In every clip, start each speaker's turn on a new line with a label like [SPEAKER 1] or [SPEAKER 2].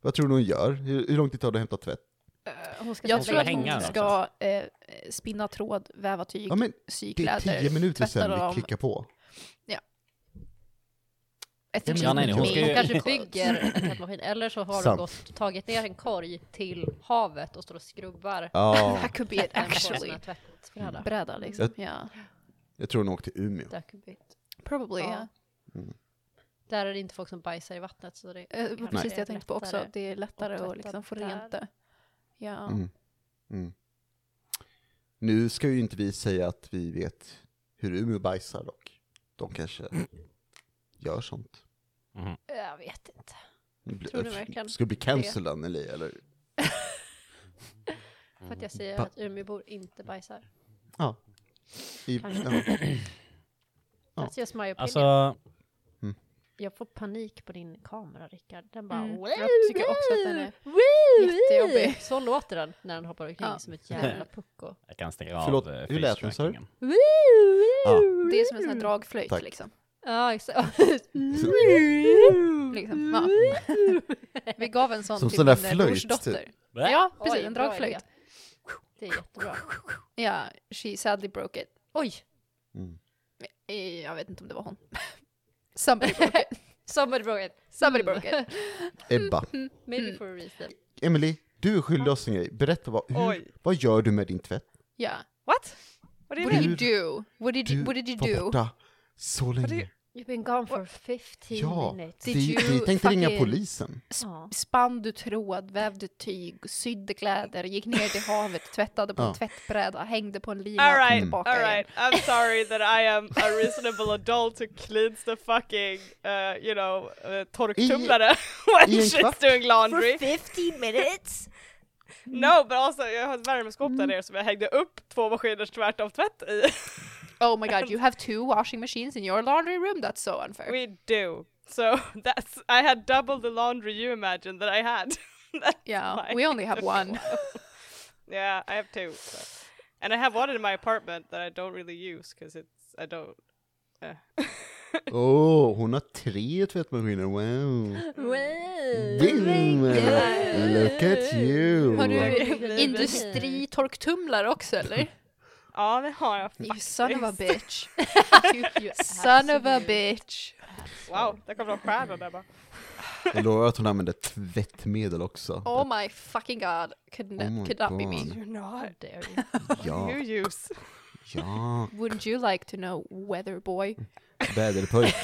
[SPEAKER 1] Vad tror du hon gör? Hur, hur lång tid tar det att hämta tvätt?
[SPEAKER 2] Eh, Hon ska
[SPEAKER 3] Jag
[SPEAKER 2] tvätta
[SPEAKER 3] tror att
[SPEAKER 2] hänga hon
[SPEAKER 3] hon
[SPEAKER 2] ska
[SPEAKER 3] ska,
[SPEAKER 2] eh, spinna tråd, väva tyg,
[SPEAKER 1] Ja, men
[SPEAKER 2] sy
[SPEAKER 1] Det är
[SPEAKER 2] kläder.
[SPEAKER 1] tio minuter
[SPEAKER 2] tvätta
[SPEAKER 1] sedan
[SPEAKER 2] dem.
[SPEAKER 1] vi klickar på.
[SPEAKER 2] Ett
[SPEAKER 1] Ja,
[SPEAKER 2] ja,
[SPEAKER 1] nej, nej, hon
[SPEAKER 2] hon
[SPEAKER 1] ska
[SPEAKER 4] Hon kanske
[SPEAKER 2] kanske
[SPEAKER 4] bygger en tvättmaskin, eller så har
[SPEAKER 1] Sant.
[SPEAKER 4] de gått, tagit ner en korg till havet och står och skrubbar
[SPEAKER 1] Ja,
[SPEAKER 2] That could be an
[SPEAKER 4] den på
[SPEAKER 2] actually
[SPEAKER 4] sina tvättbräda.
[SPEAKER 2] bräda liksom. Ja,
[SPEAKER 1] jag tror hon åkte till Umeå.
[SPEAKER 4] Där could be-
[SPEAKER 2] probably.
[SPEAKER 4] Ja.
[SPEAKER 2] Ja.
[SPEAKER 4] Där är det inte folk som bajsar i vattnet. Så det,
[SPEAKER 2] Eh, det var
[SPEAKER 4] kanske
[SPEAKER 2] precis det
[SPEAKER 4] är
[SPEAKER 2] jag tänkte på också.
[SPEAKER 4] lättare.
[SPEAKER 2] Det är lättare
[SPEAKER 4] att
[SPEAKER 2] att
[SPEAKER 4] tvätta
[SPEAKER 2] liksom få
[SPEAKER 4] där.
[SPEAKER 2] rent det. Ja.
[SPEAKER 1] Mm. Mm. Nu ska ju inte vi säga att vi vet hur Umeå bajsar dock. De kanske gör sånt.
[SPEAKER 3] Mhm.
[SPEAKER 4] Jag vet inte.
[SPEAKER 1] Det blir-
[SPEAKER 4] Tror du verkligen
[SPEAKER 1] Ska det bli cancelled Anneli, eller?
[SPEAKER 4] För att jag säger
[SPEAKER 1] Mm. Ba-
[SPEAKER 4] att Umeåbor inte bajsar.
[SPEAKER 1] Ja. I,
[SPEAKER 4] Kanske.
[SPEAKER 1] ja. Ja.
[SPEAKER 4] That's just my opinion.
[SPEAKER 3] Alltså,
[SPEAKER 4] jag får panik på din kamera Rickard. Den bara...
[SPEAKER 2] Mm.
[SPEAKER 4] Wow,
[SPEAKER 2] Jag tycker också att den är
[SPEAKER 4] wow,
[SPEAKER 2] jättejobbig.
[SPEAKER 4] wow. Så låter den när den hoppar omkring
[SPEAKER 2] Ja.
[SPEAKER 4] som ett jävla pucko.
[SPEAKER 3] jag kan stänga av
[SPEAKER 1] Förlåt,
[SPEAKER 3] eh,
[SPEAKER 1] hur lät den, sa du?
[SPEAKER 3] face-trackingen.
[SPEAKER 4] Wow,
[SPEAKER 1] Ja.
[SPEAKER 4] wow.
[SPEAKER 2] Det är som en sån här dragflöjt
[SPEAKER 1] Tack.
[SPEAKER 2] liksom.
[SPEAKER 4] Ja, exakt.
[SPEAKER 2] liksom. Ja.
[SPEAKER 4] Mm.
[SPEAKER 2] Vi gav en sån
[SPEAKER 1] Som
[SPEAKER 2] till
[SPEAKER 1] sån där
[SPEAKER 2] min
[SPEAKER 1] flöjt, typ.
[SPEAKER 2] flöjt, brorsdotter.
[SPEAKER 1] Äh?
[SPEAKER 3] Blä.
[SPEAKER 2] Ja, precis.
[SPEAKER 4] Oj,
[SPEAKER 2] en
[SPEAKER 4] bra
[SPEAKER 2] dragflöjt.
[SPEAKER 4] idé. Det är jättebra.
[SPEAKER 2] Ja, she sadly broke it.
[SPEAKER 4] Oj,
[SPEAKER 1] Mm.
[SPEAKER 2] Eh, Jag vet inte om det var hon. Somebody broke it.
[SPEAKER 4] somebody broke it.
[SPEAKER 2] Somebody broke it.
[SPEAKER 1] Ebba,
[SPEAKER 4] Maybe
[SPEAKER 2] Mm.
[SPEAKER 4] for a reason.
[SPEAKER 1] Emily, du är skyldig oss en grej. Berätta, vad, hur,
[SPEAKER 2] Oj.
[SPEAKER 1] vad gör du med din tvätt?
[SPEAKER 2] Ja.
[SPEAKER 5] What? What do you
[SPEAKER 2] What
[SPEAKER 1] Hur
[SPEAKER 2] did
[SPEAKER 5] mean?
[SPEAKER 2] you do? What did you,
[SPEAKER 1] Du
[SPEAKER 2] what did you
[SPEAKER 1] var
[SPEAKER 2] do?
[SPEAKER 1] borta så länge.
[SPEAKER 4] You've been gone for 15
[SPEAKER 1] Ja,
[SPEAKER 4] minutes.
[SPEAKER 1] vi,
[SPEAKER 2] Did you
[SPEAKER 1] vi tänkte ringa
[SPEAKER 2] fucking-
[SPEAKER 1] polisen.
[SPEAKER 4] Ja.
[SPEAKER 2] Spann du tråd, vävde tyg, sydde kläder, gick ner till havet, tvättade på
[SPEAKER 1] Ja.
[SPEAKER 2] en tvättbräda, hängde på en lina
[SPEAKER 5] All
[SPEAKER 2] och kom
[SPEAKER 5] right,
[SPEAKER 2] tillbaka
[SPEAKER 5] all
[SPEAKER 2] igen.
[SPEAKER 5] right. I'm sorry that I am a reasonable adult who cleans the fucking, uh, you know, uh, torktumlare when
[SPEAKER 1] i en
[SPEAKER 5] she's
[SPEAKER 1] kvart.
[SPEAKER 5] doing laundry.
[SPEAKER 4] 15 minutes?
[SPEAKER 5] No, but also jag har ett värmeskåp där nere som jag hängde upp två maskiners tvärtomtvätt i.
[SPEAKER 2] Oh my god, you have two washing machines in your laundry room? That's so unfair.
[SPEAKER 5] We do. So that's, I had double the laundry you imagine that I had. That's
[SPEAKER 2] yeah,
[SPEAKER 5] why
[SPEAKER 2] we only have
[SPEAKER 5] it took a
[SPEAKER 2] one.
[SPEAKER 5] while. yeah, I have two. so. And I have one in my apartment that I don't really use because it's, I don't, uh.
[SPEAKER 1] Åh, oh, hon har tre tvättmaskiner, wow. Boom. Look at you!
[SPEAKER 2] Har du
[SPEAKER 4] Wow.
[SPEAKER 2] industritorktumlare också eller?
[SPEAKER 5] Ja, det har jag.
[SPEAKER 2] You son of a bitch.
[SPEAKER 4] You
[SPEAKER 2] Son of a
[SPEAKER 4] absolute-
[SPEAKER 2] bitch.
[SPEAKER 5] Wow, där kom de stjärnor där bara.
[SPEAKER 1] Jag lovar att hon använder tvättmedel också.
[SPEAKER 2] Oh my fucking god. Could,
[SPEAKER 1] Oh my
[SPEAKER 2] not, could not be
[SPEAKER 1] god.
[SPEAKER 2] me.
[SPEAKER 5] You're
[SPEAKER 4] How
[SPEAKER 5] not.
[SPEAKER 4] dare you.
[SPEAKER 1] ja,
[SPEAKER 5] You use.
[SPEAKER 1] ja,
[SPEAKER 2] Wouldn't you like to know weather boy?
[SPEAKER 1] väderpöjk.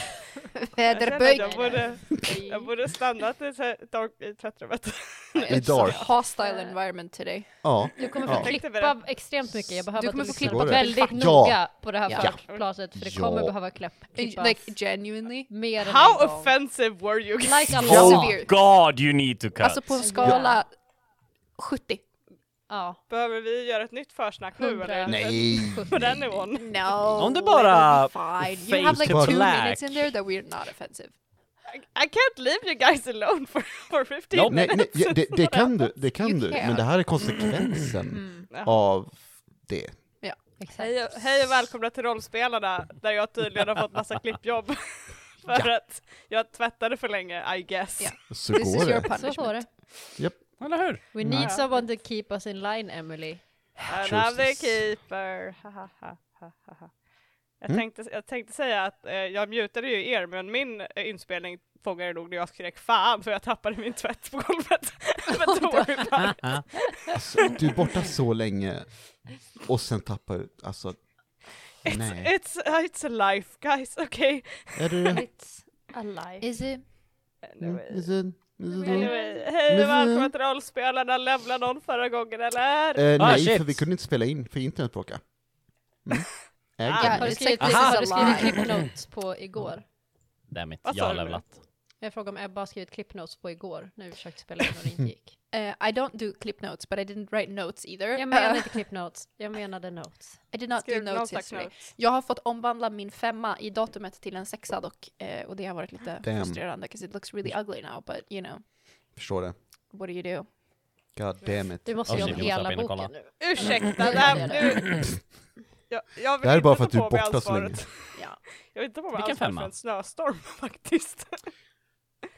[SPEAKER 5] Jag,
[SPEAKER 2] Väderböj.
[SPEAKER 5] jag, borde,
[SPEAKER 4] Oj.
[SPEAKER 5] jag borde stannat i, så- dag- i tvättrummet.
[SPEAKER 1] I dark.
[SPEAKER 2] Hostile environment today.
[SPEAKER 1] Ja,
[SPEAKER 4] Du kommer
[SPEAKER 1] Ja.
[SPEAKER 4] få klippa extremt mycket. Jag behöver
[SPEAKER 2] Du
[SPEAKER 4] att
[SPEAKER 2] kommer
[SPEAKER 4] du
[SPEAKER 2] få
[SPEAKER 1] klippa
[SPEAKER 4] klippa
[SPEAKER 1] det.
[SPEAKER 4] väldigt
[SPEAKER 1] Ja.
[SPEAKER 4] noga på det här
[SPEAKER 2] Ja.
[SPEAKER 4] förhörsglaset. För det
[SPEAKER 1] Ja.
[SPEAKER 4] kommer behöva klippa, klippas
[SPEAKER 2] Like genuinely.
[SPEAKER 4] mer än
[SPEAKER 5] How
[SPEAKER 4] en gång.
[SPEAKER 5] offensive were you?
[SPEAKER 4] Like a
[SPEAKER 2] Oh.
[SPEAKER 4] lot.
[SPEAKER 2] Severe.
[SPEAKER 3] God, you need to cut!
[SPEAKER 2] Alltså på en skala 70.
[SPEAKER 4] Ja.
[SPEAKER 5] Behöver vi göra ett nytt försnack nu eller?
[SPEAKER 1] nej.
[SPEAKER 5] På den nivån?
[SPEAKER 2] No.
[SPEAKER 3] Om du bara
[SPEAKER 2] it'll be fine.
[SPEAKER 3] fade
[SPEAKER 2] You have like
[SPEAKER 3] to
[SPEAKER 2] two
[SPEAKER 3] black.
[SPEAKER 2] minutes in there that we're not offensive.
[SPEAKER 5] I can't leave you guys alone for, for 15
[SPEAKER 3] Nope.
[SPEAKER 1] nej,
[SPEAKER 5] minutes.
[SPEAKER 1] nej ja, det, det kan du, det kan
[SPEAKER 2] You
[SPEAKER 1] du.
[SPEAKER 2] can.
[SPEAKER 1] Men det här är konsekvensen av det.
[SPEAKER 5] Hej, och- hej och välkomna till Rollspelarna där jag tydligen har fått massa klippjobb. för att jag tvättade för länge, I guess.
[SPEAKER 2] Ja.
[SPEAKER 1] Så
[SPEAKER 2] This
[SPEAKER 1] går
[SPEAKER 2] is your
[SPEAKER 1] det.
[SPEAKER 4] Så var det.
[SPEAKER 2] punishment.
[SPEAKER 3] Eller hur?
[SPEAKER 4] We need someone to keep us in line, Emily.
[SPEAKER 5] Another
[SPEAKER 1] Jesus.
[SPEAKER 5] Äh, keeper. Ha, ha, ha, ha, ha, ha. Jag, tänkte, jag tänkte säga att eh, jag mutade ju er, men min eh, inspelning fångade nog när jag skrek fan för jag tappade min tvätt på golvet. men don't worry about it.
[SPEAKER 1] Alltså, du är borta så länge och sen tappar du, alltså, nej.
[SPEAKER 5] It's, uh, it's a life guys, okay?
[SPEAKER 1] Är det det?
[SPEAKER 4] It's alive.
[SPEAKER 2] Is it?
[SPEAKER 5] Anyway.
[SPEAKER 1] Is it, is it all?
[SPEAKER 5] Anyway, hej
[SPEAKER 1] Men-
[SPEAKER 5] och välkomna till rollspelarna, levla någon förra gången eller?
[SPEAKER 1] Eh,
[SPEAKER 3] Ah,
[SPEAKER 1] nej,
[SPEAKER 3] shit.
[SPEAKER 1] för vi kunde inte spela in, för internet bråkade. Mm.
[SPEAKER 5] Ah,
[SPEAKER 1] Ägde
[SPEAKER 2] har
[SPEAKER 1] mig.
[SPEAKER 4] Har du
[SPEAKER 2] It's like
[SPEAKER 4] skrivit,
[SPEAKER 2] this
[SPEAKER 3] is
[SPEAKER 4] har
[SPEAKER 2] a
[SPEAKER 4] du skrivit
[SPEAKER 2] lie.
[SPEAKER 4] clipnotes på igår?
[SPEAKER 3] Damn it,
[SPEAKER 5] Vad
[SPEAKER 3] jag
[SPEAKER 5] sa
[SPEAKER 3] har
[SPEAKER 5] du nu?
[SPEAKER 3] levlat.
[SPEAKER 4] Jag frågade om Ebba har skrivit clipnotes på igår när vi försökte spela in och det inte gick.
[SPEAKER 2] Uh, I don't do clip notes, but I didn't write notes either.
[SPEAKER 4] Jag
[SPEAKER 2] Uh,
[SPEAKER 4] menade inte clipnotes, jag menade notes.
[SPEAKER 2] I did not do
[SPEAKER 5] Skriv någon
[SPEAKER 2] notes
[SPEAKER 5] slags
[SPEAKER 2] yesterday.
[SPEAKER 5] notes.
[SPEAKER 2] Jag har fått omvandla min femma i datumet till en sexa dock, eh, och det har varit lite
[SPEAKER 1] Damn.
[SPEAKER 2] frustrerande, because it looks really ugly now, but you know,
[SPEAKER 1] Förstår det.
[SPEAKER 2] what do you do?
[SPEAKER 1] God damn it.
[SPEAKER 4] Du måste
[SPEAKER 3] Ja,
[SPEAKER 4] ju om
[SPEAKER 3] shit, jag
[SPEAKER 4] hela
[SPEAKER 3] måste hoppa in och
[SPEAKER 4] boken
[SPEAKER 3] kolla.
[SPEAKER 4] nu.
[SPEAKER 5] Ursäkta,
[SPEAKER 4] Mm.
[SPEAKER 5] det här, nu, jag, jag vill
[SPEAKER 1] Det här är
[SPEAKER 5] inte
[SPEAKER 1] bara för
[SPEAKER 5] ta
[SPEAKER 1] att du är
[SPEAKER 5] på mig
[SPEAKER 1] borta så länge.
[SPEAKER 5] ansvaret.
[SPEAKER 2] Ja.
[SPEAKER 5] Jag vill inte ta på mig
[SPEAKER 3] Vilken
[SPEAKER 5] ansvaret för
[SPEAKER 3] femma?
[SPEAKER 5] en snöstorm faktiskt.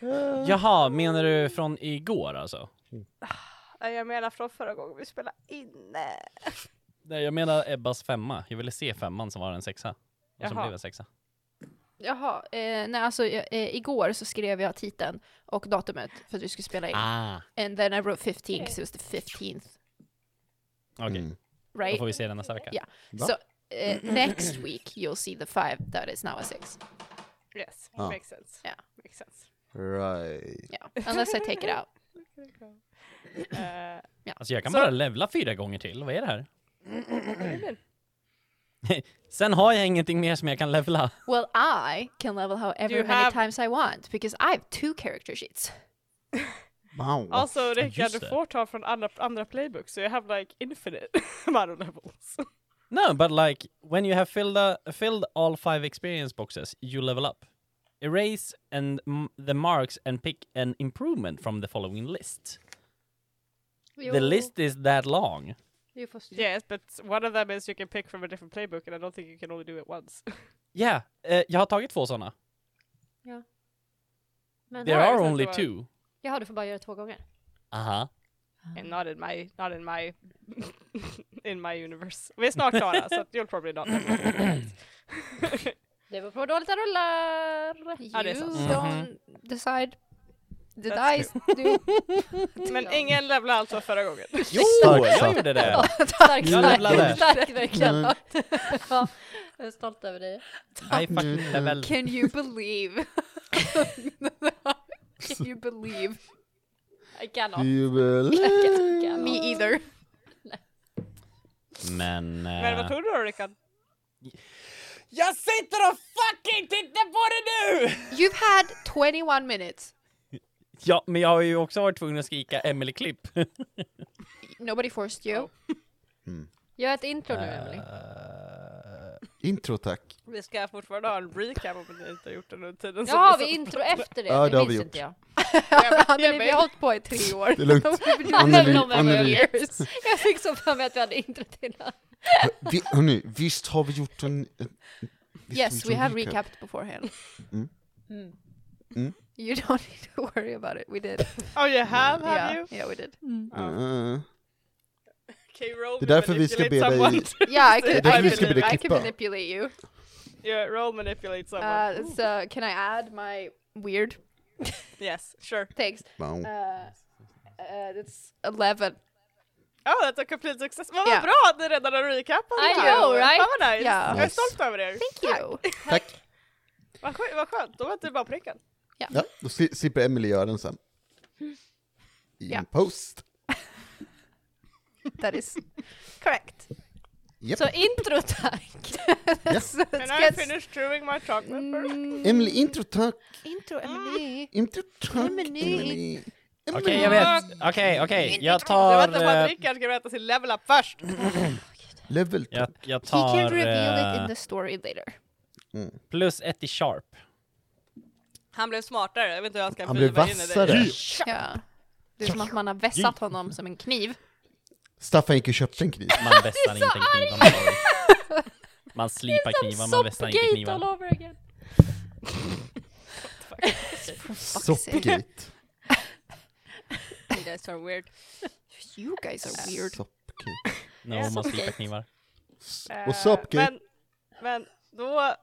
[SPEAKER 1] Ah.
[SPEAKER 3] Jaha, menar du från igår alltså?
[SPEAKER 5] Nej, Jag menar från förra gången vi spelade inne.
[SPEAKER 3] Nej, jag menar Ebbas femma. Jag ville se femman som var en sexa. Och som
[SPEAKER 5] Jaha.
[SPEAKER 3] blev en sexa.
[SPEAKER 2] Jaha, eh, nej alltså jag- eh, igår så skrev jag titeln och datumet för att vi skulle spela in.
[SPEAKER 3] Ah,
[SPEAKER 2] And then I wrote 15 because it was the 15th,
[SPEAKER 3] okej.
[SPEAKER 1] Mm.
[SPEAKER 3] Då
[SPEAKER 2] right?
[SPEAKER 3] får vi se den nästa vecka.
[SPEAKER 2] Ja.
[SPEAKER 1] Va?
[SPEAKER 2] So eh, next week you'll see the five that is now a six.
[SPEAKER 5] Yes,
[SPEAKER 1] Ja.
[SPEAKER 5] makes sense.
[SPEAKER 2] Ja.
[SPEAKER 5] Makes sense.
[SPEAKER 1] Right.
[SPEAKER 2] Yeah. Unless I take it out.
[SPEAKER 5] Eh,
[SPEAKER 3] Alltså jag kan
[SPEAKER 5] Så- Mm,
[SPEAKER 3] bara levla fyra gånger till. Vad är det här?
[SPEAKER 5] Jajamän. mm.
[SPEAKER 3] Sen har jag ingenting mer som jag kan levla.
[SPEAKER 2] Well, I can level however
[SPEAKER 5] You
[SPEAKER 2] many
[SPEAKER 5] have-
[SPEAKER 2] times I want because I have two character sheets.
[SPEAKER 1] Wow.
[SPEAKER 5] Alltså Rickard,
[SPEAKER 3] just
[SPEAKER 5] du
[SPEAKER 3] det.
[SPEAKER 5] får ta från andra, andra playbooks, så jag have like infinite amount of levels.
[SPEAKER 3] No, but like when you have filled, uh, filled all five experience boxes, you level up. Erase and m- the marks and pick an improvement from the following list. The list is that long.
[SPEAKER 4] You får styr.
[SPEAKER 5] Yes, but one of them is you can pick from a different playbook and I don't think you can only do it once.
[SPEAKER 3] Yeah, eh, jag har tagit två sådana.
[SPEAKER 4] Men,
[SPEAKER 3] There
[SPEAKER 5] har jag
[SPEAKER 3] are
[SPEAKER 5] sett
[SPEAKER 3] only
[SPEAKER 5] det var-
[SPEAKER 3] two.
[SPEAKER 4] Jaha, du får bara göra två gånger.
[SPEAKER 3] Aha.
[SPEAKER 5] And not in my, not in my, in my universe. Vi är snart klara, så att you'll probably not level up.
[SPEAKER 4] Det beror på hur dåligt jag rullar.
[SPEAKER 2] You
[SPEAKER 5] Ja, det är sant.
[SPEAKER 2] don't decide. The
[SPEAKER 5] That's
[SPEAKER 2] dice do.
[SPEAKER 5] Men ingen levlade alltså förra gången.
[SPEAKER 3] Jo,
[SPEAKER 1] Starkt
[SPEAKER 3] jag
[SPEAKER 1] satt.
[SPEAKER 3] gjorde
[SPEAKER 2] Oh,
[SPEAKER 3] det.
[SPEAKER 4] Stark,
[SPEAKER 3] Jag levlade.
[SPEAKER 4] stark, stark verkligen.
[SPEAKER 1] Mm.
[SPEAKER 4] ja, jag är stolt över dig.
[SPEAKER 3] I fucking level.
[SPEAKER 2] Can you believe? Can you believe?
[SPEAKER 4] I cannot.
[SPEAKER 1] You will-
[SPEAKER 4] Cannot.
[SPEAKER 2] Me either.
[SPEAKER 3] Men...
[SPEAKER 5] Men vad
[SPEAKER 3] eh,
[SPEAKER 5] tror du då Rickard?
[SPEAKER 3] jag sitter och fucking tittar på det nu!
[SPEAKER 2] You've had 21 minutes.
[SPEAKER 3] Ja, men jag har ju också varit tvungen att skrika Emily Klipp.
[SPEAKER 2] Nobody forced
[SPEAKER 5] Oh.
[SPEAKER 2] you.
[SPEAKER 4] Gör ett intro nu,
[SPEAKER 3] Eh,
[SPEAKER 4] Emily.
[SPEAKER 1] Intro tack.
[SPEAKER 5] Vi ska fortfarande ha en recap om ni inte har gjort det under tiden.
[SPEAKER 4] Ja, har vi intro efter det?
[SPEAKER 1] Ja, det
[SPEAKER 4] det
[SPEAKER 1] har
[SPEAKER 4] minns
[SPEAKER 1] vi
[SPEAKER 4] inte jag.
[SPEAKER 2] Anneli, vi har hållit på i tre år.
[SPEAKER 1] Det är lugnt. Anneli, Anneli,
[SPEAKER 4] Jag fick så för mig att vi hade introt innan.
[SPEAKER 1] vi, hörni, visst har vi gjort en... en visst har vi
[SPEAKER 2] Yes,
[SPEAKER 1] gjort
[SPEAKER 2] we
[SPEAKER 1] en
[SPEAKER 2] have recapped beforehand.
[SPEAKER 1] Mm. Mm.
[SPEAKER 2] Hmm. You don't need to worry about it. We did.
[SPEAKER 5] Oh you have, have
[SPEAKER 2] yeah,
[SPEAKER 5] you?
[SPEAKER 2] yeah, we did.
[SPEAKER 1] Mm.
[SPEAKER 5] Okay, roll
[SPEAKER 1] Det är därför vi ska be dig-
[SPEAKER 2] Yeah, I
[SPEAKER 5] Det är
[SPEAKER 2] could,
[SPEAKER 5] därför
[SPEAKER 2] I
[SPEAKER 5] vi
[SPEAKER 2] could,
[SPEAKER 5] ska be dig
[SPEAKER 2] I could
[SPEAKER 1] klippa.
[SPEAKER 2] manipulate you.
[SPEAKER 5] Yeah, roll manipulate someone.
[SPEAKER 2] Uh, so can I add my weird
[SPEAKER 5] yes, sure.
[SPEAKER 2] things?
[SPEAKER 1] Wow.
[SPEAKER 2] Uh, uh, it's 11.
[SPEAKER 5] Ja, oh, that's a complete success. Men vad
[SPEAKER 2] Ja.
[SPEAKER 5] bra att ni redan har recapat
[SPEAKER 4] I
[SPEAKER 5] det här.
[SPEAKER 4] know, right?
[SPEAKER 5] Fan vad nice.
[SPEAKER 2] Ja.
[SPEAKER 5] Jag är
[SPEAKER 1] Nice.
[SPEAKER 5] stolt över er.
[SPEAKER 2] Thank you.
[SPEAKER 1] Tack.
[SPEAKER 5] Vad, skö- vad skönt, då var inte det bara pricken.
[SPEAKER 1] Ja, då sli- slipper Emily göra den sen. I
[SPEAKER 2] Ja.
[SPEAKER 1] en post.
[SPEAKER 2] That is correct.
[SPEAKER 1] Yep.
[SPEAKER 4] Så intro tack!
[SPEAKER 1] Ja.
[SPEAKER 2] So
[SPEAKER 5] Can
[SPEAKER 2] let's
[SPEAKER 5] I
[SPEAKER 2] get Mm.
[SPEAKER 5] finish chewing my chocolate first?
[SPEAKER 1] Emily, intro tack.
[SPEAKER 2] intro, Emily.
[SPEAKER 1] Intro tack,
[SPEAKER 2] Emily.
[SPEAKER 1] Emily.
[SPEAKER 3] Okej,
[SPEAKER 1] Emily.
[SPEAKER 3] jag vet. Okej, okej. Jag
[SPEAKER 5] Jag
[SPEAKER 3] tar...
[SPEAKER 5] väntar på att
[SPEAKER 3] eh,
[SPEAKER 5] Rickard ska berätta sin level up först.
[SPEAKER 1] Level
[SPEAKER 3] Jag, jag
[SPEAKER 2] Ah. He can
[SPEAKER 3] tar
[SPEAKER 2] reveal it in
[SPEAKER 3] eh,
[SPEAKER 2] the story later.
[SPEAKER 3] plus ett i sharp.
[SPEAKER 5] Han blev smartare, jag vet inte hur han ska
[SPEAKER 1] Han blev
[SPEAKER 5] driva in i det.
[SPEAKER 1] vassare.
[SPEAKER 2] Ja. Det är som att man har vässat honom som en kniv.
[SPEAKER 1] Staffan gick och köpte en kniv.
[SPEAKER 3] Man vässar inte en kniv, man slår. Man slipar knivar, man vässar inte
[SPEAKER 4] Soppgate all
[SPEAKER 3] knivar.
[SPEAKER 4] over again.
[SPEAKER 1] Soppgate.
[SPEAKER 5] You guys are weird.
[SPEAKER 2] You guys are weird.
[SPEAKER 1] Soppgate.
[SPEAKER 3] No, man slipar knivar.
[SPEAKER 5] Eh,
[SPEAKER 1] Och soppgate.
[SPEAKER 5] Men, men då,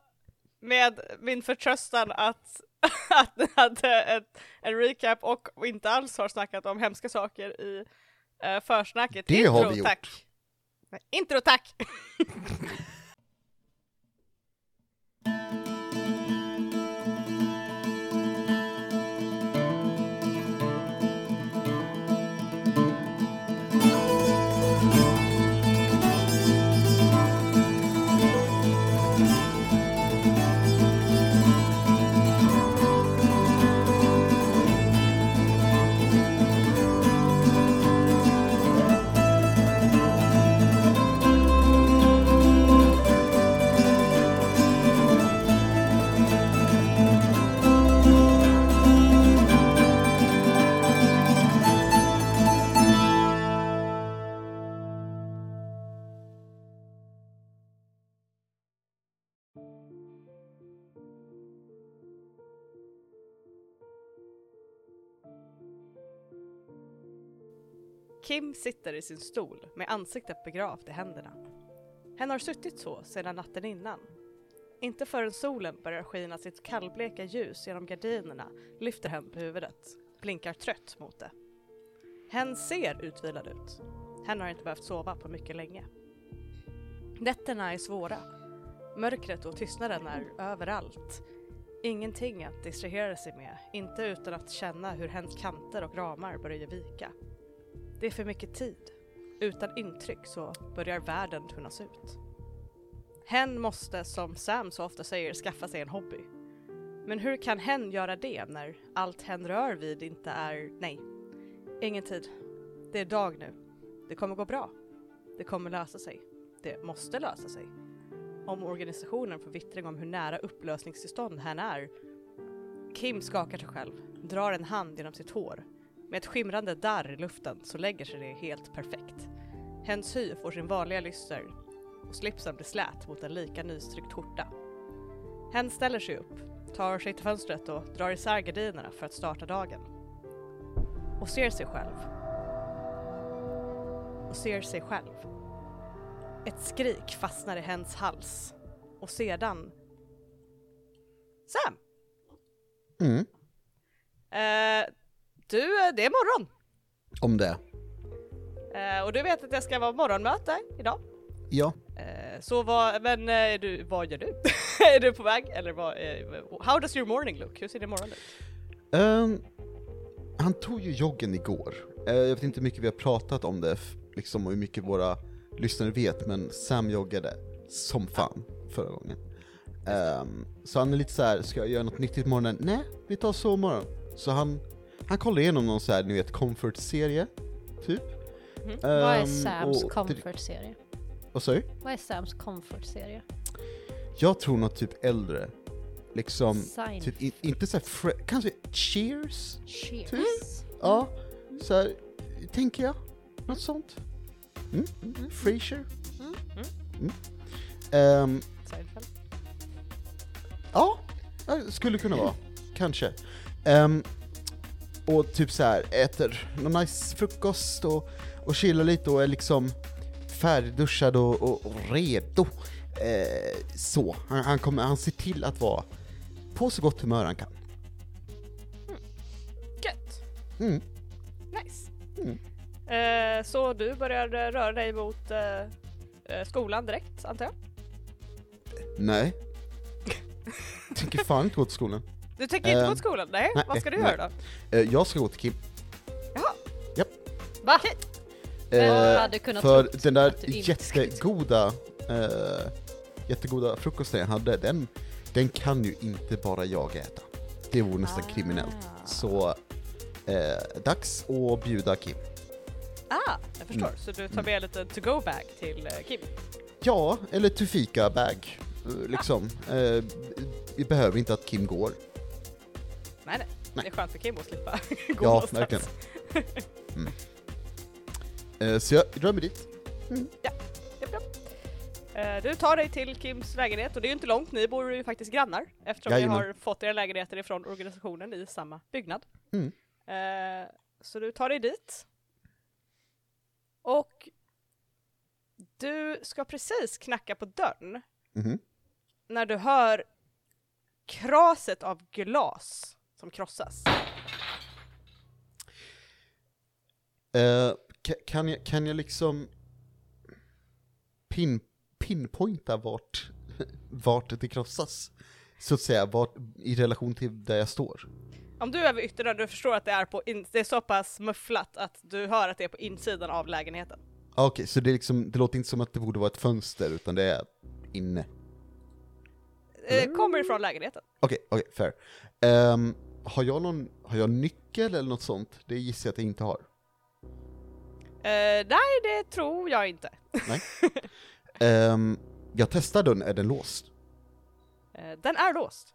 [SPEAKER 5] med min förtröstan att, att ni hade ett, en recap och inte alls har snackat om hemska saker i eh, försnacket.
[SPEAKER 1] Det
[SPEAKER 5] intro,
[SPEAKER 1] har vi gjort.
[SPEAKER 5] Tack. Nej, Intro tack! Kim sitter i sin stol med ansiktet begravt i händerna. Hen har suttit så sedan natten innan. Inte förrän solen börjar skina sitt kallbleka ljus genom gardinerna lyfter hen på huvudet, blinkar trött mot det. Hen ser utvilad ut. Hen har inte behövt sova på mycket länge. Nätterna är svåra. Mörkret och tystnaden är överallt. Ingenting att distrahera sig med, inte utan att känna hur hens kanter och ramar börjar vika. Det är för mycket tid. Utan intryck så börjar världen tunnas ut. Hen måste, som Sam så ofta säger, skaffa sig en hobby. Men hur kan hen göra det när allt hen rör vid inte är... Nej. Ingen tid. Det är dag nu. Det kommer gå bra. Det kommer lösa sig. Det måste lösa sig. Om organisationen får vittring om hur nära upplösningstillstånd hen är. Kim skakar sig själv, drar en hand genom sitt hår med ett skimrande darr i luften så lägger sig det helt perfekt. Hens hy får sin vanliga lyster och slipsen blir slät mot en lika nystryckt skjorta. Hen ställer sig upp, tar sig till fönstret och drar isär gardinerna för att starta dagen. Och ser sig själv. Och ser sig själv. Ett skrik fastnar i hens hals och sedan... Sam!
[SPEAKER 1] Mm.
[SPEAKER 5] Eh, du, eh, det är morgon!
[SPEAKER 1] Om det.
[SPEAKER 5] Eh, och du vet att jag ska vara morgonmöte idag.
[SPEAKER 1] Ja.
[SPEAKER 5] Eh, så vad, men eh, är du, vad gör du? är du på väg? Eller vad, eh, how does your morning look? Hur ser din morgon ut?
[SPEAKER 1] Ehm, han tog ju joggen igår. Eh, jag vet inte hur mycket vi har pratat om det, f- liksom och hur mycket våra lyssnare vet, men Sam joggade som fan förra gången. Ehm, så han är lite så här: ska jag göra något nyttigt imorgon? Nej, vi tar sovmorgon. Så han, han kollar igenom någon så här, ni vet, comfort-serie, typ.
[SPEAKER 5] Mhm.
[SPEAKER 4] Vad är
[SPEAKER 1] Ehm,
[SPEAKER 4] Sams
[SPEAKER 1] och-
[SPEAKER 4] comfort-serie?
[SPEAKER 1] Vad sa du?
[SPEAKER 4] Vad är Sams comfort-serie?
[SPEAKER 1] Jag tror något typ äldre. Liksom,
[SPEAKER 4] Seinfeld.
[SPEAKER 1] typ, i- inte såhär, fre- kanske Cheers?
[SPEAKER 4] Cheers.
[SPEAKER 1] Ja,
[SPEAKER 5] Mm.
[SPEAKER 1] så här, tänker jag. Något sånt. Mm. Frasier.
[SPEAKER 5] Mm.
[SPEAKER 1] Mm. Ehm,
[SPEAKER 5] Seinfeld?
[SPEAKER 1] ja, ja, skulle kunna vara. Kanske. Ehm, och typ så här, äter någon nice frukost och, och chillar lite och är liksom färdigduschad och, och, och redo. Eh, så, han, han, kommer, han ser till att vara på så gott humör han kan.
[SPEAKER 5] Gött!
[SPEAKER 1] Mm.
[SPEAKER 5] Nice!
[SPEAKER 1] Mm.
[SPEAKER 5] Eh, så du börjar eh, röra dig mot eh, eh, skolan direkt antar jag?
[SPEAKER 1] Nej. Tänker fan inte gå till skolan.
[SPEAKER 5] Du tänker inte
[SPEAKER 1] Eh,
[SPEAKER 5] gå till skolan? Nej,
[SPEAKER 1] nej,
[SPEAKER 5] vad ska du
[SPEAKER 1] nej.
[SPEAKER 5] göra då?
[SPEAKER 1] Eh, jag ska gå till Kim.
[SPEAKER 5] Jaha.
[SPEAKER 1] Japp.
[SPEAKER 5] Va?
[SPEAKER 4] Men jag
[SPEAKER 1] Eh,
[SPEAKER 4] hade kunnat tro
[SPEAKER 1] för den där
[SPEAKER 4] att du inte skulle-
[SPEAKER 1] jättegoda, eh, jättegoda frukosten jag hade, den, den kan ju inte bara jag äta. Det vore nästan
[SPEAKER 5] Ah,
[SPEAKER 4] Ah.
[SPEAKER 1] kriminellt. Så eh, dags att bjuda Kim.
[SPEAKER 5] Ah, jag förstår.
[SPEAKER 1] Mm.
[SPEAKER 5] Så du tar med lite to-go-bag till eh, Kim?
[SPEAKER 1] Ja, eller tufika bag. eh, Liksom. Eh, vi behöver inte att Kim går.
[SPEAKER 5] Nej, nej.
[SPEAKER 1] Nej.
[SPEAKER 5] Det är skönt för Kim att slippa gå
[SPEAKER 1] ja,
[SPEAKER 5] någonstans.
[SPEAKER 1] verkligen. Mm. Eh, så jag drar mig dit.
[SPEAKER 5] Japp, japp. Eh, Du tar dig till Kims lägenhet och det är ju inte långt, ni bor ju faktiskt grannar eftersom ni
[SPEAKER 1] Jajamän.
[SPEAKER 5] har fått era lägenheter ifrån organisationen i samma byggnad.
[SPEAKER 1] Mm.
[SPEAKER 5] Eh, Så du tar dig dit. Och du ska precis knacka på dörren
[SPEAKER 1] Mhm.
[SPEAKER 5] när du hör kraset av glas som krossas.
[SPEAKER 1] Eh, ka- kan, jag, kan jag liksom pin, pinpointa vart, vart det krossas? Så att säga, vart, i relation till där jag står.
[SPEAKER 5] Om du är vid ytterdörren, du förstår att det är, på in- det är så pass mufflat att du hör att det är på insidan av lägenheten.
[SPEAKER 1] Ah, Okej, så det, är liksom, det låter inte som att det borde vara ett fönster, utan det är inne.
[SPEAKER 5] Eh, Kommer ifrån lägenheten.
[SPEAKER 1] Okej, okej, fair. Ehm, har, jag någon, har jag nyckel eller något sånt? Det gissar jag att jag inte har.
[SPEAKER 5] Eh, nej, det tror jag inte.
[SPEAKER 1] Ehm, jag testar dörren, är den låst?
[SPEAKER 5] Eh, den är låst.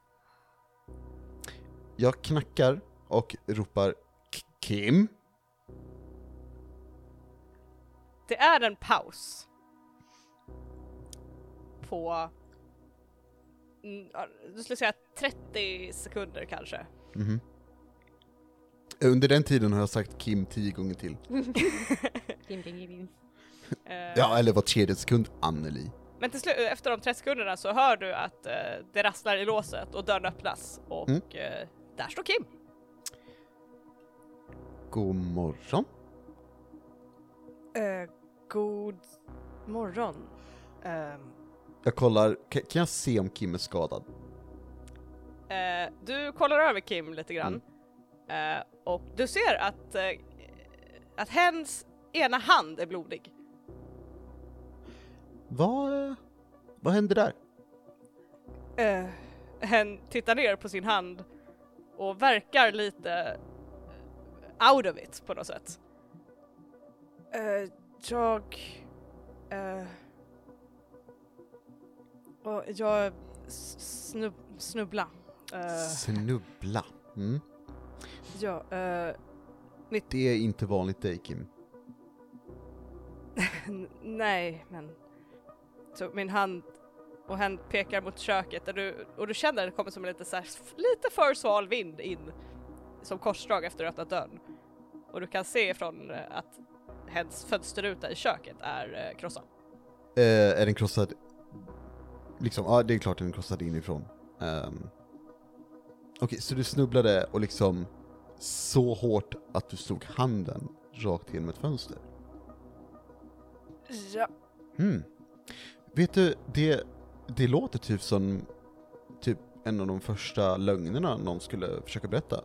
[SPEAKER 1] Jag knackar och ropar "K- Kim?
[SPEAKER 5] Det är en paus. På... Mm, ja, Du skulle säga 30 sekunder kanske.
[SPEAKER 1] Mhm. Under den tiden har jag sagt Kim tio gånger till.
[SPEAKER 4] Ding, ding, ding, ding.
[SPEAKER 5] Eh,
[SPEAKER 1] Ja, eller var tredje sekund, Anneli.
[SPEAKER 5] Men till slut, efter de 30 sekunderna så hör du att eh, det rasslar i låset och dörren öppnas och
[SPEAKER 1] Mm.
[SPEAKER 5] eh, där står Kim.
[SPEAKER 1] God morgon.
[SPEAKER 6] Eh, god morgon. Ehm,
[SPEAKER 1] Jag kollar, kan, kan jag se om Kim är skadad?
[SPEAKER 5] Eh, du kollar över Kim lite grann eh, och du ser att, eh, att hens ena hand är blodig.
[SPEAKER 1] Vad, eh, vad hände där?
[SPEAKER 6] eh,
[SPEAKER 5] Hen tittar ner på sin hand och verkar lite eh, out of it på något sätt.
[SPEAKER 6] eh, jag... eh, och jag s- snub, snubbla. Eh,
[SPEAKER 1] Snubbla. Mm.
[SPEAKER 6] ja, eh,
[SPEAKER 1] Det är inte vanligt dig Kim.
[SPEAKER 6] n- nej men...
[SPEAKER 5] Så min hand och hen pekar mot köket där du, och du känner att det kommer som en lite, så här, f- lite för sval vind in som korsdrag efter att du öppnat dörren. Och du kan se från eh, att hens fönsterruta i köket är eh, krossad.
[SPEAKER 1] Eh, är den krossad? Liksom, ja det är klart den är krossad inifrån. Ehm. Okej, så du snubblade och liksom så hårt att du slog handen rakt genom ett fönster?
[SPEAKER 6] Ja,
[SPEAKER 1] Hmm. Vet du, det, det låter typ som typ en av de första lögnerna någon skulle försöka berätta.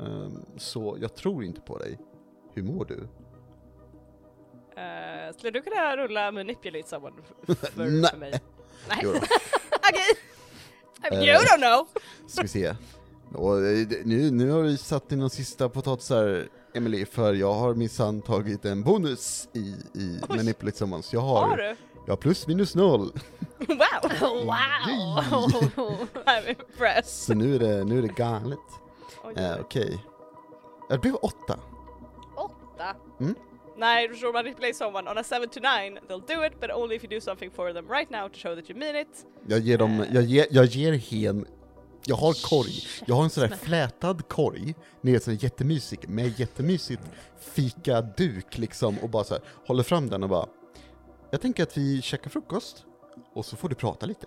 [SPEAKER 1] Ehm, så jag tror inte på dig. Hur mår du?
[SPEAKER 5] Uh, skulle du kunna rulla manipulate someone f- för,
[SPEAKER 1] Nej.
[SPEAKER 5] för mig? Nej.
[SPEAKER 1] Jo då.
[SPEAKER 5] Okej!
[SPEAKER 1] Eh.
[SPEAKER 5] You don't know!
[SPEAKER 1] Ska vi se. Och, eh, det- nu, nu har du satt in de sista potatisar, Emily, för jag har minsann tagit en bonus i, i
[SPEAKER 5] Oj.
[SPEAKER 1] Manipulate Someone, så jag
[SPEAKER 5] Har
[SPEAKER 1] har,
[SPEAKER 5] du?
[SPEAKER 1] jag har plus minus noll.
[SPEAKER 5] Wow!
[SPEAKER 1] Wow!
[SPEAKER 5] I'm impressed!
[SPEAKER 1] Så nu är det, nu är det galet.
[SPEAKER 5] Oj,
[SPEAKER 1] Eh, Okej. Ja, Det blev åtta.
[SPEAKER 5] Åtta.
[SPEAKER 1] Mm.
[SPEAKER 5] Nej, du tror manipulate someone on a 7 to 9 they'll do it but only if you do something for them right now to show that you mean it.
[SPEAKER 1] Jag ger dem, jag ger, jag ger hen, jag har korg, jag har en sån där flätad korg, ni vet sån där jättemysig, med jättemysigt fikaduk liksom och bara så här, håller fram den och bara Jag tänker att vi käkar frukost och så får du prata lite.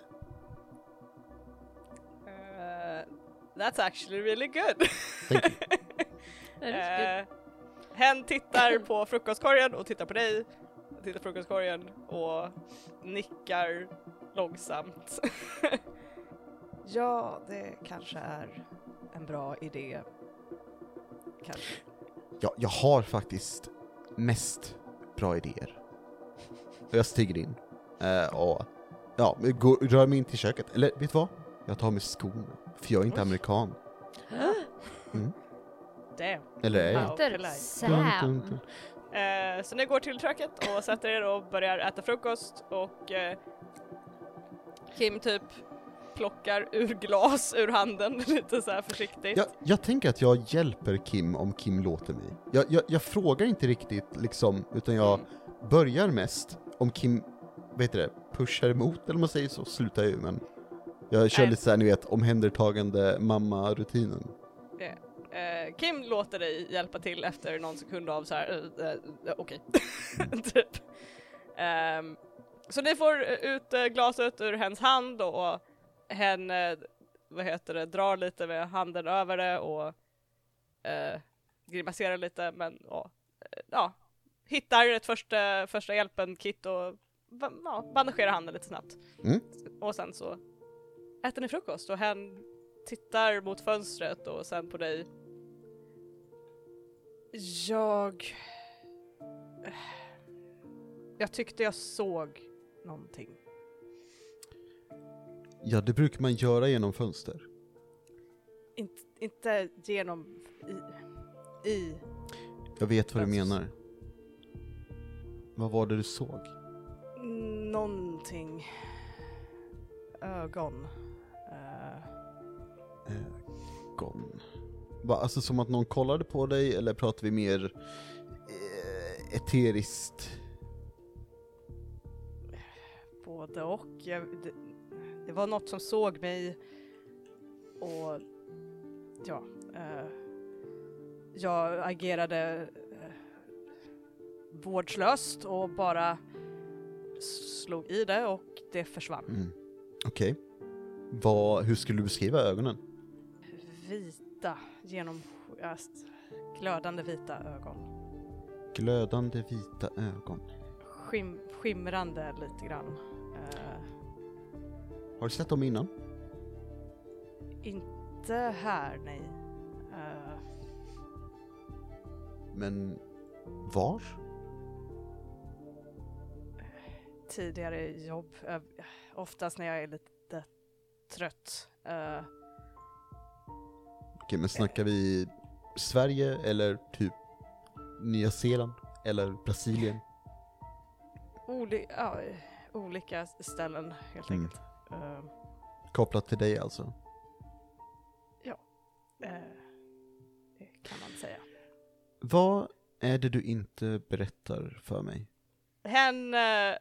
[SPEAKER 5] Eh, that's actually really good!
[SPEAKER 1] Thank you.
[SPEAKER 4] Nej, det är
[SPEAKER 5] Eh, hen tittar på frukostkorgen och tittar på dig, tittar på frukostkorgen och nickar långsamt.
[SPEAKER 6] ja, det kanske är en bra idé. Kanske.
[SPEAKER 1] Jag, jag har faktiskt mest bra idéer. Och jag stiger in eh, och ja, går, rör mig in till köket, eller vet du vad? Jag tar med skorna, för jag är inte amerikan.
[SPEAKER 5] Damn.
[SPEAKER 1] Eller är jag?
[SPEAKER 4] Heter
[SPEAKER 5] Polite.
[SPEAKER 4] Sam.
[SPEAKER 5] Eh, så ni går till köket och sätter er och börjar äta frukost och eh, Kim typ plockar ur glas ur handen lite så här försiktigt.
[SPEAKER 1] Jag, jag tänker att jag hjälper Kim om Kim låter mig. Jag, jag, jag frågar inte riktigt liksom, utan jag börjar mest om Kim, vad heter det, pushar emot eller om man säger så, slutar jag ju men. Jag kör
[SPEAKER 5] Nej.
[SPEAKER 1] lite såhär ni vet, omhändertagande mamma-rutinen.
[SPEAKER 5] Eh, Kim låter dig hjälpa till efter någon sekund av så här, eh, eh, eh, okej, typ. Ehm, så ni får eh, ut eh, glaset ur hens hand och hen, eh, vad heter det, drar lite med handen över det och eh, grimaserar lite men ja, eh, ja, hittar ett första, första hjälpen-kit och va- ja, bandagerar handen lite snabbt.
[SPEAKER 1] Mm.
[SPEAKER 5] Och sen så äter ni frukost och hen tittar mot fönstret och sen på dig
[SPEAKER 6] Jag... Jag tyckte jag såg någonting.
[SPEAKER 1] Ja, det brukar man göra genom fönster.
[SPEAKER 6] Inte, inte genom... I, i...
[SPEAKER 1] Jag vet vad du
[SPEAKER 6] Fönster.
[SPEAKER 1] menar. Vad var det du såg?
[SPEAKER 6] Någonting. Ögon. Eh,
[SPEAKER 1] Gon. Eh, Va, alltså som att någon kollade på dig eller pratar vi mer eh, eteriskt?
[SPEAKER 6] både och. Jag, det, det var något som såg mig. Och ja. eh,
[SPEAKER 5] jag agerade eh, vårdslöst och bara slog i det och det försvann.
[SPEAKER 1] Mm. Okej. Vad, hur skulle du beskriva ögonen?
[SPEAKER 5] Vita, genom ja, s- glödande vita ögon.
[SPEAKER 1] Glödande vita ögon.
[SPEAKER 5] Skim, skimrande lite grann. Eh,
[SPEAKER 1] Har du sett dem innan?
[SPEAKER 5] inte här, nej. Eh,
[SPEAKER 1] Men var?
[SPEAKER 5] tidigare jobb, eh, oftast när jag är lite trött. Eh,
[SPEAKER 1] Okej, men snackar vi Sverige eller typ Nya Zeeland eller Brasilien?
[SPEAKER 5] oli- ja, eh, olika ställen helt
[SPEAKER 1] Mm.
[SPEAKER 5] enkelt. Eh,
[SPEAKER 1] Kopplat till dig alltså?
[SPEAKER 5] Eh, det kan man säga.
[SPEAKER 1] Vad är det du inte berättar för mig?
[SPEAKER 7] Hen eh,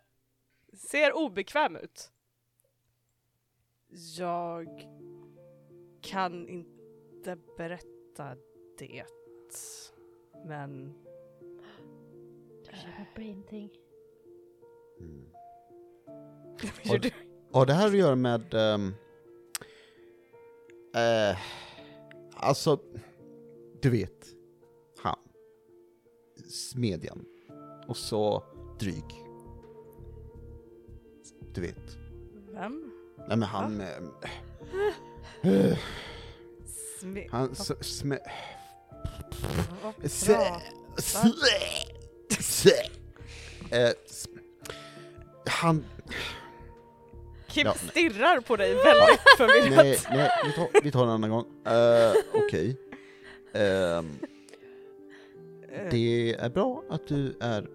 [SPEAKER 7] ser obekväm ut.
[SPEAKER 5] Jag kan inte berätta det. Men
[SPEAKER 4] Du känner på ingenting.
[SPEAKER 1] Har, har det här att göra med... ehm, eh, alltså, du vet, han. Smedjan. Och så dryg. Du vet.
[SPEAKER 5] vem?
[SPEAKER 1] Nej men han... eh,
[SPEAKER 5] Sme-
[SPEAKER 1] han s- sme...
[SPEAKER 5] vad
[SPEAKER 1] Se-
[SPEAKER 5] bra.
[SPEAKER 1] se- se- eh, s- Han...
[SPEAKER 7] Kim
[SPEAKER 1] Ja, nej.
[SPEAKER 7] stirrar på dig väldigt förvirrat.
[SPEAKER 1] Nej, nej vi, tar, vi tar en annan gång. Eh, Okej. Ehm,
[SPEAKER 5] Eh,
[SPEAKER 1] det är bra att du är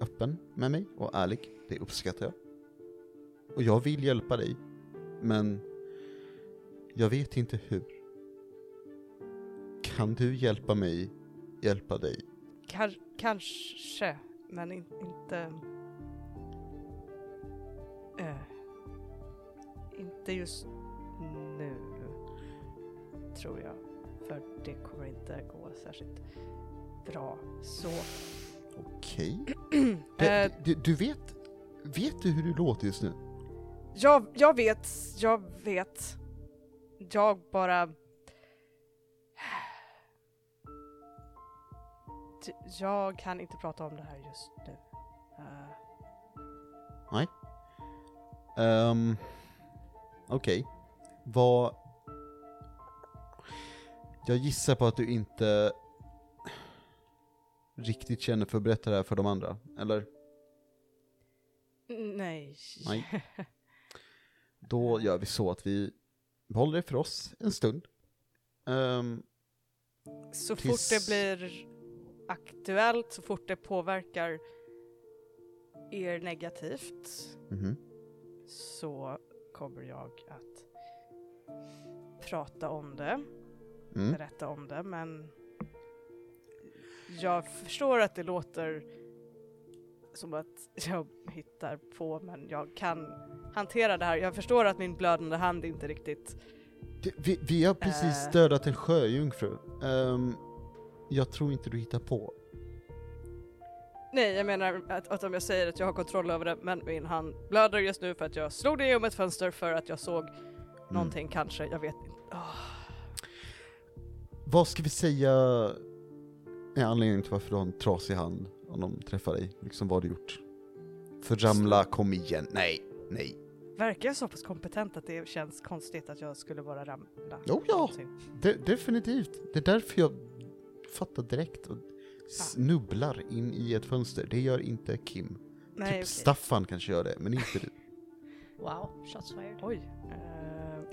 [SPEAKER 1] öppen med mig och ärlig. Det uppskattar jag. Och jag vill hjälpa dig. Men jag vet inte hur. Kan du hjälpa mig hjälpa dig?
[SPEAKER 5] Kar- kanske, men in- inte... Eh, inte just nu, tror jag. För det kommer inte gå särskilt bra. Så eh,
[SPEAKER 1] Okej. Det- Du, du vet... Vet du hur du låter just nu?
[SPEAKER 5] Jag, jag vet, jag vet. Jag bara... Jag kan inte prata om det här just nu. Eh,
[SPEAKER 1] Ehm, Okej. Vad... Jag gissar på att du inte riktigt känner för att berätta det här för de andra, eller?
[SPEAKER 5] nej.
[SPEAKER 1] Nej. Då gör vi så att vi behåller det för oss en stund. Ehm,
[SPEAKER 5] Så
[SPEAKER 1] Tills-
[SPEAKER 5] fort det blir aktuellt, så fort det påverkar er negativt
[SPEAKER 1] mhm.
[SPEAKER 5] så kommer jag att prata om det.
[SPEAKER 1] mm.
[SPEAKER 5] berätta om det, men jag förstår att det låter som att jag hittar på, men jag kan hantera det här. Jag förstår att min blödande hand inte riktigt...
[SPEAKER 1] Det- Vi, vi har precis
[SPEAKER 5] Eh.
[SPEAKER 1] dödat en sjöjungfru. Ehm, jag tror inte du hittar på.
[SPEAKER 5] Nej, jag menar att, att om jag säger att jag har kontroll över det, men min hand blöder just nu för att jag slog det genom ett fönster för att jag såg
[SPEAKER 1] Mm.
[SPEAKER 5] någonting kanske, jag vet inte.
[SPEAKER 1] Vad ska vi säga är anledningen till varför du har en trasig hand om de träffar dig? Liksom vad har du gjort? Förramla, kom igen. Nej, nej.
[SPEAKER 5] Verkar jag så pass kompetent att det känns konstigt att jag skulle bara ramla?
[SPEAKER 1] Jo, ja.
[SPEAKER 5] Någonting.
[SPEAKER 1] De- definitivt. Det är därför jag fattar direkt och
[SPEAKER 5] Ah.
[SPEAKER 1] snubblar in i ett fönster. Det gör inte Kim.
[SPEAKER 5] Nej,
[SPEAKER 1] typ
[SPEAKER 5] okej.
[SPEAKER 1] Staffan kanske gör det, men inte du.
[SPEAKER 4] Wow, shots fired.
[SPEAKER 5] Oj. Eh,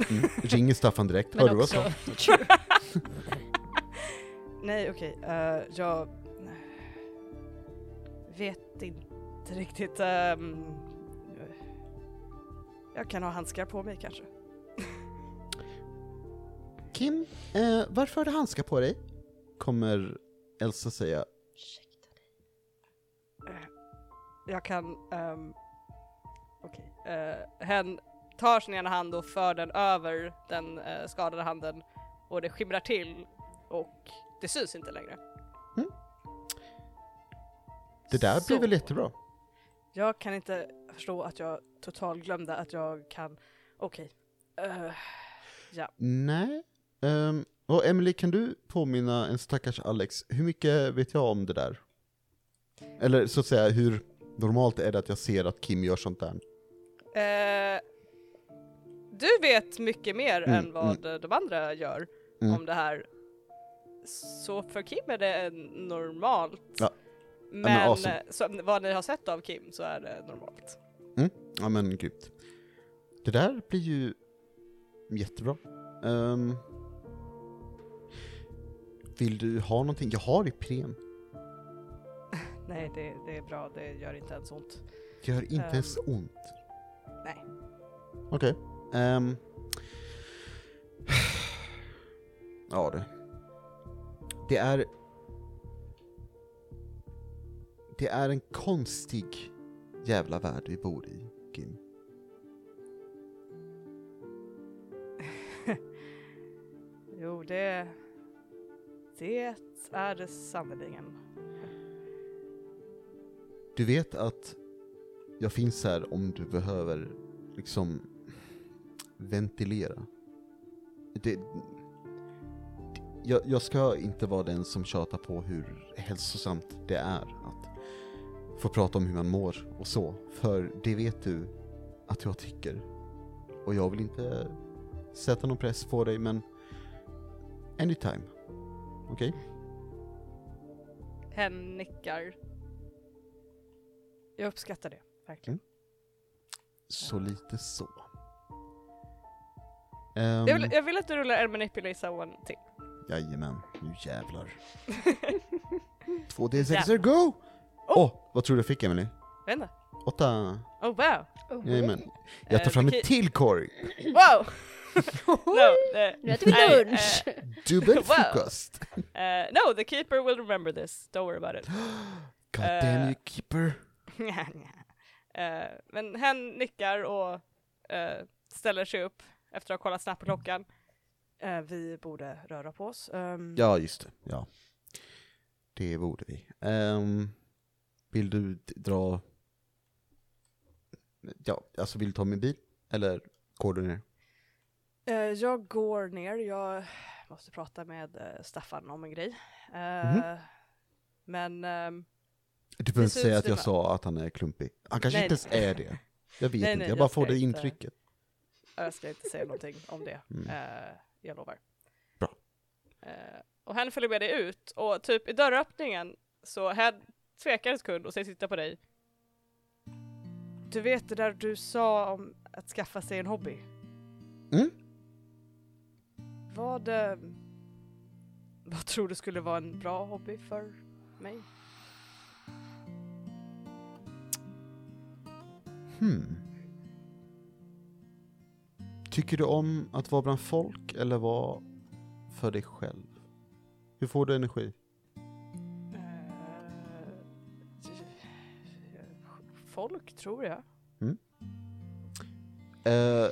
[SPEAKER 1] Mm. Ringer Staffan direkt.
[SPEAKER 4] Men
[SPEAKER 1] Hörde du vad jag
[SPEAKER 4] också,
[SPEAKER 1] sa?
[SPEAKER 5] Nej, okej. eh, jag vet inte riktigt. ehm, jag kan ha handskar på mig kanske.
[SPEAKER 1] Kim, eh, varför har du handskar på dig? Kommer Elsa säga.
[SPEAKER 4] ursäkta dig.
[SPEAKER 5] Jag kan... ehm, okej. Eh, hen tar sin ena hand och för den över den eh, skadade handen och det skimrar till och Det syns inte längre.
[SPEAKER 1] Mm. Det där
[SPEAKER 5] Så.
[SPEAKER 1] blir väl jättebra?
[SPEAKER 5] Jag kan inte förstå att jag totalt glömde att jag kan... Okej. Eh,
[SPEAKER 1] Nej. Ehm, och Emily, kan du påminna en stackars Alex, hur mycket vet jag om det där? Eller så att säga, hur normalt är det att jag ser att Kim gör sånt där?
[SPEAKER 5] eh, du vet mycket mer
[SPEAKER 1] Mm,
[SPEAKER 5] än vad de andra gör
[SPEAKER 1] Mm.
[SPEAKER 5] om det här. Så för Kim är det en normalt.
[SPEAKER 1] Ja.
[SPEAKER 5] Men,
[SPEAKER 1] men awesome.
[SPEAKER 5] eh, så, vad ni har sett av Kim så är det normalt.
[SPEAKER 1] Ja men grymt. Det där blir ju jättebra. Ehm, vill du ha någonting? Jag har Ipren.
[SPEAKER 5] Nej, det, det är bra. Det gör inte ens ont.
[SPEAKER 1] Gör inte
[SPEAKER 5] Ehm,
[SPEAKER 1] ens ont.
[SPEAKER 5] nej.
[SPEAKER 1] Okej. Ehm. ja du. Det är... Det är en konstig jävla värld vi bor i, Kim.
[SPEAKER 5] Jo, det... Det är det sannerligen.
[SPEAKER 1] Du vet att jag finns här om du behöver liksom ventilera. Det, jag, jag ska inte vara den som tjatar på hur hälsosamt det är att få prata om hur man mår och så, för det vet du att jag tycker. Och jag vill inte sätta någon press på dig, men anytime. Okej?
[SPEAKER 5] Hen nickar. Jag uppskattar det,
[SPEAKER 1] Mm.
[SPEAKER 5] verkligen.
[SPEAKER 1] Så lite så.
[SPEAKER 5] Jag,
[SPEAKER 1] Ehm.
[SPEAKER 5] vill, jag vill att du rullar en manipulate someone till.
[SPEAKER 1] Jajamän, nu jävlar. 2D6 er go!
[SPEAKER 5] Oh!
[SPEAKER 1] Åh, vad tror du jag fick Emily?
[SPEAKER 5] Vänta.
[SPEAKER 1] Åtta?
[SPEAKER 5] Oh wow!
[SPEAKER 1] Jajamän. Jag tar
[SPEAKER 5] Eh,
[SPEAKER 1] fram
[SPEAKER 5] okej.
[SPEAKER 1] en till korg!
[SPEAKER 5] Wow! no, eh,
[SPEAKER 4] Oh. Nu äter vi
[SPEAKER 5] Nej,
[SPEAKER 4] lunch!
[SPEAKER 1] Dubbel
[SPEAKER 5] Wow.
[SPEAKER 1] frukost!
[SPEAKER 5] eh, no, the keeper will remember this. Don't worry about it.
[SPEAKER 1] God
[SPEAKER 5] Eh.
[SPEAKER 1] damn you keeper.
[SPEAKER 5] Nja, nja. Eh, men hen nickar och eh, ställer sig upp efter att ha kollat snabbt på klockan. Eh, vi borde röra på oss. Ehm,
[SPEAKER 1] Ja, just det. Ja. Det borde vi. Ehm, vill du d- dra... Ja, alltså vill du ta min bil? Eller går du ner?
[SPEAKER 5] Eh, jag går ner, jag måste prata med eh, Staffan om en grej. Eh,
[SPEAKER 1] Mhm.
[SPEAKER 5] Men ehm,
[SPEAKER 1] Du behöver inte
[SPEAKER 5] ser
[SPEAKER 1] säga
[SPEAKER 5] ut
[SPEAKER 1] att
[SPEAKER 5] som
[SPEAKER 1] jag
[SPEAKER 5] det-
[SPEAKER 1] sa att han är klumpig. Han kanske
[SPEAKER 5] Nej,
[SPEAKER 1] inte ens är det. Jag vet
[SPEAKER 5] Nej,
[SPEAKER 1] inte,
[SPEAKER 5] nej,
[SPEAKER 1] jag
[SPEAKER 5] jag
[SPEAKER 1] bara får
[SPEAKER 5] ska
[SPEAKER 1] det
[SPEAKER 5] inte-
[SPEAKER 1] intrycket.
[SPEAKER 5] jag ska inte säga någonting om det.
[SPEAKER 1] Mm.
[SPEAKER 5] Eh, jag lovar.
[SPEAKER 1] Bra.
[SPEAKER 5] Eh, och hen följer med dig ut och typ i dörröppningen så hen tvekar en sekund och säger titta på dig. Du vet det där du sa om att skaffa sig en hobby?
[SPEAKER 1] Mm.
[SPEAKER 5] Vad, eh, vad tror du skulle vara en bra hobby för mig?
[SPEAKER 1] Hmm. Tycker du om att vara bland folk eller vara för dig själv? Hur får du energi?
[SPEAKER 5] Eh, Folk tror jag.
[SPEAKER 1] Eh,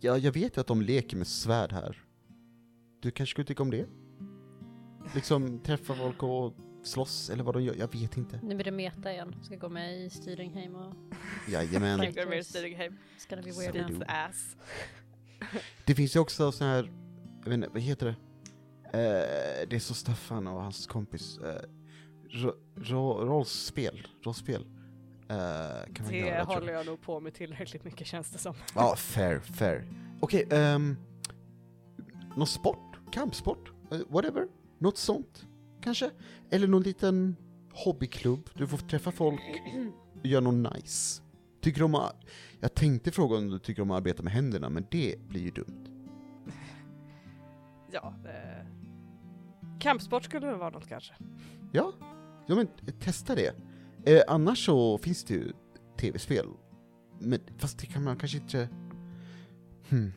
[SPEAKER 1] ja, jag vet ju att de leker med svärd här. Du kanske skulle tycka om det? Liksom träffa folk och slåss eller vad de gör, jag vet inte.
[SPEAKER 4] Nu blir det meta igen. Ska gå med i Styringheim och
[SPEAKER 1] Jajamän.
[SPEAKER 4] Right.
[SPEAKER 5] Tycker de är Stirringheim.
[SPEAKER 4] it's gonna be
[SPEAKER 1] Så
[SPEAKER 4] weird
[SPEAKER 1] det är
[SPEAKER 4] now.
[SPEAKER 1] du.
[SPEAKER 5] It's ass.
[SPEAKER 1] Det finns ju också sån här, jag vet inte, vad heter det? Eh, det är så Staffan och hans kompis. Eh, ro, ro, rollspel, rollspel. Eh, kan man
[SPEAKER 5] Det
[SPEAKER 1] göra, tror jag.
[SPEAKER 5] håller jag nog på med tillräckligt mycket känns det som.
[SPEAKER 1] Ja, fair, fair. Okej, ehm... någon sport? Kampsport? Eh, whatever? Något sånt? Kanske? Eller någon liten hobbyklubb? Du får träffa folk, göra något nice. Tycker du om att... Jag tänkte fråga om du tycker om att arbeta med händerna, men det blir ju dumt.
[SPEAKER 5] Ja. Eh, kampsport skulle det vara något kanske.
[SPEAKER 1] Ja? Ja men eh, testa det. Eh, annars så finns det ju tv-spel. Men fast det kan man kanske inte... Hmm.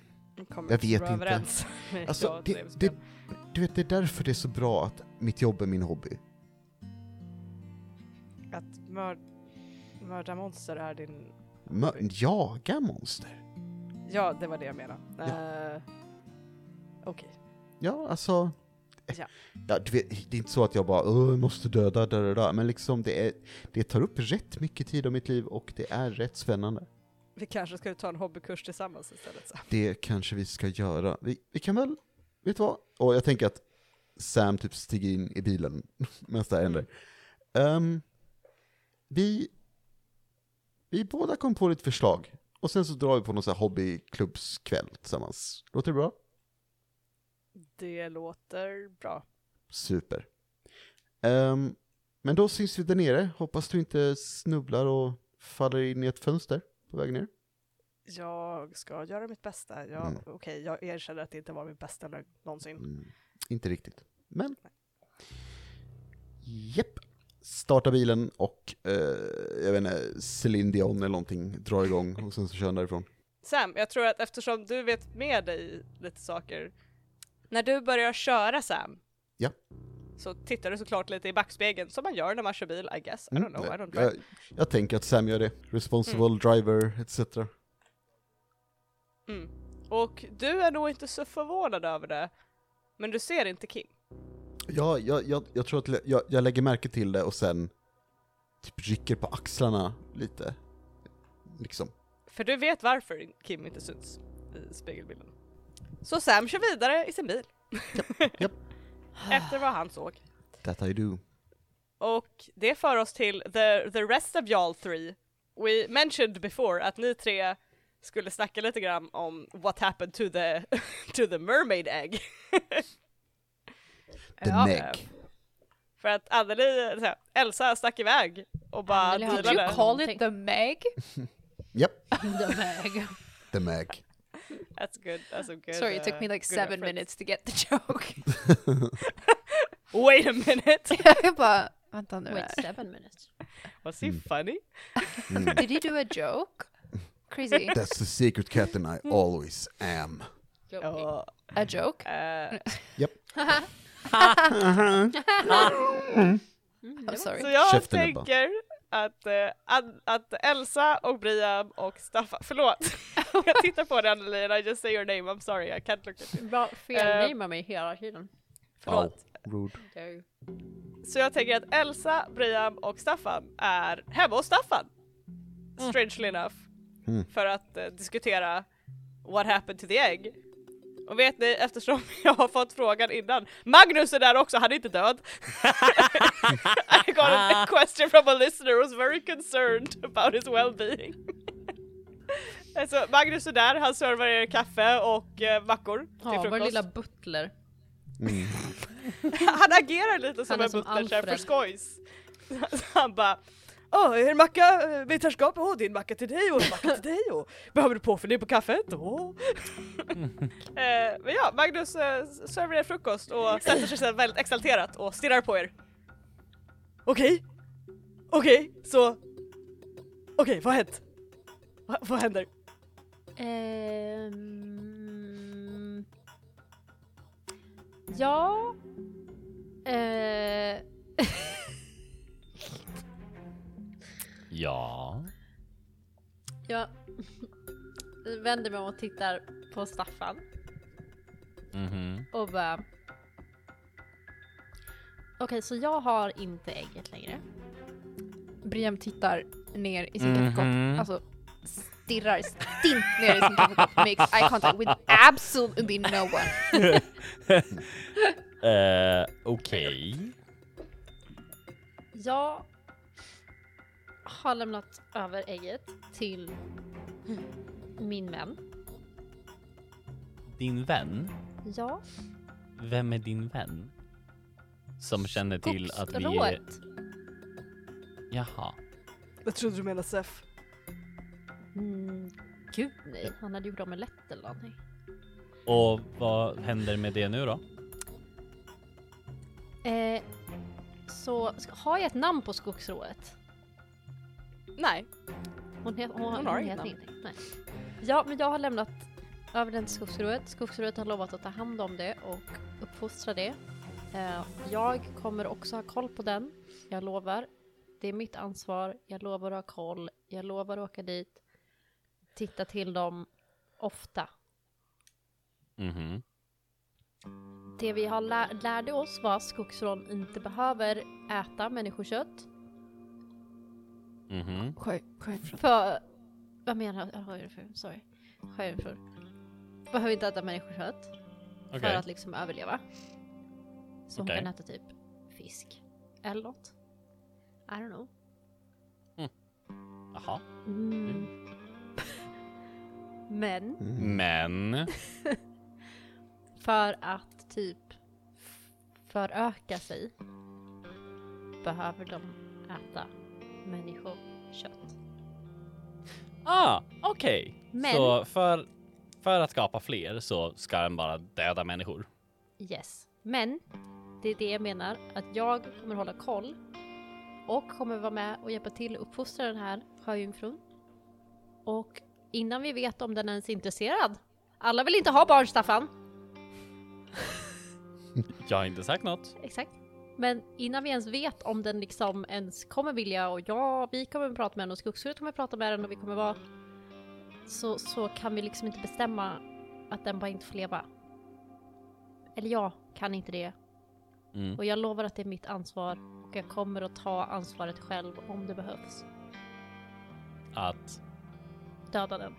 [SPEAKER 5] Kommer
[SPEAKER 1] Jag
[SPEAKER 5] inte
[SPEAKER 1] vet
[SPEAKER 5] så bra
[SPEAKER 1] inte.
[SPEAKER 5] Överens. med jag
[SPEAKER 1] Alltså,
[SPEAKER 5] och
[SPEAKER 1] det, det,
[SPEAKER 5] tv-spel.
[SPEAKER 1] du vet, det är därför det är så bra att mitt jobb är min hobby.
[SPEAKER 5] Att mörd, mörda monster är din...
[SPEAKER 1] Mö- jaga monster?
[SPEAKER 5] Ja, det var det jag menade. Eh, Okej.
[SPEAKER 1] Ja, alltså,
[SPEAKER 6] Ja.
[SPEAKER 1] Ja, du vet, det är inte så att jag bara "Åh, jag måste döda, da, da, da. men liksom det, är, det tar upp rätt mycket tid av mitt liv och det är rätt spännande.
[SPEAKER 6] Vi kanske ska ta en hobbykurs tillsammans istället. Så.
[SPEAKER 1] Det kanske vi ska göra. Vi, vi kan väl, vet du vad? Och jag tänker att Sam typ stiger in i bilen medan det här händer. Ehm, vi, vi båda kom på ett förslag och sen så drar vi på någon sån här hobbyklubbskväll tillsammans. Låter det bra?
[SPEAKER 6] Det låter bra.
[SPEAKER 1] Super. Ehm, men då syns vi där nere. Hoppas du inte snubblar och faller in i ett fönster på vägen ner.
[SPEAKER 6] Jag ska göra mitt bästa. Jag,
[SPEAKER 1] Mm.
[SPEAKER 6] Okej, jag erkänner att det inte var min bästa lögn någonsin.
[SPEAKER 1] Mm, inte riktigt, men... Japp. Starta bilen och, eh, jag vet inte, Celine Dion eller någonting drar igång och sen så kör han därifrån.
[SPEAKER 5] Sam, jag tror att eftersom du vet med dig lite saker, när du börjar köra Sam,
[SPEAKER 1] Ja.
[SPEAKER 5] så tittar du såklart lite i backspegeln som man gör när man kör bil, I guess. I
[SPEAKER 1] Mm,
[SPEAKER 5] don't know, I don't drive.
[SPEAKER 1] jag, jag tänker att Sam gör det. Responsible driver, etc.
[SPEAKER 5] Mm. Och du är nog inte så förvånad över det, men du ser inte Kim.
[SPEAKER 1] Ja, jag, jag, jag tror att jag, jag lägger märke till det och sen typ rycker på axlarna lite. Liksom.
[SPEAKER 5] För du vet varför Kim inte syns i spegelbilden. Så Sam kör vidare i sin bil.
[SPEAKER 1] japp.
[SPEAKER 5] Efter vad han såg.
[SPEAKER 1] That I do.
[SPEAKER 5] Och det för oss till the, the rest of y'all three. We mentioned before att ni tre skulle snacka lite grann om what happened to the, to the mermaid egg.
[SPEAKER 1] The
[SPEAKER 5] Ja.
[SPEAKER 1] neck.
[SPEAKER 5] För att Anneli, så här, Elsa stack iväg och bara
[SPEAKER 4] Anneli har
[SPEAKER 2] Did you
[SPEAKER 5] dealade.
[SPEAKER 4] ju-
[SPEAKER 2] call it the Meg?
[SPEAKER 1] Japp,
[SPEAKER 4] De är-
[SPEAKER 1] the mag.
[SPEAKER 5] That's good, that's a good.
[SPEAKER 2] Sorry it took me
[SPEAKER 5] uh,
[SPEAKER 2] like
[SPEAKER 5] good
[SPEAKER 2] seven
[SPEAKER 5] reference.
[SPEAKER 2] minutes to get the joke.
[SPEAKER 5] Wait a minute!
[SPEAKER 2] jag bara, vänta nu
[SPEAKER 4] Wait
[SPEAKER 2] här.
[SPEAKER 4] seven minutes.
[SPEAKER 5] Was he funny?
[SPEAKER 1] Mm.
[SPEAKER 2] Did he do a joke? Crazy.
[SPEAKER 1] That's the secret captain I always am.
[SPEAKER 5] Ja.
[SPEAKER 2] A joke?
[SPEAKER 5] eh,
[SPEAKER 1] Mm.
[SPEAKER 4] Mm,
[SPEAKER 2] I'm
[SPEAKER 4] Alltså.
[SPEAKER 2] sorry.
[SPEAKER 5] så jag
[SPEAKER 1] Käften, Ebba.
[SPEAKER 5] tänker att, eh, att, att Elsa och Brian och Staffan, förlåt! jag tittar på dig Anneli and I just say your name, I'm sorry, I can't look at you.
[SPEAKER 4] Bra,
[SPEAKER 5] Eh.
[SPEAKER 4] felnamea mig hela tiden.
[SPEAKER 5] Förlåt.
[SPEAKER 1] Rude.
[SPEAKER 4] Det är ju-
[SPEAKER 5] Så jag tänker att Elsa, Brian och Staffan är hemma hos Staffan. Strangely enough.
[SPEAKER 1] Mm.
[SPEAKER 5] För att eh, diskutera what happened to the egg. Och vet ni, eftersom jag har fått frågan innan, Magnus är där också, han är inte död. I got
[SPEAKER 4] Ah.
[SPEAKER 5] a question from a listener who was very concerned about his well-being. alltså, Magnus är där, han servar er kaffe och eh, mackor till
[SPEAKER 4] Ja, vår
[SPEAKER 5] frukost.
[SPEAKER 4] lilla butler.
[SPEAKER 1] Mm.
[SPEAKER 5] Han agerar lite som
[SPEAKER 4] Han är
[SPEAKER 5] en
[SPEAKER 4] som
[SPEAKER 5] butler så här, för
[SPEAKER 4] Alfred.
[SPEAKER 5] skojs. Så han bara Åh, är det macka? Eh, Vetenskap? Åh, det är en macka till dig och en macka till dig och behöver du påfyllning på kaffet? Åh. eh, men ja, Magnus eh, serverar frukost och sätter sig sedan väldigt exalterat och stirrar på er. Okej, okej, så okej, vad har hänt? Va, vad händer?
[SPEAKER 4] Ehm... Ja... Eh...
[SPEAKER 3] Ja.
[SPEAKER 4] Jag vänder mig om och tittar på Staffan
[SPEAKER 3] Mhm.
[SPEAKER 4] och bara... Okej, så jag har inte ägget längre.
[SPEAKER 2] Brian tittar ner i sin
[SPEAKER 3] Mhm.
[SPEAKER 5] Mm-hmm.
[SPEAKER 2] kaffekopp, alltså stirrar stint ner i sin kaffekopp, makes eye contact with absolutely no one.
[SPEAKER 3] Eh, Okej.
[SPEAKER 4] Jag har lämnat över ägget till min vän.
[SPEAKER 3] Din vän?
[SPEAKER 4] Ja,
[SPEAKER 3] Vem är din vän? Som känner till att vi... Är...
[SPEAKER 4] skogsrået.
[SPEAKER 3] Jaha.
[SPEAKER 6] Jag trodde du menade Sef.
[SPEAKER 4] Mm, gud nej, han hade gjort av med lätt eller någonting.
[SPEAKER 3] Och vad händer med det nu då?
[SPEAKER 4] Eh, så ska, har jag ett namn på skogsrået?
[SPEAKER 5] Nej,
[SPEAKER 4] Hon, he, hon,
[SPEAKER 5] Hon
[SPEAKER 4] hon,
[SPEAKER 5] har
[SPEAKER 4] hon
[SPEAKER 5] inget
[SPEAKER 4] heter
[SPEAKER 5] namn.
[SPEAKER 4] ingenting. Nej. Ja, men jag har lämnat över den till skogsrået. Skogsrået har lovat att ta hand om det och uppfostra det. Eh, jag kommer också ha koll på den. Jag lovar. Det är mitt ansvar. Jag lovar att ha koll. Jag lovar att åka dit. Titta till dem ofta.
[SPEAKER 3] Mhm.
[SPEAKER 4] det vi har lä- lärde oss var att skogsrån inte behöver äta människokött.
[SPEAKER 3] Mhm.
[SPEAKER 2] Sjöjungfrun.
[SPEAKER 4] För... Vad menar jag? Sjöjungfru, sorry. Sjöjungfrur. Behöver inte äta människokött
[SPEAKER 3] Okej.
[SPEAKER 4] för att liksom överleva. Så
[SPEAKER 3] Okej.
[SPEAKER 4] hon kan äta typ fisk. Eller något. I don't know.
[SPEAKER 3] Jaha.
[SPEAKER 4] Mm. Men
[SPEAKER 1] Mm.
[SPEAKER 3] Men.
[SPEAKER 4] För att typ f- föröka sig behöver de äta människokött.
[SPEAKER 3] Ah, okej.
[SPEAKER 4] Men-
[SPEAKER 3] Så för, för att skapa fler så ska den bara döda människor.
[SPEAKER 4] Yes. Men det är det jag menar, att jag kommer hålla koll och kommer vara med och hjälpa till att uppfostra den här sjöjungfrun. Och innan vi vet om den ens är intresserad. Alla vill inte ha barn, Staffan!
[SPEAKER 3] Jag har inte sagt något.
[SPEAKER 4] Exakt. Men innan vi ens vet om den liksom ens kommer vilja och ja, vi kommer prata med den och Skogshuset kommer prata med den och vi kommer vara så, så kan vi liksom inte bestämma att den bara inte får leva. Eller jag kan inte det.
[SPEAKER 3] Mm.
[SPEAKER 4] Och jag lovar att det är mitt ansvar och jag kommer att ta ansvaret själv om det behövs.
[SPEAKER 3] Att...
[SPEAKER 4] Döda den.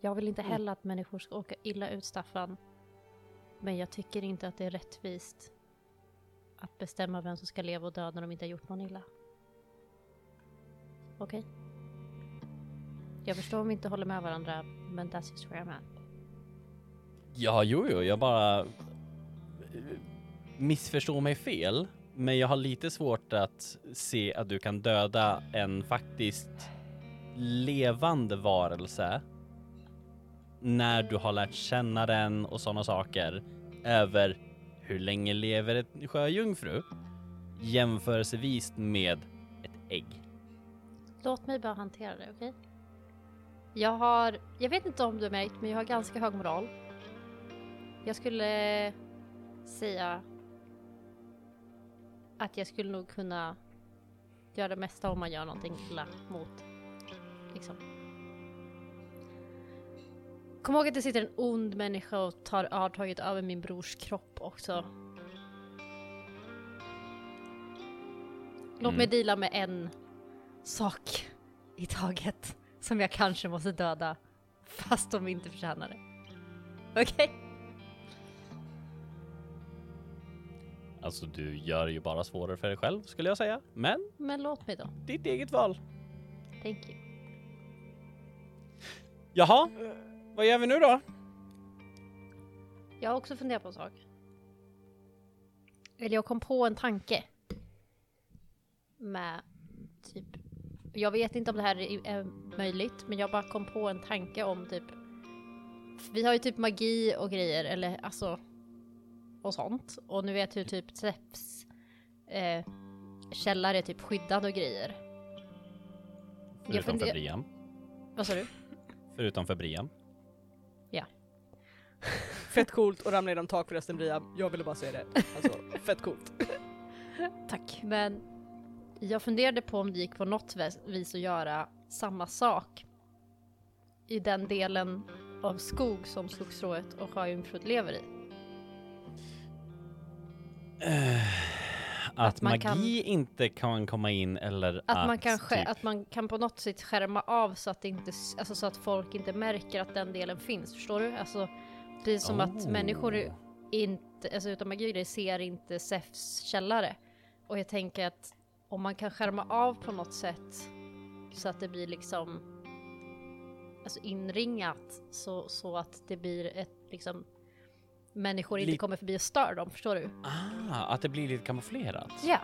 [SPEAKER 4] Jag vill inte heller att människor ska åka illa ut, Staffan. Men jag tycker inte att det är rättvist att bestämma vem som ska leva och dö när de inte har gjort någon illa. Okej? Jag förstår om vi inte håller med varandra, men that's just where I'm at.
[SPEAKER 3] Ja, jo, jo, jag bara... eh, Missförstår mig fel. Men jag har lite svårt att se att du kan döda en faktiskt levande varelse när du har lärt känna den och sådana saker över hur länge lever ett sjöjungfru jämförelsevis med ett ägg.
[SPEAKER 4] Låt mig bara hantera det, okej? Jag har, jag vet inte om du har märkt, men jag har ganska hög moral. Jag skulle säga att jag skulle nog kunna göra det mesta om man gör någonting illa mot, liksom. Kom ihåg att det sitter en ond människa och tar, har tagit över min brors kropp också. Låt mig
[SPEAKER 3] Mm.
[SPEAKER 4] deala med en sak i taget som jag kanske måste döda fast de inte förtjänar det. Okej?
[SPEAKER 3] Alltså, du gör det ju bara svårare för dig själv skulle jag säga. Men
[SPEAKER 4] Men låt mig då.
[SPEAKER 3] ditt eget val.
[SPEAKER 4] Thank you.
[SPEAKER 3] Jaha, vad gör vi nu då?
[SPEAKER 4] Jag har också funderat på en sak. Eller jag kom på en tanke. Med typ... Jag vet inte om det här är, är möjligt, men jag bara kom på en tanke om typ... Vi har ju typ magi och grejer, eller alltså... Och sånt. Och nu vet hur typ Zeps eh, källare är typ skyddad och grejer. Jag
[SPEAKER 3] Förutom för
[SPEAKER 4] funder-
[SPEAKER 3] Brian.
[SPEAKER 4] Vad sa du?
[SPEAKER 3] Förutom för Brian.
[SPEAKER 6] Fett coolt och ramla genom tak förresten Bria. Jag ville bara säga det. Alltså, fett coolt.
[SPEAKER 4] Tack. Men jag funderade på om det gick på något väs- vis att göra samma sak i den delen av skog som skogsrået och sjöjungfrun lever i.
[SPEAKER 3] Att,
[SPEAKER 4] man
[SPEAKER 3] magi
[SPEAKER 4] kan-
[SPEAKER 3] inte kan komma in eller
[SPEAKER 4] Att, man, kan sk-
[SPEAKER 3] typ-
[SPEAKER 4] att man kan på något sätt skärma av så att, det inte, s- alltså så att folk inte märker att den delen finns. Förstår du? Alltså, precis som att
[SPEAKER 3] Oh.
[SPEAKER 4] människor inte, alltså utan magi det ser inte Sefs källare. Och jag tänker att om man kan skärma av på något sätt så att det blir liksom alltså inringat så, så att det blir ett liksom människor inte
[SPEAKER 3] Lite-
[SPEAKER 4] kommer förbi och stör dem. Förstår du?
[SPEAKER 3] Ah, att det blir lite kamouflerat.
[SPEAKER 4] Ja.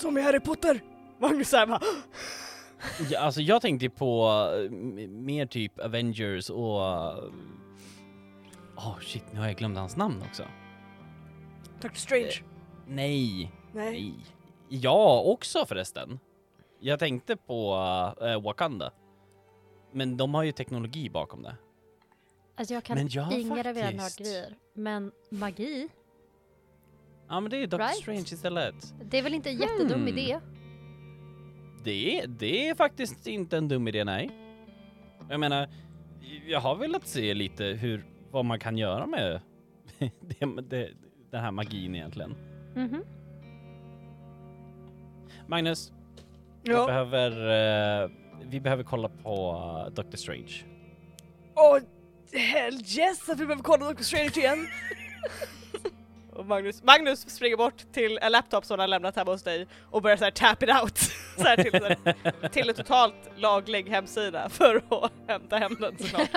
[SPEAKER 6] Som i Harry Potter! Magnus såhär bara
[SPEAKER 3] Ja, alltså jag tänkte på eh, m- mer typ Avengers och... eh, Åh shit, nu har jag glömt hans namn också.
[SPEAKER 6] Dr Strange.
[SPEAKER 5] Eh,
[SPEAKER 3] Nej,
[SPEAKER 6] Nej.
[SPEAKER 3] nej. Jag också förresten. Jag tänkte på eh, Wakanda. Men de har ju teknologi bakom det.
[SPEAKER 4] Alltså jag kan
[SPEAKER 3] Men jag
[SPEAKER 4] inga av era
[SPEAKER 3] faktiskt-
[SPEAKER 4] nördgrejer. Men magi?
[SPEAKER 3] Ja men det är Doctor
[SPEAKER 4] Right.
[SPEAKER 3] Strange istället.
[SPEAKER 4] Det är väl inte en jättedum
[SPEAKER 3] Hmm.
[SPEAKER 4] idé?
[SPEAKER 3] Det är, det är faktiskt inte en dum idé, nej. Jag menar, jag har velat se lite hur vad man kan göra med det, det, den här magin egentligen.
[SPEAKER 4] Mhm.
[SPEAKER 3] Magnus, jag
[SPEAKER 5] Ja.
[SPEAKER 3] behöver, eh, vi behöver kolla på eh, Doctor Strange.
[SPEAKER 5] Åh, hell yes att vi behöver kolla Doctor Strange igen! och Magnus, Magnus springer bort till en laptop som han lämnat hemma hos dig och börjar såhär tap it out! så här till, en- till en totalt laglig hemsida för att hämta hem den såklart.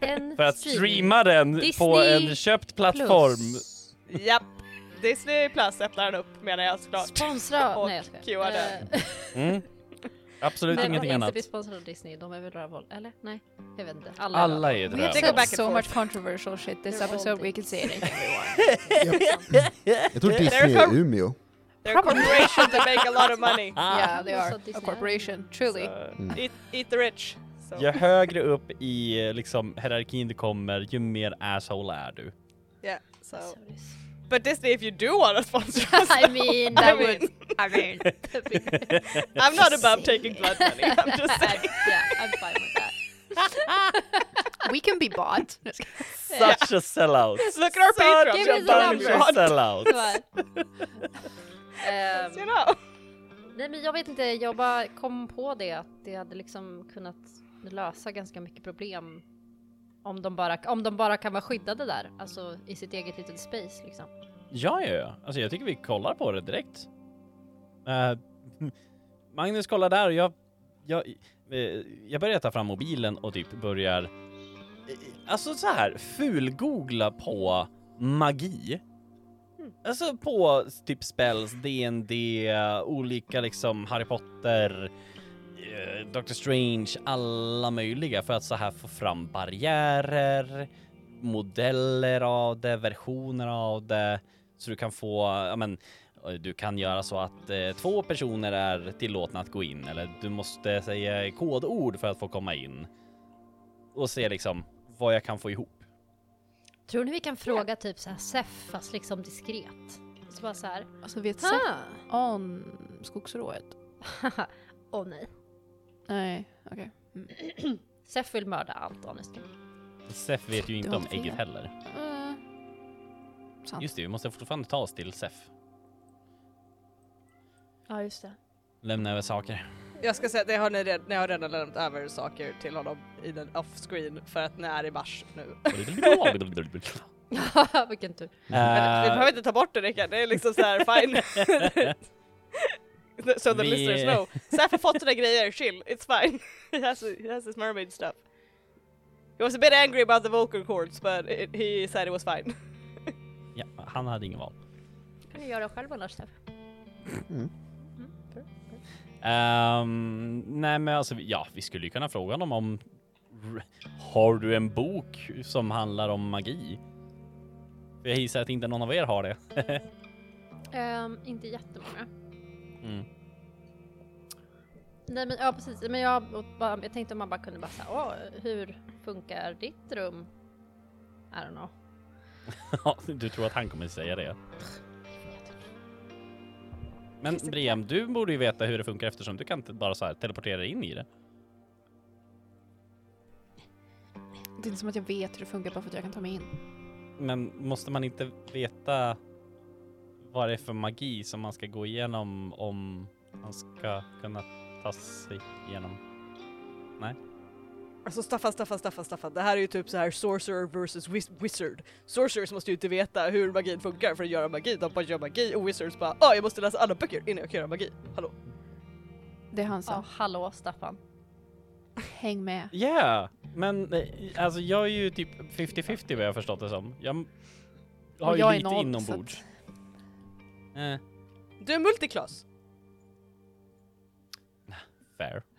[SPEAKER 4] En
[SPEAKER 3] För att streama den på
[SPEAKER 4] Disney
[SPEAKER 3] en köpt plattform.
[SPEAKER 5] Japp! Disney Plus öppnar han upp menar jag såklart.
[SPEAKER 4] Sponsra!
[SPEAKER 5] Och
[SPEAKER 4] Nej jag skojar.
[SPEAKER 5] QR där.
[SPEAKER 4] Eh,
[SPEAKER 3] Mm. Absolut
[SPEAKER 4] Men alltså,
[SPEAKER 3] ingenting
[SPEAKER 4] inte
[SPEAKER 3] annat.
[SPEAKER 4] bli sponsrade av Disney, de är väl rövhål? Eller? Nej, jag vet inte. Alla, är
[SPEAKER 3] Alla är
[SPEAKER 2] We
[SPEAKER 3] ju
[SPEAKER 2] have
[SPEAKER 5] They go
[SPEAKER 2] said
[SPEAKER 5] back and
[SPEAKER 2] so
[SPEAKER 5] forth.
[SPEAKER 2] much controversial shit this
[SPEAKER 4] They're
[SPEAKER 2] episode,
[SPEAKER 4] all
[SPEAKER 2] we can say anything we want.
[SPEAKER 1] Jag tror Disney är i Umeå.
[SPEAKER 5] They're a corporation that make a lot of money.
[SPEAKER 2] yeah, they
[SPEAKER 4] Most
[SPEAKER 2] are
[SPEAKER 4] of these
[SPEAKER 2] a
[SPEAKER 4] now.
[SPEAKER 2] corporation, truly.
[SPEAKER 5] Ah. So, eat, eat the rich. So.
[SPEAKER 3] Ju högre upp i eh, liksom, hierarkin du kommer, ju mer asshole är du.
[SPEAKER 5] Yeah, so.
[SPEAKER 4] rövhål. Så det är så-
[SPEAKER 5] But Disney if you do want to sponsor us,
[SPEAKER 4] I mean,
[SPEAKER 5] I
[SPEAKER 4] that
[SPEAKER 5] mean,
[SPEAKER 4] would... I mean... that'd be-
[SPEAKER 5] I'm not above
[SPEAKER 4] Just saying.
[SPEAKER 5] taking blood money. I'm just saying.
[SPEAKER 4] yeah, I'm fine with that.
[SPEAKER 2] We can be bought.
[SPEAKER 3] Such a sellout!
[SPEAKER 5] Look at our Patreon.
[SPEAKER 4] give
[SPEAKER 5] You're
[SPEAKER 4] us a
[SPEAKER 5] done,
[SPEAKER 4] number.
[SPEAKER 5] John.
[SPEAKER 3] sellout!
[SPEAKER 4] Come on. Ehm,
[SPEAKER 5] You know.
[SPEAKER 4] nej men jag vet inte, jag bara kom på det att det hade liksom kunnat lösa ganska mycket problem om de bara, om de bara kan vara skyddade där, alltså i sitt eget litet space liksom.
[SPEAKER 3] Ja, ja, ja. Alltså jag tycker vi kollar på det direkt. Eh, Magnus kollar där och jag, jag, eh, jag börjar ta fram mobilen och typ börjar, eh, alltså så här, fulgoogla på magi. Alltså på typ spells, D&D, olika liksom Harry Potter, eh, Doctor Strange, alla möjliga för att så här få fram barriärer, modeller av det, versioner av det. Så du kan få, ja men, eh, du kan göra så att eh, två personer är tillåtna att gå in eller du måste säga kodord för att få komma in. Och se liksom vad jag kan få ihop.
[SPEAKER 4] Tror ni vi kan fråga typ såhär SEF fast liksom diskret? Så bara såhär,
[SPEAKER 2] Alltså vi har ett sätt
[SPEAKER 4] ah!
[SPEAKER 2] on skogsrået.
[SPEAKER 4] Åh nej.
[SPEAKER 2] Nej, okej.
[SPEAKER 4] SEF vill mörda allt honestly.
[SPEAKER 3] Sef vet ju
[SPEAKER 2] Det
[SPEAKER 3] inte
[SPEAKER 2] var
[SPEAKER 3] om
[SPEAKER 2] fel.
[SPEAKER 3] ägget heller.
[SPEAKER 2] Eh, sant.
[SPEAKER 3] Just det, vi måste fortfarande ta oss till Sef.
[SPEAKER 4] Ja just det.
[SPEAKER 3] Lämna över saker.
[SPEAKER 5] Jag ska säga att det har ni, red- ni har redan lämnat över saker till honom i den off-screen för att ni är i mars nu.
[SPEAKER 3] Eh,
[SPEAKER 4] Vilken tur.
[SPEAKER 5] Men vi
[SPEAKER 3] Eh,
[SPEAKER 5] behöver inte ta bort det Rickard, det är liksom såhär fine. so the
[SPEAKER 3] Vi-
[SPEAKER 5] listeners know. Seth har fått sina grejer, chill, it's fine. he, has, he has his mermaid stuff. He was a bit angry about the vocal cords but it, he said it was fine.
[SPEAKER 3] ja, han hade ingen val.
[SPEAKER 4] kan du göra själv annars SEF.
[SPEAKER 3] Ehm, nej men alltså, vi- ja, vi skulle ju kunna fråga honom om r- har du en bok som handlar om magi? För jag gissar att inte någon av er har det.
[SPEAKER 4] Ehm, inte jättemånga.
[SPEAKER 3] Mm.
[SPEAKER 4] Nej men ja precis, men jag, och bara, jag tänkte om man bara kunde bara säga, åh hur funkar ditt rum? I don't know.
[SPEAKER 3] Ja, du tror att han kommer säga det? Men Briam, du borde ju veta hur det funkar eftersom du kan inte bara så här teleportera dig in i det.
[SPEAKER 2] Det är inte som att jag vet hur det funkar bara för att jag kan ta mig in.
[SPEAKER 3] Men måste man inte veta vad det är för magi som man ska gå igenom om man ska kunna ta sig igenom?
[SPEAKER 5] Alltså Staffan, Staffan, Staffan, Staffan. Det här är ju typ så här sorcerer versus wiz- wizard. Sorcerers måste ju inte veta hur magin funkar för att göra magi. De bara gör magi och wizards bara ah jag måste läsa alla böcker innan jag kan göra magi. Hallå.
[SPEAKER 2] Det är han
[SPEAKER 4] Ja,
[SPEAKER 2] sa.
[SPEAKER 4] hallå Staffan.
[SPEAKER 2] Häng med.
[SPEAKER 3] Ja, men eh, alltså jag är ju typ 50-50 vad jag har förstått det som. Jag m- har
[SPEAKER 2] Och
[SPEAKER 3] ju
[SPEAKER 2] jag är
[SPEAKER 3] lite
[SPEAKER 2] noll,
[SPEAKER 3] inombords.
[SPEAKER 2] så
[SPEAKER 3] Eh,
[SPEAKER 5] Du är multiklas.
[SPEAKER 3] fair.